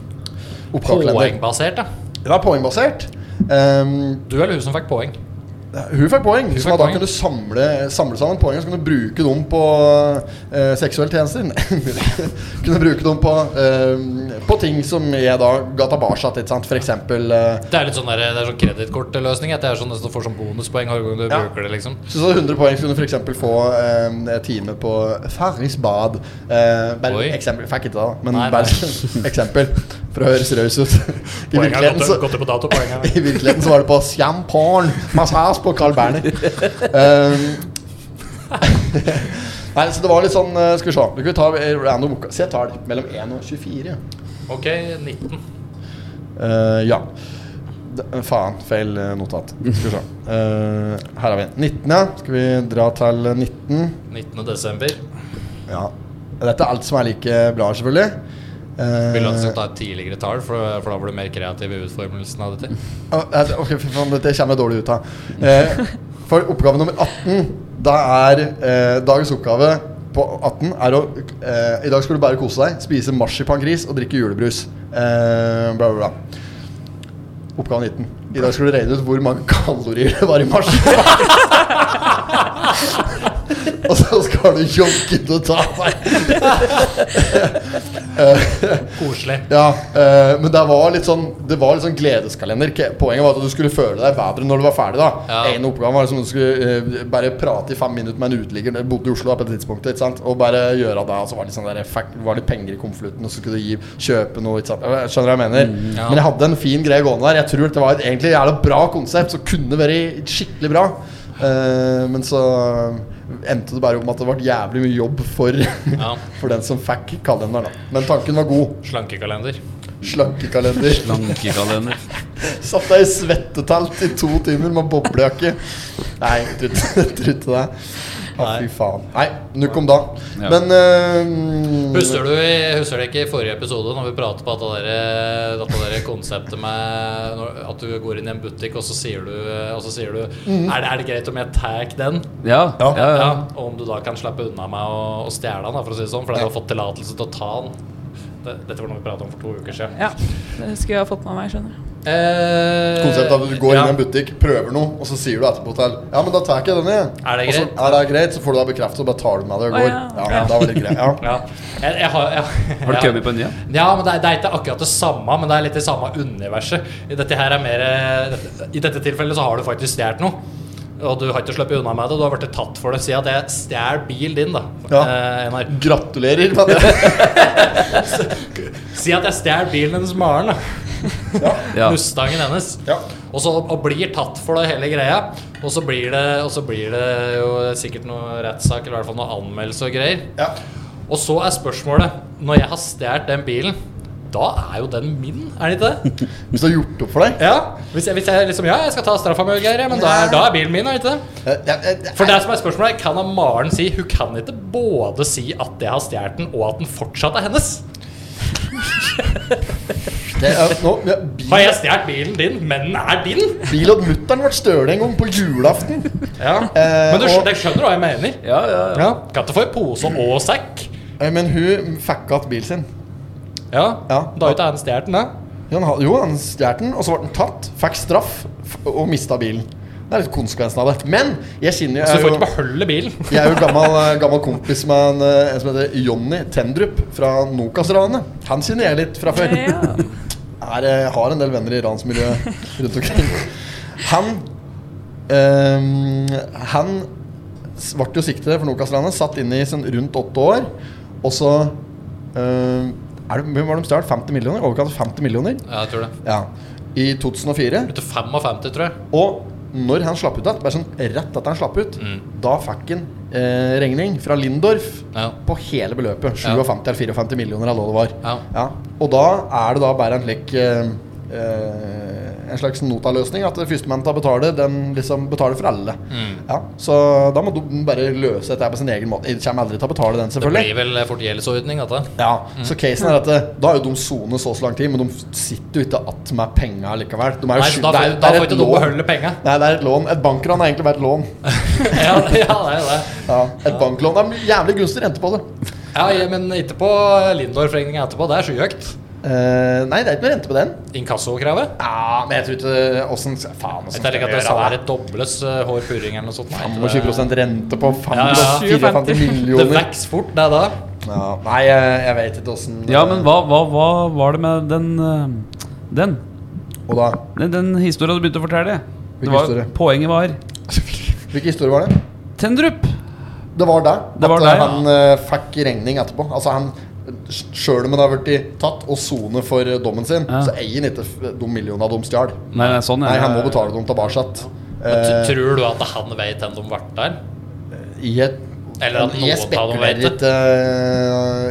Speaker 2: Oppgavekalender.
Speaker 3: Poengbasert, ja.
Speaker 2: Den er poengbasert. Ehm,
Speaker 3: Du eller hun som fikk poeng.
Speaker 2: hun fikk poeng, så
Speaker 3: fikk
Speaker 2: da
Speaker 3: poeng.
Speaker 2: kan du samle, samle sammen poengene Så kan du bruke dem på eh, seksuelle tjenester. Nei, kunne bruke dem på, eh, på ting som jeg da ga tilbake til. F.eks. Uh,
Speaker 3: Det er litt sånn, der- det er sånn kredittkortløsning. at Det er sånn nesten du får sånn bonuspoeng hver gang du
Speaker 2: Ja.
Speaker 3: bruker det, liksom.
Speaker 2: så så 100 poeng skulle du f.eks. få eh, en time på Farris bad. Eh, bare
Speaker 3: Oi.
Speaker 2: eksempel. Fikk ikke det, da, men
Speaker 3: Nei,
Speaker 2: bare
Speaker 3: nei.
Speaker 2: eksempel. For å høres raus ut. I
Speaker 3: Poenget har
Speaker 2: virkeligheten
Speaker 3: gått,
Speaker 2: så
Speaker 3: gått ut på dato. Poenget.
Speaker 2: I virkeligheten så var det på Champagne Massage på Carl Berner. Um, Nei, så det var litt sånn eh, Skal vi se. Du kan vi ta eh, random oppga- Se tall mellom 1 og 24.
Speaker 3: Ok, 19.
Speaker 2: Eh, ja. D faen, feil eh, notat. Skal vi se. Eh, her har vi 19, ja. Skal vi dra til 19?
Speaker 3: 19. desember.
Speaker 2: Ja. Dette er alt som er like bra, selvfølgelig. Eh,
Speaker 3: Vil du at jeg skal ta et tidligere tall, for, for da blir du mer kreativ i utformelsen av dette?
Speaker 2: ah, eh, Ok, fy faen, dette kommer jeg dårlig ut av. Eh, for oppgave nummer 18, da er eh, dagens oppgave på 18 er å eh, I dag skal du bare kose deg, spise marsipangris og drikke julebrus. Eh, bla, bla, bla. Oppgave 19. I dag skal du regne ut hvor mange kalorier det var i marsipangris. og så skal du jogge til å ta deg
Speaker 3: Koselig.
Speaker 2: Ja, eh, men det var litt sånn Det var litt sånn gledeskalender. Ke- Poenget var at du skulle føle deg bedre når du var ferdig. da
Speaker 3: Ja.
Speaker 2: En oppgave var liksom at du skulle eh, bare prate i fem minutter med en uteligger. Jeg bodde i Oslo da på det tidspunktet. Ikke sant? Og bare gjøre det. Og så var det, litt sånn der, fuck, var det penger i konvolutten, og så skulle du gi, kjøpe noe. Ikke sant? Jeg skjønner hva jeg mener.
Speaker 3: Mm, Ja.
Speaker 2: Men jeg hadde en fin greie gående der. Jeg tror det var et egentlig jævla bra konsept som kunne vært skikkelig bra. Eh, men så eh, endte det bare om at det ble jævlig mye jobb for,
Speaker 3: Ja.
Speaker 2: for den som fikk kalenderen. da Men tanken var god.
Speaker 3: Slankekalender.
Speaker 2: Slankekalender.
Speaker 7: Slankekalender.
Speaker 2: Satt deg i svettetelt i to timer med boblejakke. Nei, trutte trutte deg. Å, fy faen. Nei, nukk om da.
Speaker 7: Ja.
Speaker 2: Men eh,
Speaker 3: Husker du, i- husker du ikke i forrige episode når vi pratet på dette, der, dette der konseptet med når, at du går inn i en butikk, og så sier du, og så sier du er, det, 'Er det greit om jeg tar den?'
Speaker 7: Ja, ja,
Speaker 2: Ja.
Speaker 7: Mhm. ja.
Speaker 3: Ja, og om du da kan slippe unna meg og, og stjele den, da, for å si det sånn, fordi du har fått tillatelse til å ta den. Det- Dette var noe vi pratet om for to uker siden.
Speaker 1: Ja, det skulle jeg ha fått med meg, skjønner du.
Speaker 3: Eh,
Speaker 2: Konseptet er at du går
Speaker 3: ja.
Speaker 2: inn i en butikk, prøver noe, og så sier du etterpå til Ja, men da tar jeg ikke denne. jeg.
Speaker 3: Er det
Speaker 2: Og så,
Speaker 3: greit?
Speaker 2: er det greit, så får du da bekreftet, og bare tar du med deg og
Speaker 1: Å,
Speaker 2: går.
Speaker 1: ja,
Speaker 2: ja.
Speaker 1: ok.
Speaker 2: da var det greit. Ja.
Speaker 3: Ja. Jeg, jeg har, jeg,
Speaker 7: Har du
Speaker 3: jeg-
Speaker 7: kommet på en ny?
Speaker 3: Ja, men det er, det er ikke akkurat det samme, men det er litt det samme universet. I dette, her er mer, eh, dette, I dette tilfellet så har du faktisk stjålet noe. Og du har ikke sluppet unna med det, du har blitt tatt for det. Si at jeg stjal bilen din, da.
Speaker 2: Ja.
Speaker 3: Eh, Einar.
Speaker 2: Gratulerer med det.
Speaker 3: Si at jeg stjal bilen hennes Maren, da.
Speaker 7: Ja.
Speaker 3: Mustangen hennes.
Speaker 2: Ja.
Speaker 3: Og så og blir tatt for det hele greia. Og så blir det, og så blir det jo sikkert noe rettssak, eller i hvert fall noe anmeldelse og greier.
Speaker 2: Ja.
Speaker 3: Og så er spørsmålet Når jeg har stjålet den bilen, da er jo den min, er det ikke det?
Speaker 2: Hvis du har gjort opp for deg.
Speaker 3: Ja, hvis jeg, hvis jeg liksom, ja, jeg skal ta straffa mi, og greier, ja, men da er, da er bilen min, er det ikke det?
Speaker 2: Eh, jeg- jeg- jeg-
Speaker 3: For det som er spørsmålet, er, kan da Maren si Hun kan ikke både si at jeg har stjålet den, og at den fortsatt er hennes.
Speaker 2: det er- nå- ja,
Speaker 3: Har
Speaker 2: bil-
Speaker 3: jeg stjålet bilen din, men den er din?
Speaker 2: Bil og mutter'n ble støle en gang på julaften.
Speaker 3: Ja.
Speaker 2: Eh,
Speaker 3: Men du
Speaker 2: og-
Speaker 3: skjønner, jeg skjønner hva jeg mener.
Speaker 7: Ja, ja, ja.
Speaker 3: Ja. Kan ikke få i pose og sekk.
Speaker 2: Eh, Men hun fikk igjen bilen sin.
Speaker 3: Ja,
Speaker 2: Ja.
Speaker 3: Da har ikke han stjålet den, da.
Speaker 2: Jo, han, jo, han stjal den, og så ble den tatt, fikk straff f og mista bilen. Det er litt konsekvensen av det. Men jeg kjenner jo
Speaker 3: Så
Speaker 2: jeg
Speaker 3: Altså, du får
Speaker 2: er
Speaker 3: ikke
Speaker 2: jo,
Speaker 3: beholde bilen.
Speaker 2: jeg er jo gammel, eh, gammel kompis med en, eh, en som heter Jonny Tendrup fra Nokas-ranet. Han kjenner jeg litt fra før.
Speaker 1: Ja.
Speaker 2: Er, eh, har en del venner i ransmiljøet rundt omkring. Han eh, Han s- ble jo siktet for Nokas-ranet, satt inne i sånn rundt åtte år, og så eh, er det, Hvor var det de stjal? 50 millioner? Overkant av 50 millioner?
Speaker 3: Ja, jeg tror det.
Speaker 2: Ja. I 2004.
Speaker 3: Ut til 55, tror jeg.
Speaker 2: Og når han slapp ut igjen, bare sånn rett etter han slapp ut, da fikk han eh, regning fra Lindorf
Speaker 3: Mm. Ja.
Speaker 2: på hele beløpet.
Speaker 3: Ja.
Speaker 2: 57 eller 54 millioner eller hva det var.
Speaker 3: Ja.
Speaker 2: Og da er det da bare en slik eh, eh, En slags notaløsning. At førstemann til å betale, den liksom betaler for alle.
Speaker 3: Mm.
Speaker 2: Ja, så da må du bare løse dette her på sin egen måte. Jeg kommer aldri til å betale den,
Speaker 3: Det
Speaker 2: selvfølgelig.
Speaker 3: blir vel fort gjeldsordning, dette.
Speaker 2: Ja, så
Speaker 3: Mm.
Speaker 2: casen er at det, Da er jo de sonet så så lang tid, men de sitter jo ikke att med penga likevel. De er jo
Speaker 3: Nei,
Speaker 2: sky-
Speaker 3: så da,
Speaker 2: det er-
Speaker 3: får- da
Speaker 2: det er
Speaker 3: får
Speaker 2: et
Speaker 3: ikke noen
Speaker 2: lån.
Speaker 3: beholde penga.
Speaker 2: Nei, det er et lån. Et bankran har egentlig vært et lån.
Speaker 3: ja, ja, det er jo det.
Speaker 2: Ja, et banklån. Det er jævlig gunstig rente på det.
Speaker 3: Ja, ja, men etterpå, Lindorf-regninga etterpå, det er skyhøyt.
Speaker 2: Eh, nei, det er ikke noe rente på den.
Speaker 3: Inkassokravet.
Speaker 2: Ja, men jeg tror ikke eh, åssen Faen,
Speaker 3: Jeg
Speaker 2: åssen
Speaker 3: tenker ikke at det
Speaker 2: gjøre
Speaker 3: er et dobles eh, hår purring eller noe sånt. Nei, jeg tror det-
Speaker 2: 25 rente på
Speaker 3: Ja, ja,
Speaker 2: 554
Speaker 3: det
Speaker 2: millioner.
Speaker 3: vokser fort, det da.
Speaker 2: Ja, nei, jeg, jeg vet ikke åssen
Speaker 7: Ja, men hva, hva, hva var det med den eh, Den,
Speaker 2: Og da,
Speaker 7: den, den historien du begynte å fortelle? Det
Speaker 2: Hvilken
Speaker 7: var,
Speaker 2: historie?
Speaker 7: poenget var
Speaker 2: Hvilken historie var det?
Speaker 7: Tendrup!
Speaker 2: Det var der.
Speaker 7: Det var
Speaker 2: at
Speaker 7: der,
Speaker 2: eh, han eh, fikk regning etterpå. Altså han Sjøl om han har blitt tatt og sonet for eh, dommen sin,
Speaker 7: Ja.
Speaker 2: så eier han ikke f- de millionene de stjal.
Speaker 7: Nei, nei, sånn ja.
Speaker 2: Nei, han må betale dem tilbake.
Speaker 3: Men t-
Speaker 2: Eh,
Speaker 3: Tror du at han vet hvem de ble der?
Speaker 2: i et-
Speaker 3: Eller at noen
Speaker 2: Jeg
Speaker 3: av dem
Speaker 2: spekulerer
Speaker 3: vet det?
Speaker 2: ikke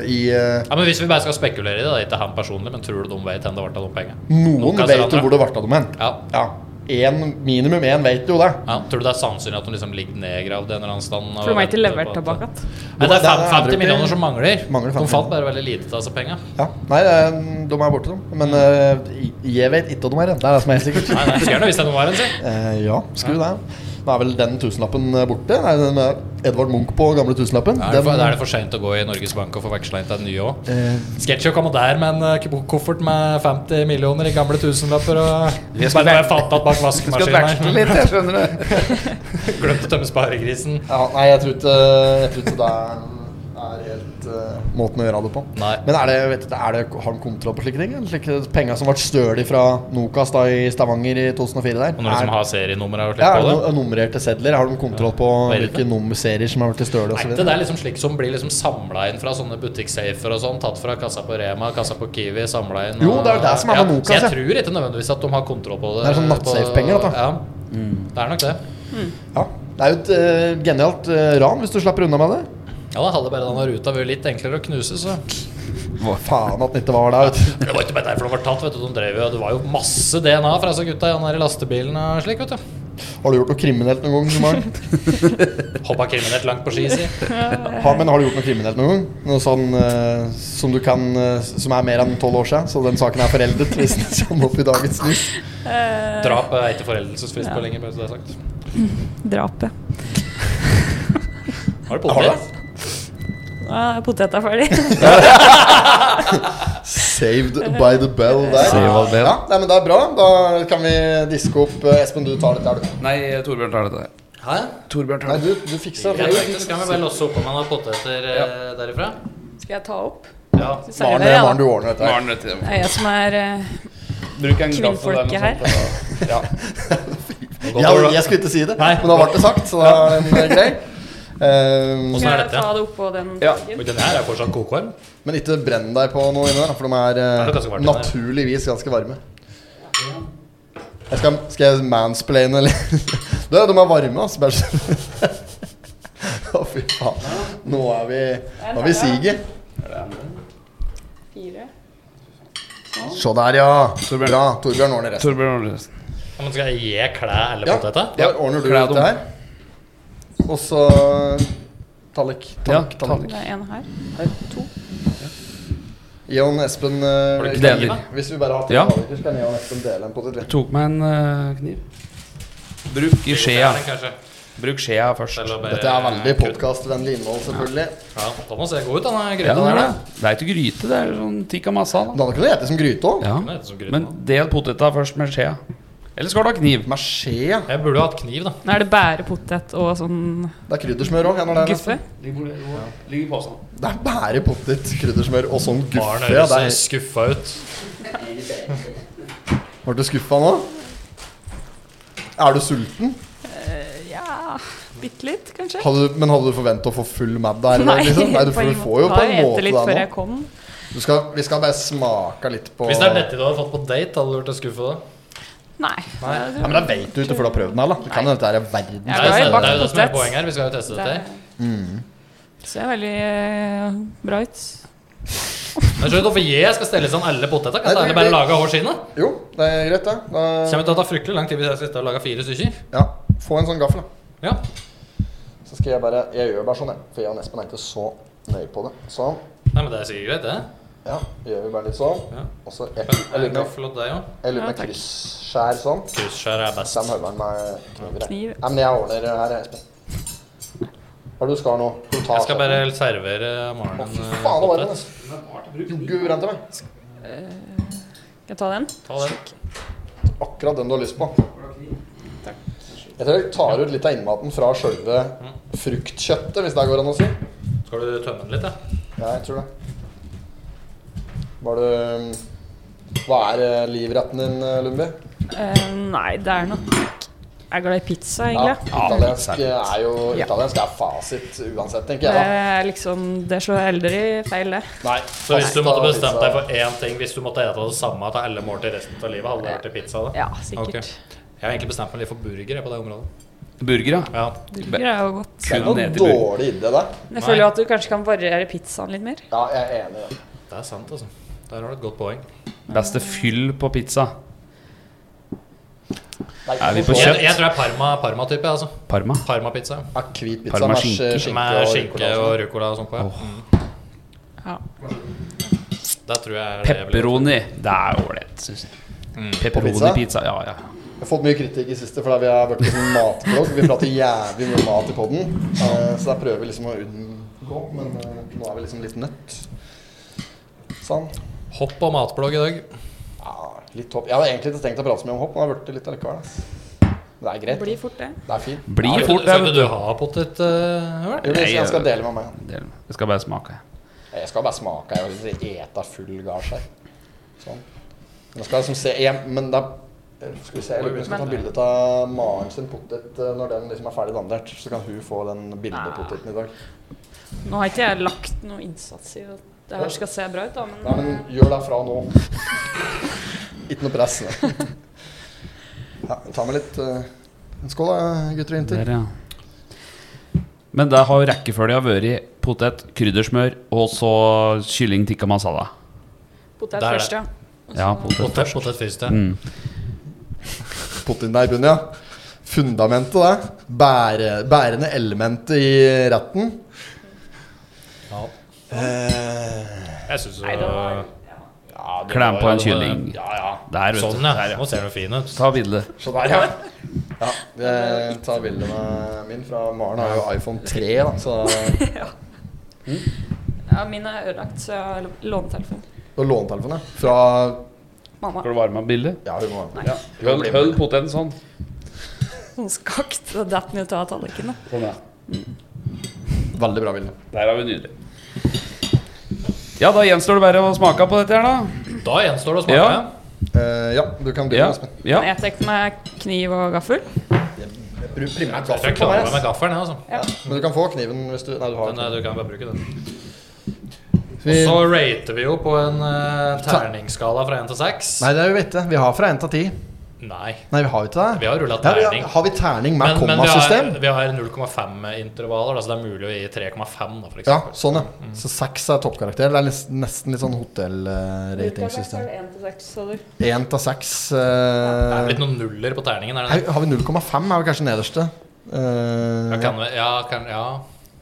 Speaker 2: eh, i eh,
Speaker 3: Ja, men Hvis vi bare skal
Speaker 2: Mm.
Speaker 3: spekulere i det, det er ikke han personlig, men tror du de vet hvem det ble av de penga?
Speaker 2: Noen vet jo hvor det ble av dem hen.
Speaker 3: Ja.
Speaker 2: Ja. en, minimum én vet jo det.
Speaker 3: Ja, tror du det er sannsynlig at hun liksom ligger nedgravd en eller annen stand? og
Speaker 1: For de har ikke
Speaker 3: venter
Speaker 1: levert
Speaker 3: på at-
Speaker 1: tilbake igjen.
Speaker 3: Nei, det er fem-
Speaker 2: Det er
Speaker 3: 50
Speaker 2: aldri-
Speaker 3: millioner som mangler.
Speaker 2: Mangler
Speaker 3: De
Speaker 2: 50.
Speaker 3: fant bare veldig lite av disse penga.
Speaker 2: Ja, Nei, eh, de er borte, de. Men eh, jeg vet ikke at de er renta. Det er det som er helt sikkert.
Speaker 3: Nei, nei, skulle gjerne visst hvem det var en, si.
Speaker 2: Eh, ja, skru det. Nå er vel den tusenlappen eh, borte. Nei, den med Edvard Munch på gamle tusenlappen.
Speaker 3: Er det for,
Speaker 2: Den-
Speaker 3: er det for seint å gå i Norges Bank og få veksla inn til en ny òg?
Speaker 2: eh,
Speaker 3: Sketsjy å komme der med en eh, k- koffert med 50 millioner i gamle tusenlapper og
Speaker 7: Jeg skulle
Speaker 3: Bare være
Speaker 7: vek-
Speaker 3: fattet bak
Speaker 7: Jeg skal veksle
Speaker 3: vaskemaskinen her.
Speaker 7: litt, jeg skjønner det.
Speaker 3: Glemte å tømme sparegrisen.
Speaker 2: ja, nei, jeg tror ikke, eh, jeg tror ikke det er, er helt eh, måten å gjøre det på.
Speaker 3: Nei.
Speaker 2: Men er det, vet du, er det, har de kontroll på slike ting? eller Slike penga som ble stølig fra Nokas da i Stavanger i 2004 der?
Speaker 3: Og når de
Speaker 2: Er-
Speaker 3: som har serienummer og slikt
Speaker 2: ja, er det
Speaker 3: på det.
Speaker 2: no nummererte sedler? Har de kontroll på
Speaker 3: Ja, vet ikke.
Speaker 2: hvilke nummerserier som har blitt støle? og
Speaker 3: Nei,
Speaker 2: så
Speaker 3: det
Speaker 2: videre?
Speaker 3: er liksom slik som blir liksom samla inn fra sånne butikksafer og sånn. Tatt fra kassa på Rema, kassa på Kiwi, samla inn
Speaker 2: Jo,
Speaker 3: og-
Speaker 2: det er jo det som er med Nokas,
Speaker 3: så Jeg
Speaker 2: ja.
Speaker 3: tror ikke nødvendigvis at de har kontroll på det.
Speaker 2: Det er sånn Mm. nattsafe-penger, dette.
Speaker 3: på- Ja. Det er nok det.
Speaker 2: Ja, det er jo et eh, genialt eh, ran hvis du slapper unna med det.
Speaker 3: Ja, da hadde bare denne ruta vært litt enklere å knuse, så
Speaker 2: Hva faen at den ikke var der. vet du.
Speaker 3: Det var ikke bare derfor de var tatt, vet du. De drev jo Det var jo masse DNA fra disse gutta i den der lastebilen og slik, vet du.
Speaker 2: Har du gjort noe kriminelt noen gang? Maren?
Speaker 3: Hoppa kriminelt langt på ski, si.
Speaker 2: Ha, men har du gjort noe kriminelt noen gang? Noe sånn eh, som du kan eh, Som er mer enn tolv år siden, så den saken er foreldet hvis den kommer opp i dagens lys?
Speaker 3: Drap er ikke foreldelsesfrist på lenger, bare så det er sagt.
Speaker 1: Drapet.
Speaker 2: Har
Speaker 3: Har du
Speaker 2: du
Speaker 3: potet?
Speaker 1: Nå er poteta ferdig.
Speaker 2: Saved by the bell der.
Speaker 7: Saved by the bell.
Speaker 2: Ja, nei, men det er bra. Da kan vi diske opp eh, Espen, du tar dette, her, du.
Speaker 7: Nei, Torbjørn tar dette. her.
Speaker 3: Hæ?
Speaker 7: Torbjørn
Speaker 2: Nei,
Speaker 7: tar det.
Speaker 2: du, du fikser
Speaker 3: Jeg
Speaker 2: det.
Speaker 3: tenkte, skal vi bare losse opp om han har poteter eh, derifra?
Speaker 1: Skal jeg ta opp?
Speaker 3: Ja.
Speaker 2: Maren,
Speaker 1: Serverer jeg,
Speaker 2: Maren, du
Speaker 1: da.
Speaker 2: ordner dette. her.
Speaker 7: Maren, dette.
Speaker 1: Det er jeg som er eh,
Speaker 7: Bruk en gaffel
Speaker 1: Kvinnfolket
Speaker 7: eller noe
Speaker 1: her.
Speaker 7: sånt, da. Ja.
Speaker 2: Ja, jeg skulle ikke si det,
Speaker 3: Nei.
Speaker 2: men da ble det sagt, så da er den eh, grei. Eh,
Speaker 3: Åssen
Speaker 1: Skal
Speaker 3: er
Speaker 1: jeg
Speaker 3: dette?
Speaker 1: ta det oppå den
Speaker 7: Ja.
Speaker 1: fargen?
Speaker 3: Men den her er fortsatt kokvarm.
Speaker 2: men ikke brenn deg på noe inni der, for de er, eh,
Speaker 3: Er det ganske varmt inni der?
Speaker 2: naturligvis ganske varme. Jeg skal, skal jeg mansplaine litt? Du, de er varme, altså. Bare så- Å, fy faen. Nå er vi Nå er vi i siget.
Speaker 1: Fire.
Speaker 2: Se der, ja.
Speaker 7: Torbjørn.
Speaker 2: Bra. Torbjørn ordner resten.
Speaker 7: Torbjørn ordner resten.
Speaker 3: Ja, men skal jeg gi klæ eller
Speaker 2: Ja.
Speaker 3: poteta?
Speaker 2: Da ordner du
Speaker 7: Klæ
Speaker 2: dette
Speaker 7: dem.
Speaker 2: her. Og så Tallik.
Speaker 7: Ja,
Speaker 2: Tallik. tallik.
Speaker 1: Det er en her.
Speaker 2: Jon Espen eh,
Speaker 3: du
Speaker 2: vi kan-
Speaker 3: ikke
Speaker 7: deler?
Speaker 2: Hvis vi bare har
Speaker 7: Ja.
Speaker 2: talliker, så kan jeg og Espen dele en på sitt.
Speaker 7: Tok meg en eh, kniv. Bruk i skjea.
Speaker 3: Den kanskje.
Speaker 7: Bruk skjea først.
Speaker 3: Eller bare-
Speaker 2: Dette er veldig podkastvennlig innhold, selvfølgelig.
Speaker 3: Ja, da må den se god ut, denne
Speaker 7: Ja,
Speaker 3: gryta
Speaker 7: den er
Speaker 3: der. da.
Speaker 7: det. Det er ikke gryte, det er sånn tikka massa.
Speaker 2: Men
Speaker 7: Da.
Speaker 2: Da kan du hete som gryte òg.
Speaker 7: Ja.
Speaker 3: Den er ikke så gryte,
Speaker 7: Men
Speaker 3: da.
Speaker 7: del poteta først med skjea. Eller skal du ha kniv?
Speaker 2: Med skje, ja.
Speaker 3: Jeg burde jo hatt kniv, da.
Speaker 1: Nå er det bare potet og sånn
Speaker 2: Det er kryddersmør òg.
Speaker 1: guffe.
Speaker 7: Ligger i posen.
Speaker 2: Det er bare potet, kryddersmør og sånn
Speaker 3: Maren
Speaker 2: guffe. Ja, det
Speaker 3: høres
Speaker 2: er-
Speaker 3: skuffa ut.
Speaker 2: Ble du skuffa nå? Er du sulten?
Speaker 1: Ja Bitte litt, kanskje.
Speaker 2: Hadde, du- men hadde du forventa å få full mad der? eller liksom? Nei du,
Speaker 1: på
Speaker 2: får, du
Speaker 1: ingen
Speaker 2: får jo
Speaker 1: måte.
Speaker 2: på
Speaker 1: Har jeg
Speaker 2: en
Speaker 1: ete
Speaker 2: måte
Speaker 1: litt før
Speaker 2: det
Speaker 1: jeg
Speaker 2: nå.
Speaker 1: kom.
Speaker 2: Du skal, vi skal bare smake litt på
Speaker 3: Hvis det er dette du hadde fått på date, hadde du vært skuffa da?
Speaker 1: Nei.
Speaker 3: Nei.
Speaker 2: Ja, Men da vet du ikke før du har prøvd den her, da. Det kan hende dette er verdens
Speaker 1: Ja,
Speaker 3: Det er jo
Speaker 1: jeg
Speaker 3: det,
Speaker 1: bakt
Speaker 3: det, er jo det som er
Speaker 1: potet.
Speaker 3: poenget her. Vi skal jo teste dette. her.
Speaker 2: Mm.
Speaker 1: Det ser veldig eh, bra ut.
Speaker 3: Men skjønner du hvorfor jeg skal stelle sånn alle poteter? Kan
Speaker 2: Nei,
Speaker 3: jeg
Speaker 2: det-
Speaker 3: bare lage hår skinnet?
Speaker 2: Jo, det er greit, det. Da,
Speaker 3: Kommer til å ta fryktelig lang tid hvis jeg skal sitte og lage fire stykker.
Speaker 2: ja, få en sånn gaffel, da.
Speaker 3: Ja.
Speaker 2: Så skal jeg bare Jeg gjør bare sånn, jeg. For jeg og Espen er ikke så nøye på det. Sånn.
Speaker 3: Nei, men det er sikkert greit, det.
Speaker 2: Ja, gjør vi bare litt sånn.
Speaker 3: Ja.
Speaker 2: Og så jeg,
Speaker 3: Men
Speaker 2: jeg
Speaker 3: er det
Speaker 2: lurer med,
Speaker 3: gaffel åt deg òg?
Speaker 2: jeg lurer med
Speaker 1: Ja, takk.
Speaker 2: kryssskjær sånn.
Speaker 3: Krysskjær er best.
Speaker 2: Sam Høveren med kniver.
Speaker 1: Kniv.
Speaker 2: Nei, men jeg ordner det her, jeg, Espen. Har du skar nå? Skal du ta
Speaker 3: Jeg skal bare servere Maren
Speaker 2: Å,
Speaker 3: en
Speaker 2: fy
Speaker 3: eh,
Speaker 2: faen, det var det.
Speaker 3: potet.
Speaker 2: Joggu ren til meg.
Speaker 1: Skal jeg ta den?
Speaker 3: Ta den.
Speaker 2: Akkurat den du har lyst på. Jeg tror jeg tar ut litt av innmaten fra sjølve
Speaker 3: Mm.
Speaker 2: fruktkjøttet, hvis det går an å si.
Speaker 3: Skal du tømme den litt, da?
Speaker 2: Ja, jeg tror det. Var du mm, Hva er eh, livretten din, eh, Lundby?
Speaker 1: Eh, nei, det er nok Jeg er glad i pizza, egentlig.
Speaker 2: italiensk
Speaker 7: Ja,
Speaker 2: er jo
Speaker 1: Ja.
Speaker 2: Italiensk er fasit uansett, tenker
Speaker 1: Det
Speaker 2: jeg. da
Speaker 1: er liksom Det slår jeg aldri feil, det.
Speaker 3: Nei. Så hvis du
Speaker 2: Pasta,
Speaker 3: måtte bestemt
Speaker 2: pizza.
Speaker 3: deg for én ting, hvis du måtte ete det samme til alle måltider resten av livet, hadde det vært pizza? da?
Speaker 1: Ja, sikkert.
Speaker 3: Ok. Jeg har egentlig bestemt meg litt for burger jeg, på det området.
Speaker 7: Burger, ja.
Speaker 3: Ja.
Speaker 1: Burger er jo godt.
Speaker 2: Det er
Speaker 7: Kun
Speaker 2: noe
Speaker 7: ned til burger.
Speaker 2: dårlig idé, det.
Speaker 1: Men Jeg føler jo at du kanskje kan variere pizzaen litt mer.
Speaker 2: Ja, jeg er enig i det.
Speaker 3: Det er sant, altså. Der har du et godt poeng.
Speaker 7: Beste fyll på pizza. Er vi på
Speaker 3: Jeg, jeg
Speaker 7: kjøtt?
Speaker 3: tror jeg er Parma, Parma-type. Altså.
Speaker 7: Parma.
Speaker 3: Parma-pizza.
Speaker 2: Akvitpizza
Speaker 7: Parma
Speaker 2: med
Speaker 7: skinke.
Speaker 2: skinke,
Speaker 3: Med
Speaker 2: og
Speaker 3: skinke
Speaker 2: rucola og
Speaker 3: og
Speaker 2: sånn.
Speaker 3: rucola og sånt på. Ja.
Speaker 1: Ja.
Speaker 3: Det tror jeg er det jeg vil gjøre.
Speaker 7: Pepperoni. Det er ålreit, syns jeg.
Speaker 2: På pizza?
Speaker 7: Pepperoni-pizza. Ja, ja.
Speaker 2: Jeg har fått mye kritikk i siste fordi vi har vært en matblogg. Vi prater jævlig mye mat i poden, så der prøver vi liksom å unngå, men eh, nå er vi liksom litt nødt. Sånn.
Speaker 3: Hopp og matblogg i dag.
Speaker 2: Ja, litt hopp. Jeg hadde egentlig ikke tenkt å prate så mye om hopp, men jeg har blitt det litt allikevel. ass. Det er greit.
Speaker 1: Blir fort det.
Speaker 2: Det er fint.
Speaker 7: Bli
Speaker 3: Skal
Speaker 7: fort
Speaker 3: du,
Speaker 7: der.
Speaker 3: skal du ha potet, eh, Øvert?
Speaker 2: Jo, men
Speaker 7: Nei,
Speaker 2: Jeg skal
Speaker 7: jeg-
Speaker 2: dele med meg.
Speaker 7: vet du. Jeg skal bare smake.
Speaker 2: Jeg skal bare smake. Jeg vil ikke ete full gards her. Sånn. Men jeg skal liksom se jeg, Men da skal vi se, jeg lurer på om vi skal ta bilde av Maren sin potet eh, når den liksom er ferdig dandert. Så kan hun få den bildepoteten i dag.
Speaker 1: Nå har ikke jeg lagt noe innsats i at det her skal se bra ut, da, men,
Speaker 2: Nei, men gjør det fra nå. Ikke noe press. Nei. Ja, ta med litt eh, en Skål, da, gutter og jenter.
Speaker 7: Der, ja. Men der har jo rekkefølga vært potet, kryddersmør og så kylling tikka masala.
Speaker 1: potet
Speaker 3: Der er
Speaker 1: først,
Speaker 3: det.
Speaker 1: ja.
Speaker 7: Ja, potet. Mm.
Speaker 3: Potet, potet først, ja.
Speaker 2: Potet der i bunnen, ja. Fundamentet, det. Bære, bærende elementet i retten. Eh,
Speaker 3: ja. Jeg syns
Speaker 1: Nei, det var-
Speaker 7: Klem på en kylling.
Speaker 3: Ja, ja.
Speaker 7: Der, vet
Speaker 3: Sånn,
Speaker 7: du.
Speaker 3: ja. Nå ser den fin ut.
Speaker 7: Ta bilde.
Speaker 2: Så der, ja. ja jeg tar bildet med min fra Maren. Har jo iPhone 3, da, så
Speaker 1: ja. Min er ødelagt, så jeg har lånetelefon.
Speaker 2: Du har låntelefonen, ja. Fra
Speaker 1: Mamma.
Speaker 7: Skal du varme opp bildet?
Speaker 2: Ja, hun må
Speaker 1: Nei.
Speaker 2: ja.
Speaker 7: Hold, hold poteten sånn.
Speaker 1: Sånn skakt. Det datt den ut av tallerkenen.
Speaker 7: Sånn, ja.
Speaker 2: Veldig bra bilde.
Speaker 7: Der har vi nydelig. Ja, da gjenstår det bare å smake på dette her, da.
Speaker 3: Da gjenstår det å smake.
Speaker 7: Ja.
Speaker 2: Eh, ja, du kan begynne,
Speaker 7: Ja.
Speaker 2: Espen.
Speaker 7: ja.
Speaker 1: Jeg tar med kniv og gaffel.
Speaker 2: Bruk primært
Speaker 3: Jeg tror
Speaker 2: gaffel
Speaker 3: jeg
Speaker 2: på meg.
Speaker 3: klarer meg med
Speaker 2: ass.
Speaker 3: gaffelen, jeg, altså.
Speaker 2: Men du kan få kniven hvis du Nei, du har
Speaker 3: Men eh,
Speaker 2: den.
Speaker 3: du kan bare bruke den.
Speaker 2: Vi,
Speaker 3: Så rater vi jo på en eh, terningsskala fra 1 til 6.
Speaker 2: nei, det er jo vite. Vi har fra 1 til 10.
Speaker 3: Nei.
Speaker 2: Nei, vi har jo ikke det.
Speaker 3: Vi har rullet
Speaker 2: Ja, vi
Speaker 3: terning.
Speaker 2: har, har vi terning med
Speaker 3: Men, men vi
Speaker 2: kommasystem?
Speaker 3: har, vi har 0,5-intervaller, da, så det er mulig å gi 3,5, da,
Speaker 2: Ja,
Speaker 3: for eksempel.
Speaker 2: sånn, ja. Så seks er toppkarakter. Det er nes- nesten litt sånn hotell-ratingsystem. Én til seks
Speaker 3: Det er
Speaker 2: eh,
Speaker 3: blitt noen nuller på terningen, er det
Speaker 2: her Har vi 0,5? Er vel kanskje nederste? Eh,
Speaker 3: Ja, kan vi, ja, kan, ja.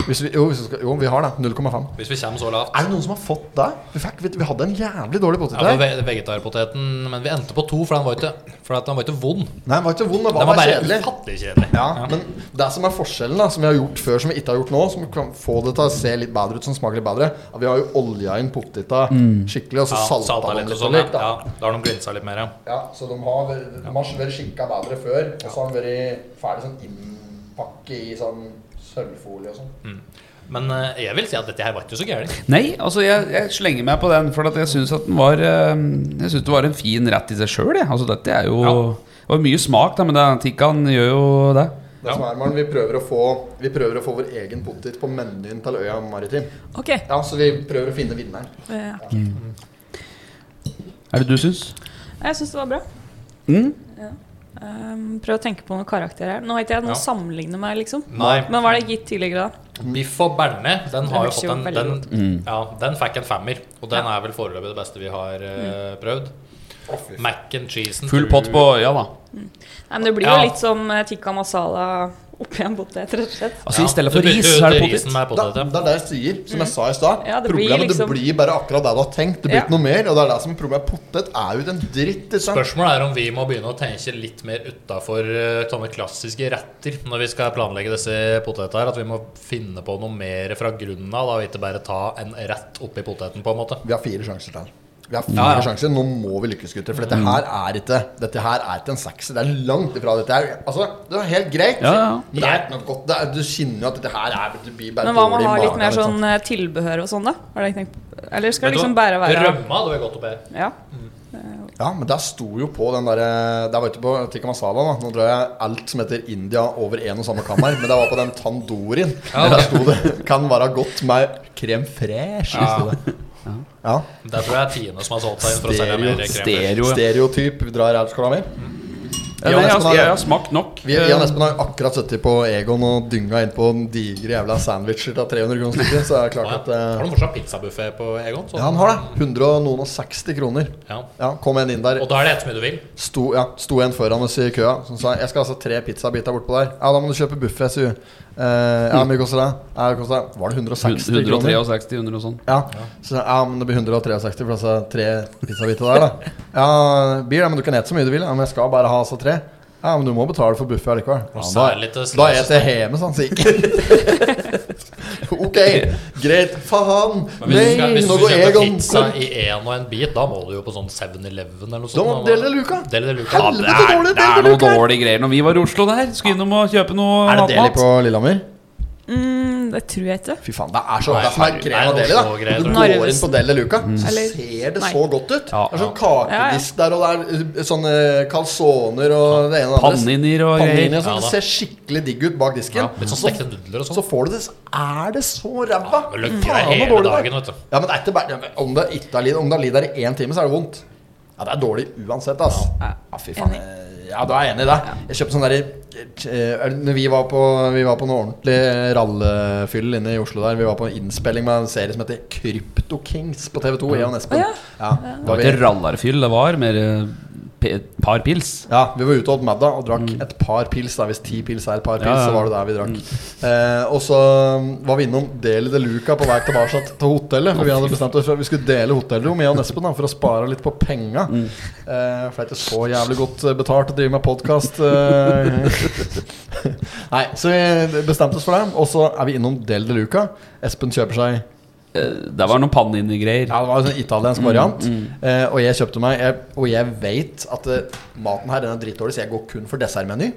Speaker 2: hvis vi, jo, hvis vi skal, jo, vi har det. 0,5.
Speaker 3: Hvis vi kommer så lavt.
Speaker 2: Er det noen som har fått det? Vi, fikk, vi, vi hadde en jævlig dårlig potet
Speaker 3: Ja,
Speaker 2: her.
Speaker 3: for ve- vegetarpoteten Men vi endte på to, for den var ikke, for at den var ikke vond.
Speaker 2: Nei, den var ikke vond, den
Speaker 3: Den
Speaker 2: var
Speaker 3: var
Speaker 2: bare
Speaker 3: bare
Speaker 2: kjedelig.
Speaker 3: ufattelig kjedelig.
Speaker 2: Ja, Men det som er forskjellen, da som vi har gjort før som vi ikke har gjort nå, som kan få det til å se litt bedre ut, som smaker litt bedre er Vi har jo olja inn poteta skikkelig, og så
Speaker 3: Ja,
Speaker 2: salta,
Speaker 3: salta
Speaker 2: dem
Speaker 3: litt og
Speaker 2: litt.
Speaker 3: sånn.
Speaker 2: litt,
Speaker 3: Ja.
Speaker 2: da.
Speaker 3: Ja, da har de glinsa litt mer, ja.
Speaker 2: Ja, så de har, de har vært skikka bedre før, og så har de vært ferdig sånn innpakke i sånn sølvfolie og sånn.
Speaker 3: Men eh, jeg vil si at dette her var ikke så gærent.
Speaker 7: Nei, altså jeg, jeg slenger meg på den, for at jeg syns at den var eh, Jeg synes det var en fin rett i seg sjøl. Altså, dette er jo
Speaker 3: Ja.
Speaker 7: Det var mye smak, da, men den tikkaen gjør jo det.
Speaker 2: Det som er, Maren, vi prøver, å få, vi prøver å få vår egen potet på menyen til Øya Maritim.
Speaker 1: Ok.
Speaker 2: Ja, så vi prøver å finne vinneren.
Speaker 1: eh,
Speaker 7: Er det du syns?
Speaker 1: Jeg syns det var bra.
Speaker 7: Mm?
Speaker 1: Um, prøv å tenke på noen karakterer her. Nå har ikke jeg noe
Speaker 3: Ja.
Speaker 1: å sammenligne meg, liksom.
Speaker 3: Nei.
Speaker 1: Men var det gitt tidligere, da?
Speaker 3: Biff og bearnés, den har
Speaker 1: Den
Speaker 3: jo
Speaker 1: hørtes
Speaker 3: fått
Speaker 1: jo
Speaker 3: en
Speaker 1: veldig
Speaker 3: den,
Speaker 1: godt
Speaker 2: Mm.
Speaker 3: ja, den fikk en femmer, og den er vel foreløpig det beste vi har
Speaker 1: Mm.
Speaker 3: eh, prøvd. Mac and cheesen
Speaker 7: Full
Speaker 3: tror-
Speaker 7: pott på øya, da.
Speaker 1: Nei, men det blir
Speaker 3: Ja.
Speaker 1: jo litt som eh, tikka masala oppi en potet, rett og slett.
Speaker 7: Altså
Speaker 3: Ja,
Speaker 7: i stedet for
Speaker 3: du bytter
Speaker 7: ris,
Speaker 3: ut
Speaker 7: så er det
Speaker 3: risen
Speaker 7: potet.
Speaker 3: med
Speaker 2: Da,
Speaker 3: potet,
Speaker 2: det
Speaker 3: ja.
Speaker 2: er det jeg sier, som jeg sa i stad.
Speaker 1: Mm. Ja, det blir
Speaker 2: Problemet det
Speaker 1: liksom-
Speaker 2: blir bare akkurat det du har tenkt. Det blir
Speaker 1: Ja.
Speaker 2: ikke noe mer. Og det er det som er problemet. Potet er jo ikke en dritt. Ikke sant?
Speaker 3: Spørsmålet er om vi må begynne å tenke litt mer utafor eh, sånne klassiske retter når vi skal planlegge disse potetene her. At vi må finne på noe mer fra grunnen av, da, og ikke bare ta en rett oppi poteten, på en måte.
Speaker 2: Vi har fire sjanser til. Vi har fire
Speaker 3: Ja, Mm. ja.
Speaker 2: sjanser. Nå må vi lykkes, gutter. For dette her er ikke Dette her er ikke en sekser. Det er langt ifra dette her. Altså, det er helt greit.
Speaker 7: Ja, ja.
Speaker 2: Men det er ikke noe godt. Det er, du kjenner jo at dette her er Du blir bare
Speaker 1: Men hva med å
Speaker 2: dårlig liksom. i
Speaker 1: ha litt
Speaker 2: magen,
Speaker 1: mer
Speaker 2: ikke sant?
Speaker 1: sånn eh, tilbehør og sånn, da? Har dere tenkt på- Eller skal
Speaker 3: Vet
Speaker 1: det
Speaker 3: du
Speaker 1: liksom
Speaker 3: hva?
Speaker 1: bare være
Speaker 3: Rømma hadde vært godt oppi her.
Speaker 1: Ja.
Speaker 2: Ja, men der sto jo på den derre Der var jeg ute på tikka masala. Da. Nå drar jeg alt som heter India over en og samme kammer. Men det var på den tandorien. Der sto det 'Kan være godt med krem fresh'. sto det. Ja.
Speaker 3: Det tror jeg er Tine som har solgt seg inn for å selge mer krem.
Speaker 7: Stereo. ja.
Speaker 2: Stereotyp. Vi drar her, skal du ha mer?
Speaker 7: Nei, altså, jeg, har- jeg har Eh. smakt nok.
Speaker 2: Vi, vi og Espen har jo akkurat sittet på Egon og dynga innpå en digre jævla sandwicher til 300 kroner stykket, så det er klart at
Speaker 3: Har
Speaker 2: eh,
Speaker 3: du fortsatt pizzabuffé på Egon? Så?
Speaker 2: Ja, han har det. 160 kroner.
Speaker 3: Ja.
Speaker 2: Ja, kom en inn der.
Speaker 3: Og da er det et som du vil?
Speaker 2: Sto, ja, sto en foran oss i køa som sa Jeg skal altså tre pizzabiter bortpå der. Ja, da må du kjøpe buffé, sier hun. Eh, ja, hvor mye koster det? Ja, det koster Var det 160 kroner?
Speaker 7: 163 under og sånn.
Speaker 2: Ja. Så, ja, men det blir 163 for altså tre pizzabiter der, da. Ja, blir det, men du kan ete så mye du vil. Ja, men jeg skal bare ha altså tre. Ja, men du må betale for buffé allikevel.
Speaker 3: Noe
Speaker 2: Ja, da,
Speaker 3: særlig til
Speaker 2: da eter jeg hjemme, sa han sikkert. ok, greit. Faen.
Speaker 3: Men hvis, du
Speaker 2: Nei,
Speaker 3: skal, hvis du
Speaker 2: nå går
Speaker 3: kjøper
Speaker 2: Egon
Speaker 3: pizza i én og en bit, da må du jo på sånn 7-Eleven eller noe sånt.
Speaker 2: Da må
Speaker 3: da.
Speaker 2: du dele luka.
Speaker 3: Dele det luka.
Speaker 7: Ja, det er,
Speaker 2: dårlig,
Speaker 7: det
Speaker 2: det er
Speaker 7: er noe
Speaker 2: lukka.
Speaker 7: dårlige greier når vi var i Oslo der. Skulle innom og kjøpe noe
Speaker 2: Er det deli
Speaker 7: matmat.
Speaker 2: på Lillehammer?
Speaker 1: Mm, det tror jeg ikke.
Speaker 2: Fy faen, det er så
Speaker 3: Nei,
Speaker 2: det som er
Speaker 3: herregud,
Speaker 2: greia med
Speaker 3: det er
Speaker 2: Deli. da
Speaker 3: noe greier,
Speaker 2: Når Du
Speaker 1: tror jeg.
Speaker 2: går inn på Deli Luca, så
Speaker 1: Eller-
Speaker 2: ser det
Speaker 1: Nei.
Speaker 2: så godt ut.
Speaker 7: Ja,
Speaker 2: det er sånn
Speaker 1: Ja, ja.
Speaker 2: kakedisk der, og det er eh, sånne calzoner og det ene og det andre.
Speaker 7: Panniner og
Speaker 2: Pannini
Speaker 7: greier.
Speaker 2: og sånn.
Speaker 3: Ja, da.
Speaker 2: det ser skikkelig digg ut bak disken.
Speaker 3: Ja, litt sånn
Speaker 2: så,
Speaker 3: stekte nudler og
Speaker 2: så
Speaker 3: sånn.
Speaker 2: får du det, så er det så ræva!
Speaker 3: Du løgger
Speaker 2: Faen,
Speaker 3: deg
Speaker 2: så
Speaker 3: hele
Speaker 2: dårlig det er.
Speaker 3: dagen, vet du.
Speaker 2: Ja, men det er ikke bare, om det ikke har lidd Om det har lidd der i én time, så er det vondt. Ja, det er dårlig uansett, ass. Ja, fy faen. eh, Ja, da er jeg enig i det. Jeg kjøpte sånn derre eh, eh, Når vi var på Vi var på noe ordentlig rallefyll inne i Oslo der. Vi var på en innspilling med en serie som heter Krypto Kings på TV2. Jeg og
Speaker 1: Å,
Speaker 2: Espen.
Speaker 1: ja.
Speaker 2: Mm. Ja,
Speaker 7: Det
Speaker 2: da
Speaker 7: var
Speaker 2: vi,
Speaker 7: ikke rallarfyll, det var mer eh, pe- et par pils. Mm.
Speaker 2: ja, vi var ute og åt middag og drakk et par pils. Da, hvis ti pils er et par pils,
Speaker 7: Ja, Mm. ja.
Speaker 2: så var det der vi drakk. Eh, og så var vi innom Deli de Luca på vei tilbake til hotellet. For vi hadde bestemt oss for at vi skulle dele hotellrom, jeg og Espen, da, for å spare litt på penga.
Speaker 7: Mm.
Speaker 2: Eh, for det er ikke så jævlig godt eh, betalt å drive med podkast. Nei, så vi bestemte oss for det. Og så er vi innom Deli de Luca. Espen kjøper seg
Speaker 7: Eh, Det var noen panniner-greier.
Speaker 2: ja, det var en sånn
Speaker 7: Mm,
Speaker 2: italiensk variant. Eh, og jeg kjøpte meg jeg, Og jeg vet at eh, maten her den er drittdårlig, så jeg går kun for dessertmeny.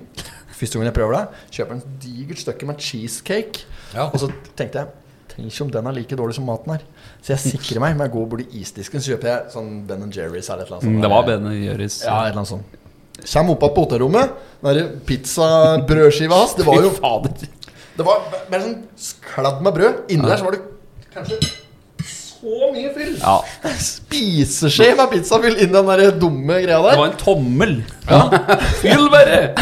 Speaker 2: Første gangen jeg prøver det. Kjøper en digert stykke med cheesecake.
Speaker 3: Ja.
Speaker 2: Og så tenkte jeg Tenk om den er like dårlig som maten her. Så jeg sikrer meg med å gå bort i isdisken, så kjøper jeg sånn Ben Jerry's eller et eller annet. sånt.
Speaker 7: Mm, Det var Ben Gjøris.
Speaker 2: Ja, et eller annet sånt. Kjem opp igjen på hotellrommet. Den der pizzabrødskiva hans, det var jo
Speaker 7: Fy fader.
Speaker 2: det var bare sånn kladd med brød. Inni der så var det kanskje så mye fyll.
Speaker 7: Ja.
Speaker 2: Spiseskje med pizzafyll inni den der dumme greia
Speaker 7: Det
Speaker 2: der.
Speaker 7: var en tommel. Fyll bare!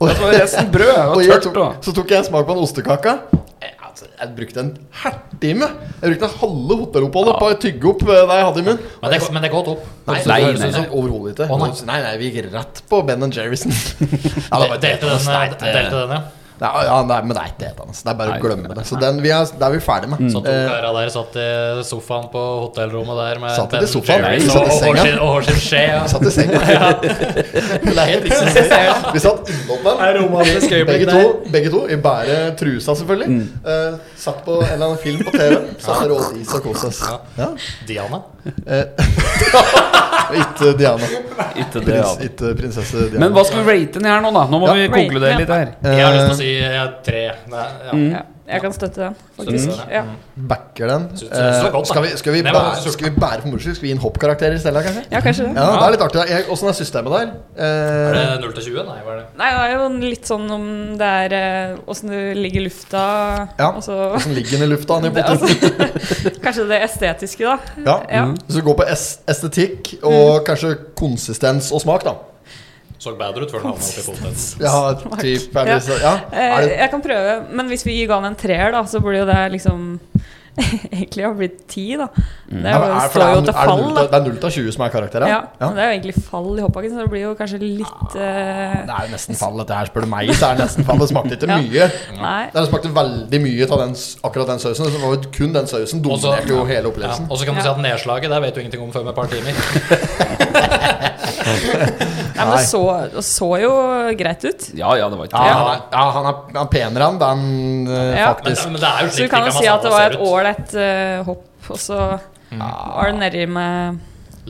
Speaker 7: Og så var resten brød.
Speaker 2: Og
Speaker 7: Det
Speaker 2: jeg
Speaker 7: var tørt,
Speaker 2: tok,
Speaker 7: da.
Speaker 2: så tok jeg en smak på en ostekake. Jeg, altså, jeg brukte en hertime. Jeg brukte halve hotelloppholdet på å tygge opp eh, det jeg hadde i munnen.
Speaker 3: Men det, men det er godt opp.
Speaker 2: Nei,
Speaker 3: Høres ut-
Speaker 2: nei,
Speaker 3: høres
Speaker 2: nei,
Speaker 3: ut som-
Speaker 2: overhodet ikke.
Speaker 3: Å, nei.
Speaker 2: nei, nei, vi gikk rett på Ben Jerrison. ja, det var
Speaker 3: Delte den,
Speaker 2: Nei,
Speaker 3: eh, delte den, ja.
Speaker 2: Ja, ja, nei, men det er ikke det, Anders. Det er bare å glemme det. Så den, vi er, det er vi ferdig med.
Speaker 3: Så to
Speaker 2: Eh,
Speaker 3: karer der satt i sofaen på hotellrommet der med
Speaker 2: Satt ikke i
Speaker 3: Ben
Speaker 2: sofaen,
Speaker 3: Jerry's
Speaker 2: vi satt i
Speaker 3: og- og
Speaker 2: senga.
Speaker 3: Horsin- og Horsin Skje. ja.
Speaker 2: satt i senga. Men det er helt riktig. som du sier. Vi satt innom
Speaker 3: romantisk
Speaker 2: den.
Speaker 3: øyeblikk
Speaker 2: Begge to,
Speaker 3: der.
Speaker 2: begge to i bare trusa, selvfølgelig. Eh, satt på en eller annen film på TV. Satt og rådis og koste oss. Ja.
Speaker 3: Diana.
Speaker 2: Og Ikke Diana.
Speaker 7: Ikke det,
Speaker 2: Prins,
Speaker 7: ja.
Speaker 2: ikke prinsesse Diana.
Speaker 7: Men hva skal vi rate den her nå, da? Nå må
Speaker 2: Ja.
Speaker 7: vi
Speaker 1: Rate
Speaker 7: konkludere
Speaker 1: den.
Speaker 7: litt her.
Speaker 3: Jeg har lyst til å si eh, tre. Nei, ja.
Speaker 1: Ja, jeg kan støtte den, faktisk. Ja.
Speaker 2: backer den?
Speaker 3: Synes- synes det var godt, da.
Speaker 2: skal, vi, skal, vi
Speaker 3: Det var
Speaker 2: bære,
Speaker 3: surt.
Speaker 2: skal vi bære for moro skyld? Skal vi gi en hoppkarakter i stedet, kanskje?
Speaker 1: ja, kanskje det.
Speaker 2: Ja, det er litt artig. da. Jeg- Åssen er systemet der?
Speaker 3: Er
Speaker 2: Eh,
Speaker 3: det 0 til 20? Nei, hva er det?
Speaker 1: Nei, det er jo litt sånn om det er eh, Åssen du ligger i lufta
Speaker 2: ja.
Speaker 1: og så
Speaker 2: Åssen ligger den i lufta? Han i
Speaker 1: det,
Speaker 2: potet?
Speaker 1: altså, Kanskje det estetiske, da.
Speaker 2: Ja. Mm.
Speaker 1: Ja.
Speaker 3: Mm.
Speaker 2: Hvis du går på es estetikk og kanskje konsistens og smak, da.
Speaker 3: Så bedre ut før den havna oppi poteten.
Speaker 2: Ja, typ, er det,
Speaker 1: Ja.
Speaker 2: så, ja.
Speaker 1: Eh,
Speaker 2: Er det,
Speaker 1: Jeg kan prøve, men hvis vi ga den en treer, da, så burde jo det liksom egentlig ha blitt ti, da. Det
Speaker 3: Mm.
Speaker 2: Ja,
Speaker 1: er
Speaker 2: men
Speaker 1: jo,
Speaker 2: er- for
Speaker 1: står
Speaker 2: det er
Speaker 1: jo
Speaker 2: null-
Speaker 1: til
Speaker 2: er det
Speaker 1: fall,
Speaker 2: null
Speaker 1: da.
Speaker 2: til- Det er 0 til 20 som er karakteren?
Speaker 1: Ja,
Speaker 2: Ja. Ah,
Speaker 1: men Det er jo egentlig fall i hoppbakken, så det blir jo kanskje litt eh,
Speaker 2: Det er jo nesten fall, dette her. Spør du meg, så er det nesten fall. Det smakte ikke mye.
Speaker 1: Nei.
Speaker 2: Det smakte veldig mye av den, s- akkurat den sausen. Det var jo kun den sausen
Speaker 3: Og så-
Speaker 2: dominerte jo hele
Speaker 3: Ja.
Speaker 2: opplevelsen.
Speaker 3: Og så kan du si at nedslaget der vet du ingenting om før med et par timer.
Speaker 1: Nei, men det så, det så jo greit ut.
Speaker 7: Ja, ja, det var ikke
Speaker 2: Ja,
Speaker 7: det.
Speaker 2: han er, ja, han er, han er penere enn den, eh,
Speaker 1: Ja.
Speaker 3: Men,
Speaker 2: faktisk.
Speaker 3: men det er
Speaker 1: Så
Speaker 3: jo
Speaker 1: vi
Speaker 3: slik
Speaker 1: kan
Speaker 3: tikka
Speaker 1: jo si at det
Speaker 3: masala
Speaker 1: var
Speaker 3: ser
Speaker 1: et
Speaker 3: ut.
Speaker 1: ålreit eh, hopp, og så var det nedi med,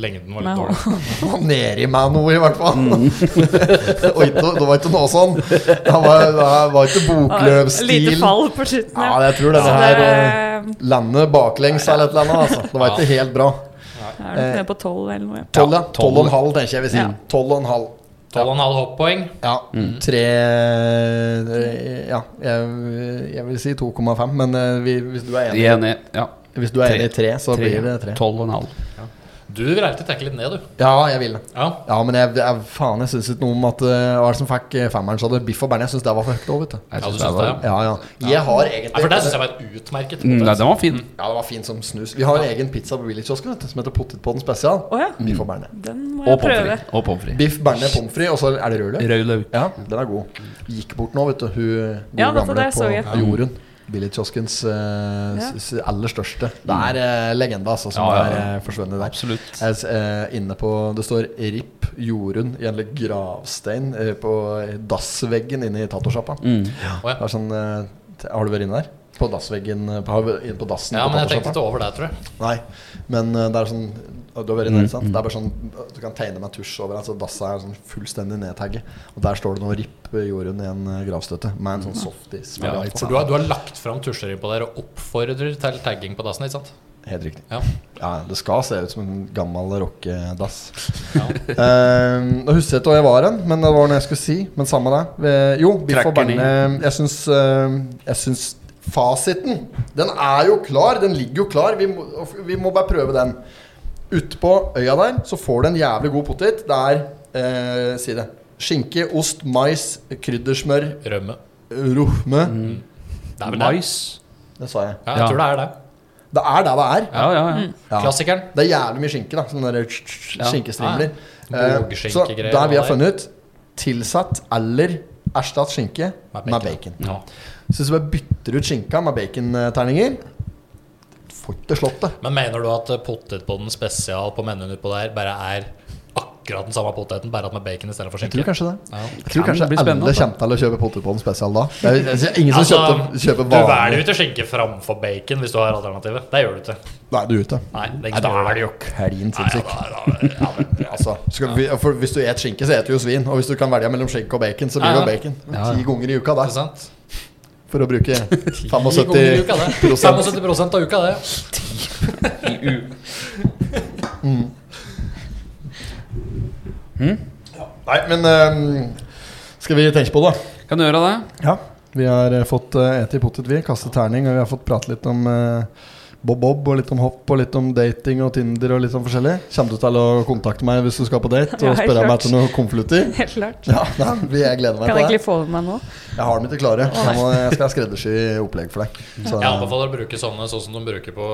Speaker 3: Lengden var
Speaker 1: med
Speaker 3: litt dårlig.
Speaker 1: hå-
Speaker 2: Han var nedi meg noe, i hvert fall.
Speaker 1: Mm.
Speaker 2: Og ikke- det var ikke noe sånn. Det var, det var ikke bokløvstil.
Speaker 1: Lite fall på slutten,
Speaker 2: Ja, jeg tror det,
Speaker 1: Så
Speaker 2: det her eh,
Speaker 1: det
Speaker 2: Landet baklengs eller et eller annet. Altså. Det var ikke helt bra.
Speaker 1: er nok
Speaker 2: eh,
Speaker 1: nede på tolv eller noe. ja.
Speaker 2: Tolv, ja.
Speaker 7: Ja,
Speaker 2: Tolv og en halv, tenker jeg vi sier.
Speaker 1: Ja.
Speaker 2: Tolv og en halv.
Speaker 3: 12,5 hopppoeng.
Speaker 2: Ja. Tre Ja, jeg, jeg vil si 2,5, men eh, vi, hvis du er
Speaker 7: Jeg er
Speaker 2: enig
Speaker 7: enig. Ja.
Speaker 2: Hvis du er enig i tre, så
Speaker 7: Tre.
Speaker 2: blir det tre.
Speaker 7: Tolv og en halv.
Speaker 3: Du vil alltid tenke litt ned, du.
Speaker 2: Ja, jeg vil det.
Speaker 3: Ja.
Speaker 2: Ja, men jeg, jeg, faen, jeg syns ikke noe om at eh, Hva er det som fikk eh, femmeren, sa du? Biff og bærene? Jeg syns det var for høyt òg, vet du.
Speaker 7: Jeg
Speaker 3: Ja, du
Speaker 7: synes
Speaker 3: synes
Speaker 7: det var-
Speaker 3: det,
Speaker 2: Ja, ja. Jeg har egentlig
Speaker 3: Ja, for det syns jeg var et utmerket
Speaker 7: Mm, Nei,
Speaker 3: potet.
Speaker 7: den var fin.
Speaker 2: Ja, det var fint som snus. Vi har en egen pizza på Willy-kiosken vet du, som heter Potetpodden spesial.
Speaker 1: Å ja,
Speaker 2: Biff og bærene.
Speaker 1: den må
Speaker 7: Og
Speaker 1: jeg
Speaker 7: pommes
Speaker 1: prøve.
Speaker 7: frites. Og pommes frites.
Speaker 2: Biff, bærene, pommes frites, og så er det rødløk.
Speaker 7: Rød løk.
Speaker 2: Ja, den er god. Gikk bort nå, vet du. Hun gode
Speaker 1: Ja, vet du,
Speaker 2: gamle
Speaker 1: det
Speaker 2: på
Speaker 1: så jeg.
Speaker 2: Jorunn. Billigkioskens eh,
Speaker 1: Ja.
Speaker 2: s- s- aller største. Det er eh, legende altså, som
Speaker 7: Ja, ja, ja.
Speaker 2: er eh, forsvunnet der.
Speaker 7: Absolutt.
Speaker 2: Jeg, s- eh, inne på, det står 'RIP Jorunn' i en eller gravstein eh, på dassveggen inne i tatosjappa.
Speaker 7: Mm.
Speaker 2: Det er Sånn, eh, t- har du vært inne der? På dassveggen eh, på, har du vært inne på dassen
Speaker 3: Ja,
Speaker 2: på
Speaker 3: men jeg
Speaker 2: tatosjappa?
Speaker 3: tenkte ikke over det, tror jeg.
Speaker 2: Nei, men eh, det er sånn Du har vært
Speaker 3: Mm,
Speaker 2: inne, ikke sant? Det er bare sånn Du kan tegne med tusj over altså Dassa er sånn fullstendig nedtagget Og der står det noe ripp jorden i en eh, gravstøtte Med en sånn softis
Speaker 7: Ja,
Speaker 2: ja,
Speaker 3: Mm. For du har, du har lagt fram tusjer på der og oppfordrer til tagging på dassen, ikke sant?
Speaker 2: Helt riktig
Speaker 3: Ja.
Speaker 2: ja, Det skal se ut som en gammel rockedass
Speaker 3: Ja.
Speaker 2: Eh, Nå husker jeg ikke hvor jeg var hen, men det var noe jeg skulle si. Men samme det. Eh, Jo, vi får
Speaker 7: Trekker den
Speaker 2: berne Jeg syns eh, Jeg syns fasiten Den er jo klar. Den ligger jo klar. Vi må, og vi må bare prøve den. Utpå øya der så får du en jævlig god potet. Det er eh, Si det. Skinke, ost, mais, kryddersmør,
Speaker 3: Rømme.
Speaker 2: rohme
Speaker 3: Det er vel det.
Speaker 7: Mais.
Speaker 2: Det sa jeg.
Speaker 3: Ja, jeg tror det er det.
Speaker 2: Det er det det er.
Speaker 7: Ja, ja, ja.
Speaker 1: Mm.
Speaker 2: Ja.
Speaker 3: Klassikeren.
Speaker 2: Det er jævlig mye skinke, da. Sånne der tsk, tsk,
Speaker 7: Ja.
Speaker 2: skinkestrimler.
Speaker 3: Ah, Ja.
Speaker 2: Eh, Så
Speaker 3: Bogskinke-greier
Speaker 2: der vi har
Speaker 3: og
Speaker 2: funnet ut Tilsatt eller erstatt skinke
Speaker 3: Med
Speaker 2: med
Speaker 3: bacon.
Speaker 2: bacon.
Speaker 7: ja.
Speaker 2: Så hvis vi bare bytter ut skinka med baconterninger Får ikke slått det.
Speaker 3: Men mener du at eh, potetbånden spesial på menyen utpå der bare er akkurat den samme poteten, bare at med bacon istedenfor
Speaker 2: Jeg tror
Speaker 3: skinke?
Speaker 2: kanskje det.
Speaker 3: Ja.
Speaker 2: Jeg tror
Speaker 7: Kan
Speaker 2: kanskje
Speaker 7: bli
Speaker 2: alle
Speaker 7: spennende, altså.
Speaker 2: kommer til å kjøpe potetbånd spesial da. Det er- det er ingen som
Speaker 3: Altså,
Speaker 2: kjøper, kjøper
Speaker 3: Du velger jo
Speaker 2: vanlig
Speaker 3: ikke skinke framfor bacon hvis du har alternativet. Det gjør du ikke.
Speaker 2: Nei, du er ute.
Speaker 3: Nei, det er ingen som gjør det.
Speaker 2: jo klin sinnssyk.
Speaker 3: Nei, da- da- ja, men-
Speaker 2: Altså, skal vi, for hvis du et skinke, så eter du jo svin. Og hvis du kan velge mellom skinke og bacon, så blir det jo
Speaker 3: Ja.
Speaker 2: bacon. Ti ganger i uka
Speaker 3: Ikke
Speaker 2: der,
Speaker 3: sant?
Speaker 2: for å bruke
Speaker 3: Ti ganger i uka, det.
Speaker 2: 75
Speaker 3: 75 av uka, det.
Speaker 2: Nei, men ehm, skal vi tenke på det?
Speaker 7: Kan du gjøre det?
Speaker 2: Ja. Vi har eh, fått uh, ete i potet, vi. Kaste terning, og vi har fått prate litt om eh, Bob Bob, og litt om hopp, og litt om dating og Tinder og litt sånn forskjellig. Kommer du til å kontakte meg hvis du skal på date
Speaker 1: Ja,
Speaker 2: og
Speaker 1: helt
Speaker 2: spørre meg
Speaker 1: klart.
Speaker 2: etter noe konvolutter?
Speaker 1: Helt klart.
Speaker 2: Ja, nei, vi- jeg gleder meg
Speaker 1: Kan jeg
Speaker 2: til
Speaker 1: egentlig
Speaker 2: det.
Speaker 1: få med meg nå?
Speaker 2: Jeg har dem ikke klare. Jeg, må, jeg skal skreddersy opplegg for deg. Så,
Speaker 3: Jeg anbefaler å bruke sånne sånn som de bruker på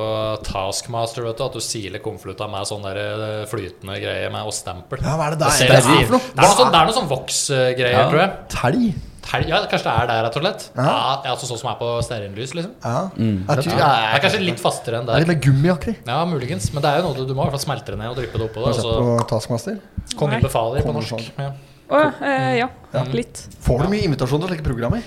Speaker 3: Taskmaster. vet du At du siler konvolutter med sånn der eh, flytende greie med, og stempel.
Speaker 2: ja, hva er det
Speaker 3: Det
Speaker 2: der?
Speaker 3: ser
Speaker 2: Det
Speaker 3: litt
Speaker 2: er
Speaker 3: stiv-
Speaker 2: for
Speaker 3: Det er noe sånn,
Speaker 2: noe?
Speaker 3: det er noe sånn Vox-greier,
Speaker 7: Ja.
Speaker 3: tror jeg.
Speaker 2: Telg?
Speaker 3: Tel- Ja, kanskje det er der, rett og slett. Ja,
Speaker 2: Ja.
Speaker 3: altså Sånn som er på stearinlys, liksom.
Speaker 2: Mm. Ja. Jeg tror,
Speaker 3: Ja, det
Speaker 2: jeg,
Speaker 3: er kanskje litt fastere enn
Speaker 2: det er
Speaker 3: der.
Speaker 2: litt gummiaktig.
Speaker 3: Ja, muligens. Men det er jo noe du, du må i hvert fall smelte det ned og dryppe det oppå.
Speaker 2: Har
Speaker 3: det,
Speaker 2: du sett
Speaker 3: og
Speaker 2: på Taskmaster?
Speaker 3: så Kongen befaler på norsk. Ja.
Speaker 1: Å eh, ja. Litt.
Speaker 2: Får du mye invitasjoner til slike programmer?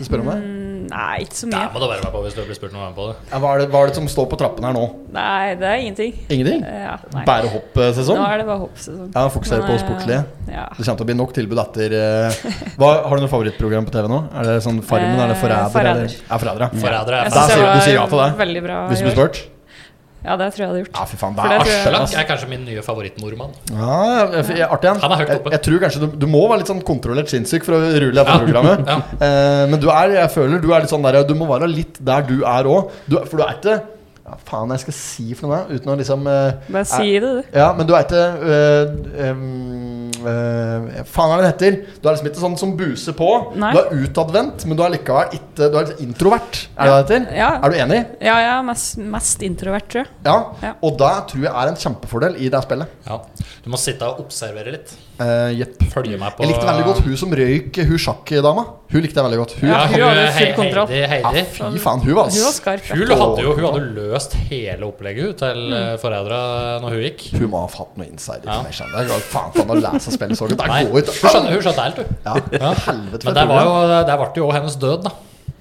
Speaker 2: Du spør om det?
Speaker 1: Mm. Nei, ikke så
Speaker 3: Der
Speaker 1: mye.
Speaker 3: må du være med på hvis du blir spurt om å være med på det.
Speaker 2: Ja, hva, er det, hva er det som står på trappene her nå?
Speaker 1: Nei, det er ingenting.
Speaker 2: Ingenting?
Speaker 1: Eh, Ja, nei.
Speaker 2: Bare hoppsesong?
Speaker 1: Nå er det bare hoppsesong.
Speaker 2: Ja, fokuserer
Speaker 1: Men,
Speaker 2: på
Speaker 1: eh,
Speaker 2: sportslige.
Speaker 1: Ja.
Speaker 2: Det kommer til å bli nok tilbud etter eh, hva, Har du noe favorittprogram på TV nå? Er det sånn Farmen? Er det
Speaker 1: Eh,
Speaker 2: Forræder?
Speaker 1: Forræder.
Speaker 2: eller? Ja, Forræder. ja.
Speaker 3: Forrædere
Speaker 1: Jeg
Speaker 3: er
Speaker 2: Da
Speaker 1: synes
Speaker 3: fæle.
Speaker 1: det
Speaker 2: sier- du sier ja
Speaker 1: var
Speaker 2: til det?
Speaker 1: Veldig bra.
Speaker 2: Hvis du
Speaker 1: i
Speaker 2: blir
Speaker 1: år.
Speaker 2: spurt?
Speaker 1: Ja, det tror jeg jeg hadde gjort.
Speaker 2: Ja, fy faen,
Speaker 1: For
Speaker 2: det
Speaker 1: det
Speaker 2: er
Speaker 1: tror jeg-
Speaker 2: artig.
Speaker 3: Slakk
Speaker 2: ass.
Speaker 3: er kanskje min nye favorittnordmann.
Speaker 2: Ja, jeg- jeg- artig igjen.
Speaker 3: Han er høyt
Speaker 2: Jeg,
Speaker 3: oppe.
Speaker 2: jeg tror kanskje du, du må være litt sånn kontrollert sinnssyk for å rulle deg på
Speaker 3: Ja,
Speaker 2: programmet.
Speaker 3: ja.
Speaker 2: Eh, men du er, jeg føler du er litt sånn der Du må være litt der du er òg. For du er ikke ja, Faen, jeg skal si for noe uten å liksom eh,
Speaker 1: Bare si det, du.
Speaker 2: Ja, men du er ikke øh, øhm, øh, Faen hva er det det heter? Du er liksom ikke sånn som buser på.
Speaker 1: Nei.
Speaker 2: Du er utadvendt, men du er likevel ikke Du er litt introvert. Er det det det heter?
Speaker 1: Ja,
Speaker 2: Er du enig?
Speaker 1: ja jeg er mest, mest introvert, tror jeg.
Speaker 2: Ja.
Speaker 1: Ja.
Speaker 2: Og det tror jeg er en kjempefordel i det spillet.
Speaker 3: Ja. Du må sitte og observere litt.
Speaker 2: Eh, jepp.
Speaker 3: Følge med på
Speaker 2: Jeg likte veldig godt hun som røyk, hun sjakkdama. Hun likte jeg veldig godt. Hun,
Speaker 3: Ja, hun,
Speaker 1: hun hadde
Speaker 3: Hei-
Speaker 1: full kontroll.
Speaker 3: Heidi, Heidi.
Speaker 2: ja, fy faen, hun var
Speaker 1: Hun var skarp. ja.
Speaker 3: Hun hadde jo hun hadde løst hele opplegget hun, til mm. forrædere når hun gikk.
Speaker 2: Hun må ha hatt noe insider
Speaker 3: Ja.
Speaker 2: information. Det er jo faen for meg å lese spillet så godt. Det
Speaker 3: Nei,
Speaker 2: er
Speaker 3: hun
Speaker 2: god ut.
Speaker 3: skjønte, hun skjønte helt, du.
Speaker 2: Ja, helvete for
Speaker 3: Men
Speaker 2: et
Speaker 3: der, var
Speaker 2: program.
Speaker 3: jo, der ble jo også hennes død, da.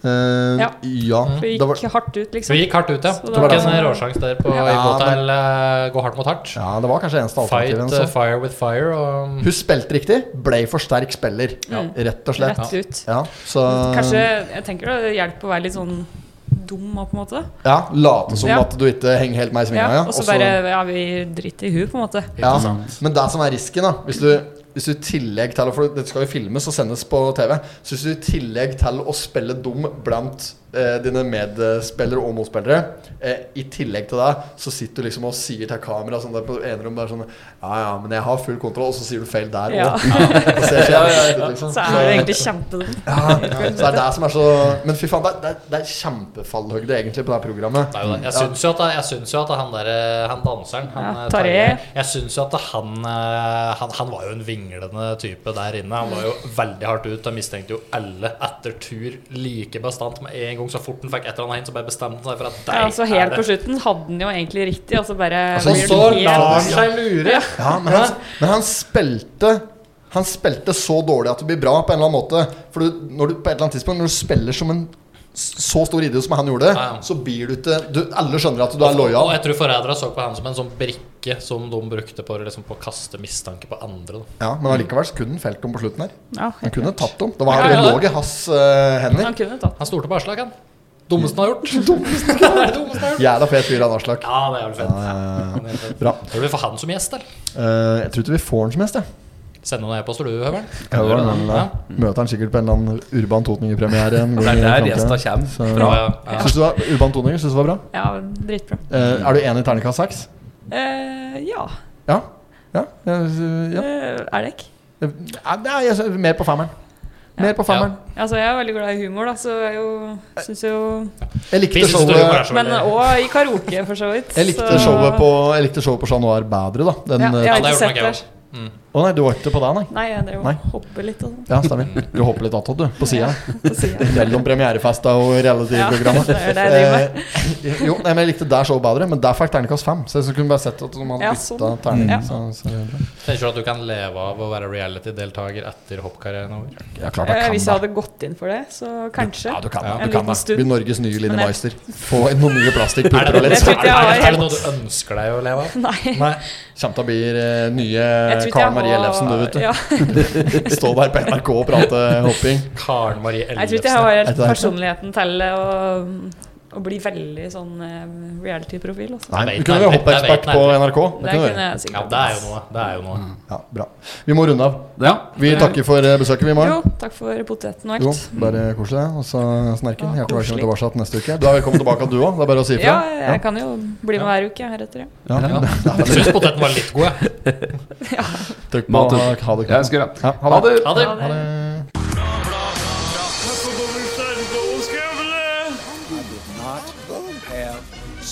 Speaker 2: Eh,
Speaker 1: Ja.
Speaker 2: ja.
Speaker 1: Hun
Speaker 2: Det var,
Speaker 1: gikk hardt ut,
Speaker 3: Hun
Speaker 1: liksom.
Speaker 3: gikk hardt ut, ja.
Speaker 1: Så det var
Speaker 3: Tok en
Speaker 1: liksom-
Speaker 3: råsjanse der på å gå
Speaker 2: Ja,
Speaker 3: til eh, gå hardt mot hardt.
Speaker 2: ja, det var kanskje eneste
Speaker 3: Fight
Speaker 2: alternativet.
Speaker 3: eh,
Speaker 2: sånn.
Speaker 3: fire with fire. Og, um,
Speaker 2: Hun spilte riktig, ble for sterk spiller, rett og slett.
Speaker 1: Rett ut.
Speaker 2: Ja, så
Speaker 1: Kanskje jeg tenker det hjelper å være litt sånn dum òg, på en måte.
Speaker 2: ja, Late som
Speaker 1: Ja.
Speaker 2: at du ikke henger helt meg i svinga.
Speaker 1: Ja,
Speaker 2: Ja,
Speaker 1: og så
Speaker 2: og så-
Speaker 1: bare Ja, vi driter i hun, på en måte.
Speaker 2: ja. Men det som er risken, da hvis du hvis du i tillegg til For dette skal jo filmes og sendes på TV. Så hvis du i tillegg til å spille dum blant eh, dine medspillere og motspillere, eh, i tillegg til det, så sitter du liksom og sier til kamera sånn der på enerom der sånn Ja, ja, men jeg har full kontroll, og så sier du feil der
Speaker 1: Ja.
Speaker 2: også. Og ser så jævlig ut, liksom.
Speaker 1: Så er det egentlig kjempedumt.
Speaker 2: Ja, så det er det som er så Men fy faen, det er, det er, det er kjempefallhøyde egentlig på det her programmet.
Speaker 3: Det er jo det. Jeg syns jo at, jeg syns jo at han der, eh, han danseren han,
Speaker 1: Ja,
Speaker 3: eh,
Speaker 1: Tarjei.
Speaker 3: Jeg syns jo at han, eh, han Han var jo en vinglende type der inne. Han var jo
Speaker 1: Mm.
Speaker 3: veldig hardt ut. Han mistenkte jo alle etter tur like bestandt med en gang. Så fort han fikk et eller annet hint, så bare bestemte han seg for at deg
Speaker 1: Ja, altså Helt
Speaker 3: er
Speaker 1: på
Speaker 3: det.
Speaker 1: slutten hadde den jo egentlig riktig, og så bare
Speaker 2: Altså,
Speaker 1: blir
Speaker 3: Så
Speaker 1: den helt-
Speaker 3: lar han seg lure!
Speaker 2: Ja, men han, men han spilte Han spilte så dårlig at det blir bra på en eller annen måte. For du, når du på et eller annet tidspunkt Når du spiller som en s- så stor idiot som han gjorde,
Speaker 3: Ja, ja.
Speaker 2: så blir du ikke du, Alle skjønner at du er
Speaker 3: Og
Speaker 2: lojal.
Speaker 3: jeg tror forrædere så på han som en sånn brikke som de brukte på, liksom, på å kaste mistanke på andre. Da.
Speaker 2: Ja, men allikevel så kunne han felt dem på slutten her.
Speaker 1: Ja,
Speaker 2: Han kunne tatt dem. Det var
Speaker 3: Ja, ja,
Speaker 2: det
Speaker 3: ja.
Speaker 2: lå i hans eh, hender.
Speaker 1: Han kunne tatt den.
Speaker 3: Han stolte på Aslak, han. Dummeste han har gjort. Dummeste han har gjort.
Speaker 2: Jævla fet fyr, han Aslak.
Speaker 3: Ja, det er jævlig fett.
Speaker 2: Eh,
Speaker 3: Det er fett.
Speaker 2: Bra.
Speaker 3: Tror du vi får han som gjest, eller?
Speaker 2: Eh, jeg tror ikke vi får han som gjest, jeg.
Speaker 3: Send noen e-poster, du, Høveren.
Speaker 2: Ja, det var den,
Speaker 3: Ja.
Speaker 2: da. Møter han sikkert på en eller annen Urban Totninger-premiere. en gang i
Speaker 7: Det er
Speaker 2: fremtiden.
Speaker 7: der gjesta kommer
Speaker 2: Så-
Speaker 7: fra.
Speaker 3: Ja, ja.
Speaker 2: Syns du det var- Urban Totninger synes det var bra?
Speaker 1: Ja, men dritbra.
Speaker 2: Eh,
Speaker 7: Mm.
Speaker 2: er du enig i terningkast seks?
Speaker 1: Eh, ja.
Speaker 2: Ja. Ja. jeg- ja.
Speaker 1: Eh, er det ikke?
Speaker 2: Ja, Nei, jeg synes- mer på femmeren. Mer på femmeren.
Speaker 1: Altså, jeg er veldig glad i humor, da, så jeg jo syns jo
Speaker 2: Jeg likte
Speaker 3: Vi synes du
Speaker 2: showet
Speaker 3: er så
Speaker 1: Men uh,
Speaker 3: veldig-
Speaker 1: òg i karaoke, for så vidt.
Speaker 2: jeg likte
Speaker 1: så-
Speaker 2: showet på Jeg likte showet på Chat Noir bedre, da. Den,
Speaker 1: ja, Jeg har
Speaker 2: eh,
Speaker 3: Ja, det
Speaker 1: ikke
Speaker 3: gjorde
Speaker 1: sett
Speaker 3: nok jeg
Speaker 1: det.
Speaker 2: Å nei, du var ikke på den, nei?
Speaker 1: Nei, jeg drev
Speaker 2: Nei.
Speaker 1: og hoppet litt og sånn.
Speaker 2: Ja, stemmer. Du hopper litt attåt, du. På sida.
Speaker 1: på siden.
Speaker 2: Mellom premierefesta og reality-programmet.
Speaker 1: Ja, det er det jeg driver
Speaker 2: Eh, jo, nei, men Jeg likte der showet bedre, men der fikk terningkast fem. Så jeg kunne bare sett at de hadde
Speaker 1: Ja,
Speaker 2: bytta
Speaker 1: sånn.
Speaker 2: terning.
Speaker 1: Ja.
Speaker 2: Så, så,
Speaker 3: Tenker du at du kan leve av å være reality-deltaker etter hoppkarrieren over?
Speaker 2: ja, klart jeg
Speaker 1: Eh,
Speaker 2: kan
Speaker 1: Hvis jeg
Speaker 2: det.
Speaker 1: hadde gått inn for det, så kanskje.
Speaker 2: Ja, du kan
Speaker 3: Ja,
Speaker 2: det.
Speaker 1: en
Speaker 2: Du kan
Speaker 1: liten
Speaker 2: det.
Speaker 1: stund.
Speaker 2: Bli Norges nye Line
Speaker 1: Men jeg-
Speaker 2: Meister. Få inn noen nye
Speaker 3: Er
Speaker 2: plastikkputer og
Speaker 3: det, er,
Speaker 2: litt
Speaker 1: Jeg tror
Speaker 2: sånn.
Speaker 1: ikke jeg
Speaker 3: det,
Speaker 1: har
Speaker 3: er det
Speaker 1: helt-
Speaker 3: noe du ønsker deg å leve av?
Speaker 1: Nei.
Speaker 3: Nei.
Speaker 2: Kjem til å bli eh, nye
Speaker 1: Jeg tror ikke
Speaker 2: Karen
Speaker 1: jeg har-
Speaker 2: Marie Ellefsen, du, vet du.
Speaker 1: Ja,
Speaker 2: Stå der på NRK og prate hopping.
Speaker 3: Karen Marie
Speaker 1: jeg tror ikke jeg har
Speaker 3: Ellefsen.
Speaker 1: helt
Speaker 2: Etter hvert.
Speaker 1: personligheten til eh, å, å bli veldig sånn eh, reality-profil. altså.
Speaker 2: Nei,
Speaker 3: Jeg
Speaker 2: du
Speaker 3: vet
Speaker 2: kunne
Speaker 3: nærmere.
Speaker 2: være hoppeekspert
Speaker 3: Jeg
Speaker 2: på
Speaker 3: vet
Speaker 1: Det
Speaker 2: NRK. Det kunne du
Speaker 1: kunne
Speaker 2: gjøre.
Speaker 1: jeg
Speaker 3: Ja,
Speaker 1: sikkert.
Speaker 3: det er jo noe. Det er jo noe.
Speaker 2: Ja, bra. Vi må runde av.
Speaker 7: Ja.
Speaker 2: Vi takker for eh, besøket, vi,
Speaker 1: Jo,
Speaker 2: Maren.
Speaker 1: takk for poteten og
Speaker 2: Jo,
Speaker 1: alt.
Speaker 2: bare koselig. deg, Og så
Speaker 1: Ja,
Speaker 2: Snerken. Hjertelig velkommen
Speaker 1: koselig.
Speaker 2: tilbake neste uke. Du er velkommen tilbake, du òg. Det er bare å si ifra.
Speaker 1: Ja, jeg kan jo bli med hver uke heretter. ja.
Speaker 2: Ja. Ja.
Speaker 3: Jeg syns poteten var litt god, jeg.
Speaker 2: Trykk på
Speaker 7: Maten.
Speaker 2: ha det.
Speaker 7: Ja, jeg skal gjøre det.
Speaker 2: Ja,
Speaker 7: Ha det.
Speaker 3: Ha det.
Speaker 1: Ha det.
Speaker 4: Not have